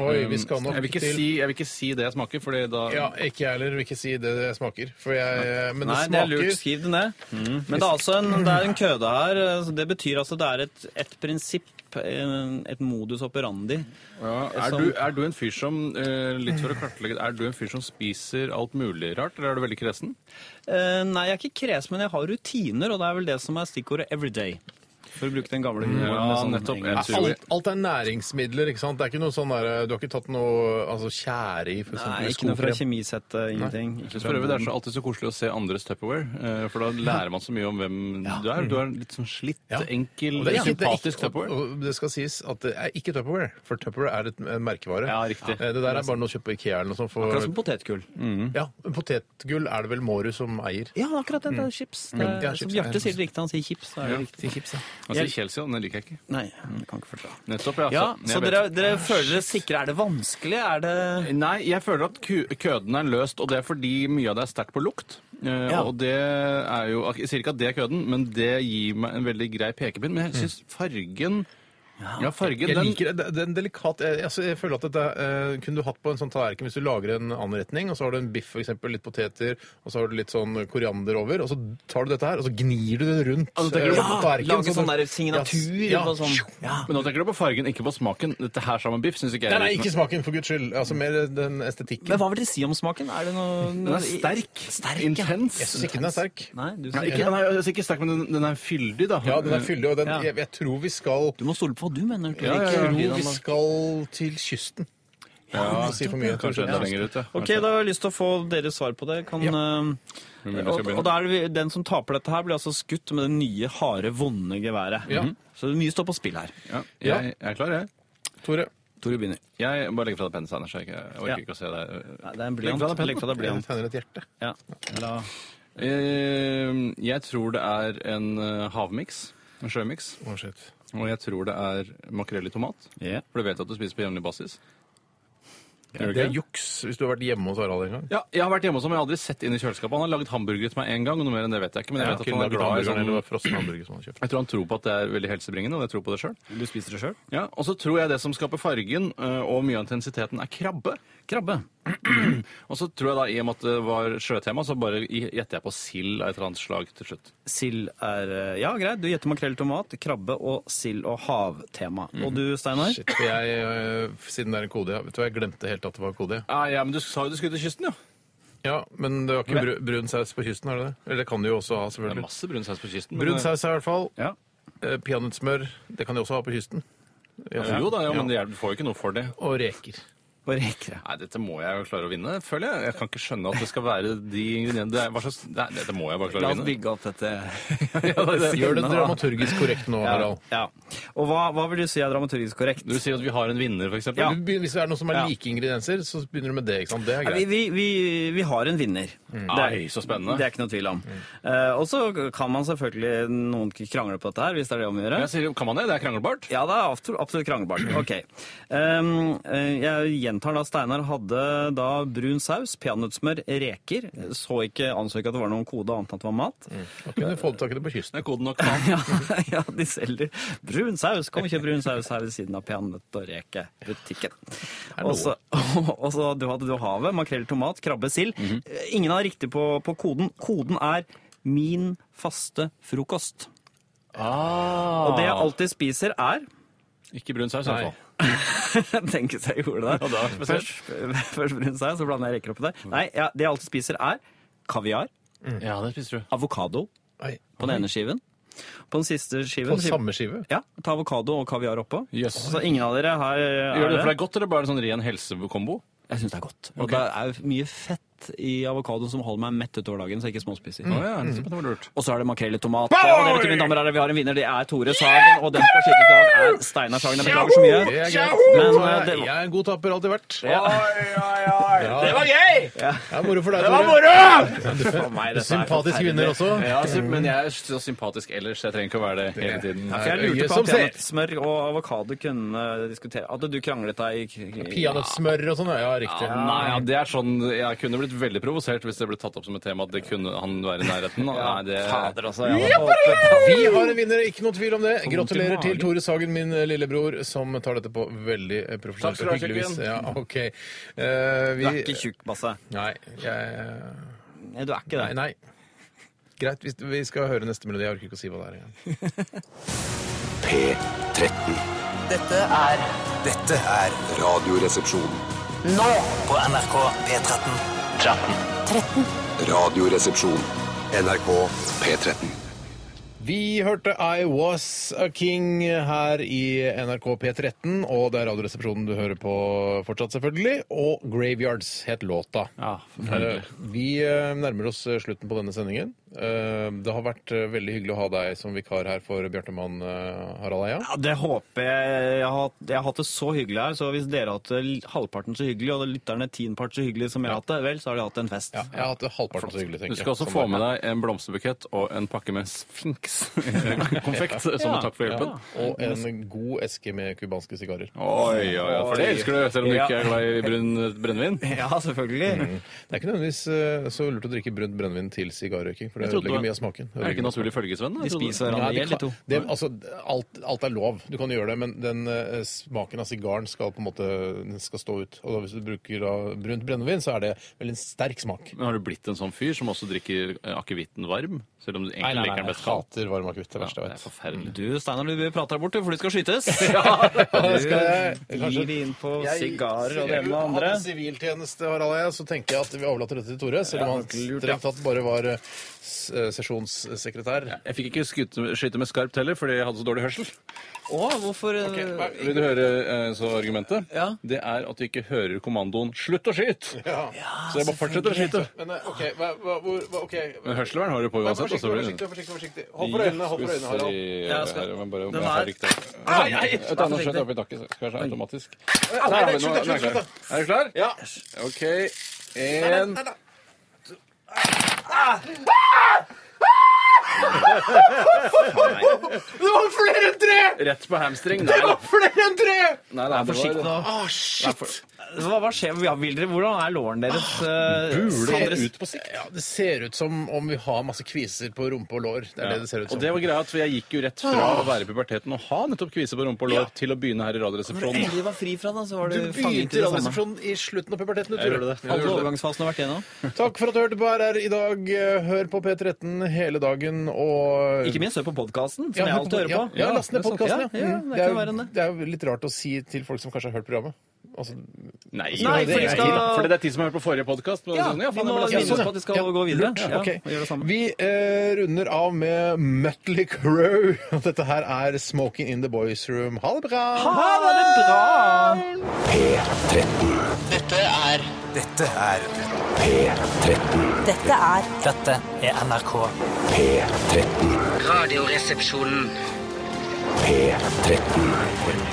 Speaker 2: Oi, vi skal nok
Speaker 4: Jeg vil ikke
Speaker 2: til
Speaker 4: si, jeg vil ikke si det jeg smaker, fordi da
Speaker 2: Ja, ikke jeg heller vil ikke si det det smaker. For jeg, men det
Speaker 3: Nei, det er
Speaker 2: smaker
Speaker 3: lurt. Skriv det ned. Men det er altså en, det er en køde her. eh, så Det betyr altså det er et, et prinsipp, eh, et modus operandi.
Speaker 4: Ja,
Speaker 2: Sånn.
Speaker 4: er, du, er du en fyr som eh, litt for å kartlegge, er du en fyr som spiser alt mulig rart, eller er du veldig kresen?
Speaker 3: Eh, Nei, jeg er ikke kres, men jeg har rutiner, og det er vel det som er stikkordet everyday. For å bruke den gamle humoren. med
Speaker 9: liksom.
Speaker 3: sånn
Speaker 4: Mm, nettopp.
Speaker 3: engelsk.
Speaker 4: Jeg tror-
Speaker 2: Alt, alt er næringsmidler, ikke sant? Det er ikke noe sånn der, Du har ikke tatt noe altså, tjære i, for eksempel?
Speaker 4: Sånn
Speaker 3: Nei,
Speaker 2: eller
Speaker 3: ikke noe fra
Speaker 2: skokrem?
Speaker 3: kjemisettet, ingenting. Ikke
Speaker 4: Jeg
Speaker 3: fra
Speaker 4: prøver, det er
Speaker 3: moden.
Speaker 4: så alltid så koselig å se andres Tupperware, eh, for da lærer man så mye om hvem du er. Du er litt sånn slitt,
Speaker 2: Ja.
Speaker 4: enkel,
Speaker 2: Og det er ikke- det er
Speaker 4: sympatisk
Speaker 2: ikke-
Speaker 4: Tupperware.
Speaker 2: og- og Det skal sies at det er ikke Tupperware, for Tupperware er et en merkevare.
Speaker 4: Ja, riktig.
Speaker 2: Eh, Det der er bare noe å kjøpe på Ikea eller noe sånt. For,
Speaker 3: Akkurat som potetgull.
Speaker 4: Mm.
Speaker 2: ja, Potetgull er det vel Mårud som eier.
Speaker 9: Ja, akkurat det.
Speaker 4: Mm.
Speaker 9: Det er chips. Det er,
Speaker 2: Ja,
Speaker 9: som
Speaker 2: chips er
Speaker 9: Bjarte sier det riktig, han sier chips. Da er det riktig.
Speaker 4: Altså, Kjelsio, den liker jeg ikke.
Speaker 9: Nei, jeg kan ikke forstå.
Speaker 4: Nettopp, ja.
Speaker 9: Ja,
Speaker 4: Altså, jeg
Speaker 9: så
Speaker 4: vet.
Speaker 9: dere, dere føler dere sikre. Er det vanskelig? Er det
Speaker 4: Nei, jeg føler at kø- køden er løst, og det er fordi mye av det er sterkt på lukt. Eh, Og det er jo, Jeg sier ikke at det er køden, men det gir meg en veldig grei pekepinn. Men jeg syns fargen Ja, fargen,
Speaker 2: Jeg
Speaker 4: den
Speaker 2: liker det. det. er en delikat jeg, altså, jeg føler at dette eh, kunne du hatt på en sånn tallerken hvis du lager en anretning, og så har du en biff, for eksempel, litt poteter, og så har du litt sånn koriander over, og så tar du dette her, og så gnir du det rundt
Speaker 4: Altså,
Speaker 2: eh,
Speaker 4: tenker du-
Speaker 2: på tallerken,
Speaker 9: Lage
Speaker 2: så-
Speaker 9: sånn der signatur
Speaker 2: Ja,
Speaker 9: på sånn ja.
Speaker 4: Men nå tenker du på fargen, ikke på smaken. Dette her sammen med biff syns ikke jeg
Speaker 2: Nei, nei, ikke smaken, for guds skyld. Altså mer den estetikken.
Speaker 9: Men hva vil dere si om smaken? Er det noe,
Speaker 4: Den er sterk.
Speaker 9: Sterk, ja.
Speaker 4: Intens.
Speaker 2: Jeg syns ikke den er sterk.
Speaker 9: Nei, du,
Speaker 4: Nei, ikke, nei, altså ikke sterk, men den, den er fyldig, da.
Speaker 2: Ja, den er fyldig, og den,
Speaker 9: Ja.
Speaker 2: jeg, jeg tror vi skal
Speaker 9: du må stole på hva du mener. Tor
Speaker 4: Ja,
Speaker 9: Erik.
Speaker 4: ja,
Speaker 2: Jeg
Speaker 4: ja.
Speaker 2: tror vi skal til kysten.
Speaker 4: Ja,
Speaker 2: Ikke si for mye, jeg tror
Speaker 4: Eh, kanskje enda
Speaker 2: ikke det.
Speaker 4: lenger ut, ja.
Speaker 3: Ok, da har jeg lyst til å få deres svar på det. Kan, eh,
Speaker 4: Men mulig jeg
Speaker 3: og,
Speaker 4: skal begynne.
Speaker 3: og da er det, vi- den som taper dette her, blir altså skutt med det nye, harde, vonde geværet.
Speaker 2: Ja.
Speaker 3: Mhm. Så det er mye står på spill her.
Speaker 4: Ja, jeg, jeg er klar, jeg.
Speaker 2: Tore.
Speaker 3: Tore begynner.
Speaker 4: Jeg bare legger fra deg pennen, Steinar. så Jeg, ikke- jeg orker
Speaker 3: Ja.
Speaker 4: ikke å se deg. øh,
Speaker 3: Nei, det er en
Speaker 4: Legg
Speaker 3: blyant.
Speaker 4: fra deg pennen.
Speaker 3: Legg fra deg
Speaker 2: Jeg
Speaker 3: blyant.
Speaker 2: tegner et hjerte.
Speaker 3: Ja. La-
Speaker 4: Eh, Jeg tror det er en eh, havmiks. En sjømiks.
Speaker 2: Å, shit.
Speaker 4: Og jeg tror det er makrell i tomat.
Speaker 3: Ja.
Speaker 4: For du vet at du spiser på jevnlig basis. Gjør du
Speaker 2: Det er
Speaker 4: ikke?
Speaker 2: juks hvis du har vært hjemme hos Harald en gang.
Speaker 4: Ja, jeg har vært hjemme hos ham, men jeg har aldri sett inn i kjøleskapet. Han har laget hamburgere til meg én gang, og noe mer enn det vet jeg ikke. Men jeg vet at han er glad i
Speaker 2: Hamburgeren,
Speaker 4: sånn
Speaker 2: eller det var frossen hamburger som han kjøpte.
Speaker 4: Jeg tror han tror på at det er veldig helsebringende, og jeg tror på det sjøl.
Speaker 3: Du spiser det sjøl?
Speaker 4: Ja, og så tror jeg det som skaper fargen eh, og mye av intensiteten, er krabbe.
Speaker 3: Krabbe.
Speaker 4: Og så tror jeg da, i og med at det var sjøtema, så bare i- gjetter jeg på sild av et eller annet slag til slutt.
Speaker 3: Sild er eh, Ja, greit. Du gjetter makrell, tomat, krabbe og sild og havtema.
Speaker 9: Mhm.
Speaker 3: Og du, Steinar?
Speaker 2: Shit, for jeg, eh, siden det er en kode, ja. vet du hva, jeg glemte helt at det var kode. ja.
Speaker 4: Ah, Ja, ja, men du sa jo du skulle til kysten, jo.
Speaker 2: Ja, men det var ikke bru- brun saus på kysten, er det det? Eller det kan du jo også ha,
Speaker 4: Det er
Speaker 2: selvfølgelig.
Speaker 4: masse brun saus på kysten. men-
Speaker 2: Brun saus er i hvert fall.
Speaker 3: Ja.
Speaker 2: Eh, Peanøttsmør, det kan de også ha på kysten.
Speaker 4: Ja, jo da, ja, men det hjelper- du får jo ikke noe for det.
Speaker 2: Og reker.
Speaker 3: Og reker.
Speaker 4: Nei, dette må jeg jo klare å vinne, føler jeg. Jeg kan ikke skjønne at det skal være de ingrediensene. Det er- Hva slags Nei, dette må jeg bare klare
Speaker 9: La
Speaker 4: å
Speaker 9: oss
Speaker 4: vinne.
Speaker 9: bygge opp dette.
Speaker 4: Ja, det er det.
Speaker 2: Gjør det dramaturgisk korrekt nå, Harald.
Speaker 3: Ja. Og hva, hva vil du si er dramaturgisk korrekt?
Speaker 4: Du sier at vi har en vinner, for eksempel.
Speaker 2: Du begynner- Hvis det er noe som er like ingredienser, så begynner du med det. ikke sant? Det er
Speaker 3: Vi,
Speaker 2: greit.
Speaker 3: vi, vi, vi har en vinner.
Speaker 4: Ai, Mm. så spennende. Mm.
Speaker 3: Det er ikke noe tvil om. Eh, og så kan man selvfølgelig noen krangle på dette her, hvis det er det om å gjøre.
Speaker 4: Jeg sier, kan man det? Det er kranglebart.
Speaker 3: Ja, det er absolutt, absolutt kranglebart. Ok. Ehm, eh, jeg gjentar da, Steinar hadde da brun saus, peanøttsmør, reker. Så ikke, anså ikke at det var noen kode annet enn at det var mat.
Speaker 4: Mm.
Speaker 2: Da kunne du fått tak i det på kysten.
Speaker 4: Det er koden nok. mann.
Speaker 3: Ja, ja, de selger brun saus. Kom og kjøp brun saus her ved siden av peanøtt- og rekebutikken. Og så og så du hadde du havet, makrell, tomat, krabbe, sild. Ingen har riktig på, på koden. Koden er 'min faste frokost'. Og det jeg alltid spiser, er
Speaker 4: Ikke brun saus, i hvert fall.
Speaker 3: Tenke seg jeg gjorde det.
Speaker 4: det var spesielt.
Speaker 3: først, først brun saus, så blander jeg reker oppi der. Nei, ja, det jeg alltid spiser, er kaviar,
Speaker 4: Ja, det spiser du.
Speaker 3: avokado
Speaker 2: Nei,
Speaker 3: på den ene skiven. På den siste
Speaker 2: På
Speaker 3: skiven
Speaker 2: samme skive?
Speaker 3: Ja, ta avokado og kaviar oppå.
Speaker 4: Yes.
Speaker 3: Så ingen av dere har eh,
Speaker 4: Gjør du det for deg godt, eller bare en sånn ren helsekombo?
Speaker 3: Jeg syns det er godt. Og det er mye fett i avokadoen som holder meg mett utover dagen, så jeg ikke småspiser.
Speaker 4: Å ja, nettopp, det var lurt.
Speaker 3: Og så er det makrell i tomat. Og dere vet, mine damer og herrer, vi har en vinner. Det er Tore Sagen, og den skal skytes av er Steinar Sagen. Jeg beklager så
Speaker 2: Det
Speaker 3: mye.
Speaker 2: er greit.
Speaker 3: Men,
Speaker 2: Jeg
Speaker 3: eh, det-
Speaker 2: jeg er en god taper, alltid vært.
Speaker 1: Det var gøy!
Speaker 2: Det er moro for deg,
Speaker 1: Det var
Speaker 2: Tore.
Speaker 1: moro!
Speaker 2: Sympatisk vinner også.
Speaker 4: Ja, men jeg er så sympatisk ellers, jeg trenger ikke å være det hele tiden.
Speaker 3: For jeg
Speaker 2: Øyet
Speaker 3: lurte på
Speaker 2: som
Speaker 3: om
Speaker 2: ser.
Speaker 3: peanøttsmør og avokado kunne diskutere Hadde du kranglet deg i i-
Speaker 2: Peanøttsmør og sånn, ja, riktig.
Speaker 4: Ja, Nei, ja, det er sånn, Jeg kunne blitt veldig provosert hvis det ble tatt opp som et tema at det kunne han være i nærheten. da. Nei, det...
Speaker 3: Fader, altså. Jeg hadde håpet-
Speaker 2: Vi har en vinner, ikke noe tvil om det.
Speaker 4: vondt i
Speaker 2: Gratulerer til
Speaker 4: magen.
Speaker 2: Tore Sagen, min eh, lillebror, som tar dette på veldig eh,
Speaker 4: Takk
Speaker 2: profesjonelt
Speaker 4: skal
Speaker 2: og
Speaker 4: du ha,
Speaker 2: hyggelig vis.
Speaker 4: kjøkken.
Speaker 2: Ja, OK. Eh,
Speaker 3: Du er ikke
Speaker 2: vi
Speaker 3: tjukk, Basse.
Speaker 2: Nei. Jeg,
Speaker 3: Nei, du er ikke
Speaker 2: nei,
Speaker 3: det.
Speaker 2: nei. Greit, vi, vi skal høre neste melodi. Jeg orker ikke å si hva det er engang.
Speaker 5: P13.
Speaker 8: Dette er Dette er
Speaker 5: Radioresepsjon.
Speaker 8: nå på NRK P13.
Speaker 5: Radioresepsjon. NRK P13.
Speaker 2: Vi hørte I Was A King her i NRK P13, og det er Radioresepsjonen du hører på fortsatt, selvfølgelig. Og Graveyards het låta.
Speaker 4: Ja,
Speaker 2: Eh, Vi eh, nærmer oss eh, slutten på denne sendingen. Eh, Det har vært eh, veldig hyggelig å ha deg som vikar her for Bjarte Mann, eh, Harald Eia.
Speaker 3: Ja, det håper jeg. Jeg har, hatt- jeg har hatt det så hyggelig her, så hvis dere har hatt det l- halvparten så hyggelig, og lytterne tienpart så hyggelig som jeg har hatt det, vel, så har de hatt en fest.
Speaker 2: Ja, jeg har hatt det halvparten så hyggelig, tenker
Speaker 4: Du skal også få med deg en blomsterbukett og en pakke med sfinks. Konfekt som takk for hjelpen.
Speaker 2: Og en god eske med cubanske sigarer.
Speaker 4: Oi, oi, oi. For det elsker du, selv om du
Speaker 3: Ja.
Speaker 4: ikke er glad i brun brennevin.
Speaker 3: Ja, selvfølgelig.
Speaker 2: Det er ikke nødvendigvis eh, så lurt å drikke brunt brennevin til sigarrøyking, for det
Speaker 4: Jeg trodde det
Speaker 2: ødelegger
Speaker 4: var-
Speaker 2: mye av smaken.
Speaker 4: Er det ikke en naturlig følgesvenn? da?
Speaker 3: De spiser
Speaker 2: Nei,
Speaker 3: hverandre i
Speaker 2: det
Speaker 3: hjel, de
Speaker 2: kan,
Speaker 3: to.
Speaker 2: det, altså, alt, alt er lov. Du kan gjøre det, men den eh, smaken av sigaren skal på en måte den skal stå ut. Og da, hvis du bruker da, brunt brennevin, så er det veldig en sterk smak.
Speaker 4: Men har du blitt en sånn fyr som også drikker eh, akevitten varm? Selv om du egentlig liker den
Speaker 2: jeg
Speaker 4: best kald?
Speaker 2: hater varm akevitt. Det er
Speaker 4: Ja,
Speaker 2: verste
Speaker 4: det
Speaker 2: jeg
Speaker 4: er
Speaker 2: vet.
Speaker 4: forferdelig.
Speaker 3: Du, Steinar, du prater deg bort, du, for de skal skytes.
Speaker 2: det skal jeg
Speaker 3: Du
Speaker 2: kanskje-
Speaker 3: gir de inn på sigarer og det ene og det
Speaker 2: Hadde
Speaker 3: andre.
Speaker 2: siviltjeneste, Harald Eia, så tenker jeg at vi overlater dette til Tore, selv om han strengt tatt bare var eh, s- eh, sesjonssekretær.
Speaker 4: Jeg fikk ikke skute, skyte med skarpt heller, fordi jeg hadde så dårlig hørsel.
Speaker 3: Å, hvorfor eh,
Speaker 4: Vil du høre eh, så argumentet?
Speaker 3: Ja.
Speaker 4: Det er at du ikke hører kommandoen 'slutt å skyte'! så jeg bare fortsetter å skyte.
Speaker 2: Men eh, OK, hva, hva, hvor, hva, ok.
Speaker 4: Men Hørselvern har du på
Speaker 2: Vær forsiktig,
Speaker 4: uansett. og så
Speaker 2: vær
Speaker 4: blir det- eh,
Speaker 2: forsiktig, vær forsiktig, vær forsiktig. Hold for øynene, hold for øynene, Harald.
Speaker 4: Ja, skal- Jeg må bare-
Speaker 3: Den
Speaker 4: jeg har
Speaker 3: er-
Speaker 4: riktig. Et annet skjøt oppi taket, så skal jeg være automatisk. Nei,
Speaker 2: nei,
Speaker 4: men nå-
Speaker 2: slutt,
Speaker 4: nå er jeg
Speaker 2: slutt,
Speaker 4: klar. Er du klar?
Speaker 2: Ja.
Speaker 4: OK. En
Speaker 2: Det var flere enn tre!
Speaker 4: Rett på hamstring.
Speaker 2: Det var flere enn tre!
Speaker 4: nei, nei, det
Speaker 3: Forsiktig nå.
Speaker 4: var-
Speaker 2: Å, Ah, shit!
Speaker 3: Hva, hva skjer? Ja, vil dere, hvordan er låren deres? eh, Sandres-
Speaker 2: ut på sikt. Ja, det ser ut som om vi har masse kviser på rumpe og lår. Det er det det ser ut
Speaker 4: Og
Speaker 2: som.
Speaker 4: det var greia at Jeg gikk jo rett fra å være i puberteten og ha nettopp kvise på rumpe og lår til å begynne her i Radioresepsjonen.
Speaker 3: Endelig var fri fra den, så var
Speaker 2: Du
Speaker 3: du fanget
Speaker 2: begynte
Speaker 3: i
Speaker 2: i
Speaker 3: det samme.
Speaker 2: Radioresepsjonen i slutten av puberteten. du
Speaker 4: Jeg
Speaker 2: tror.
Speaker 4: gjorde det.
Speaker 2: Ja,
Speaker 3: Alle
Speaker 2: du gjorde det.
Speaker 3: overgangsfasene har vært igjennom.
Speaker 2: Takk for at du hørte på RR i dag. Hør på P13 hele dagen og
Speaker 3: Ikke minst hør på podkasten, som
Speaker 2: Um, Ja,
Speaker 3: jeg alltid
Speaker 2: hør
Speaker 3: hører på.
Speaker 2: Ja, ja, last ned
Speaker 4: det er sant.
Speaker 2: podkasten.
Speaker 3: Ja, ja, det
Speaker 2: det,
Speaker 3: kan
Speaker 2: er jo-
Speaker 3: være enn det.
Speaker 2: det er jo litt rart å si til folk som kanskje har hørt programmet. Altså,
Speaker 4: Nei,
Speaker 3: Nei,
Speaker 2: for de
Speaker 4: det er-
Speaker 3: skal-
Speaker 4: fordi det er tid som har hørt på forrige sånn, podkast.
Speaker 3: Ja, vi må minne oss på at de skal gå videre.
Speaker 2: lurt.
Speaker 3: Ja,
Speaker 2: Ok.
Speaker 3: og gjøre det samme.
Speaker 2: Vi eh, runder av med Mutley Crow. Og Dette her er 'Smoking in the Boys Room'. Ha det bra!
Speaker 3: Ha det bra!
Speaker 5: P13.
Speaker 8: Dette er
Speaker 5: P13.
Speaker 10: Dette er
Speaker 8: Dette er NRK.
Speaker 5: P13.
Speaker 11: Radioresepsjonen.
Speaker 5: P13.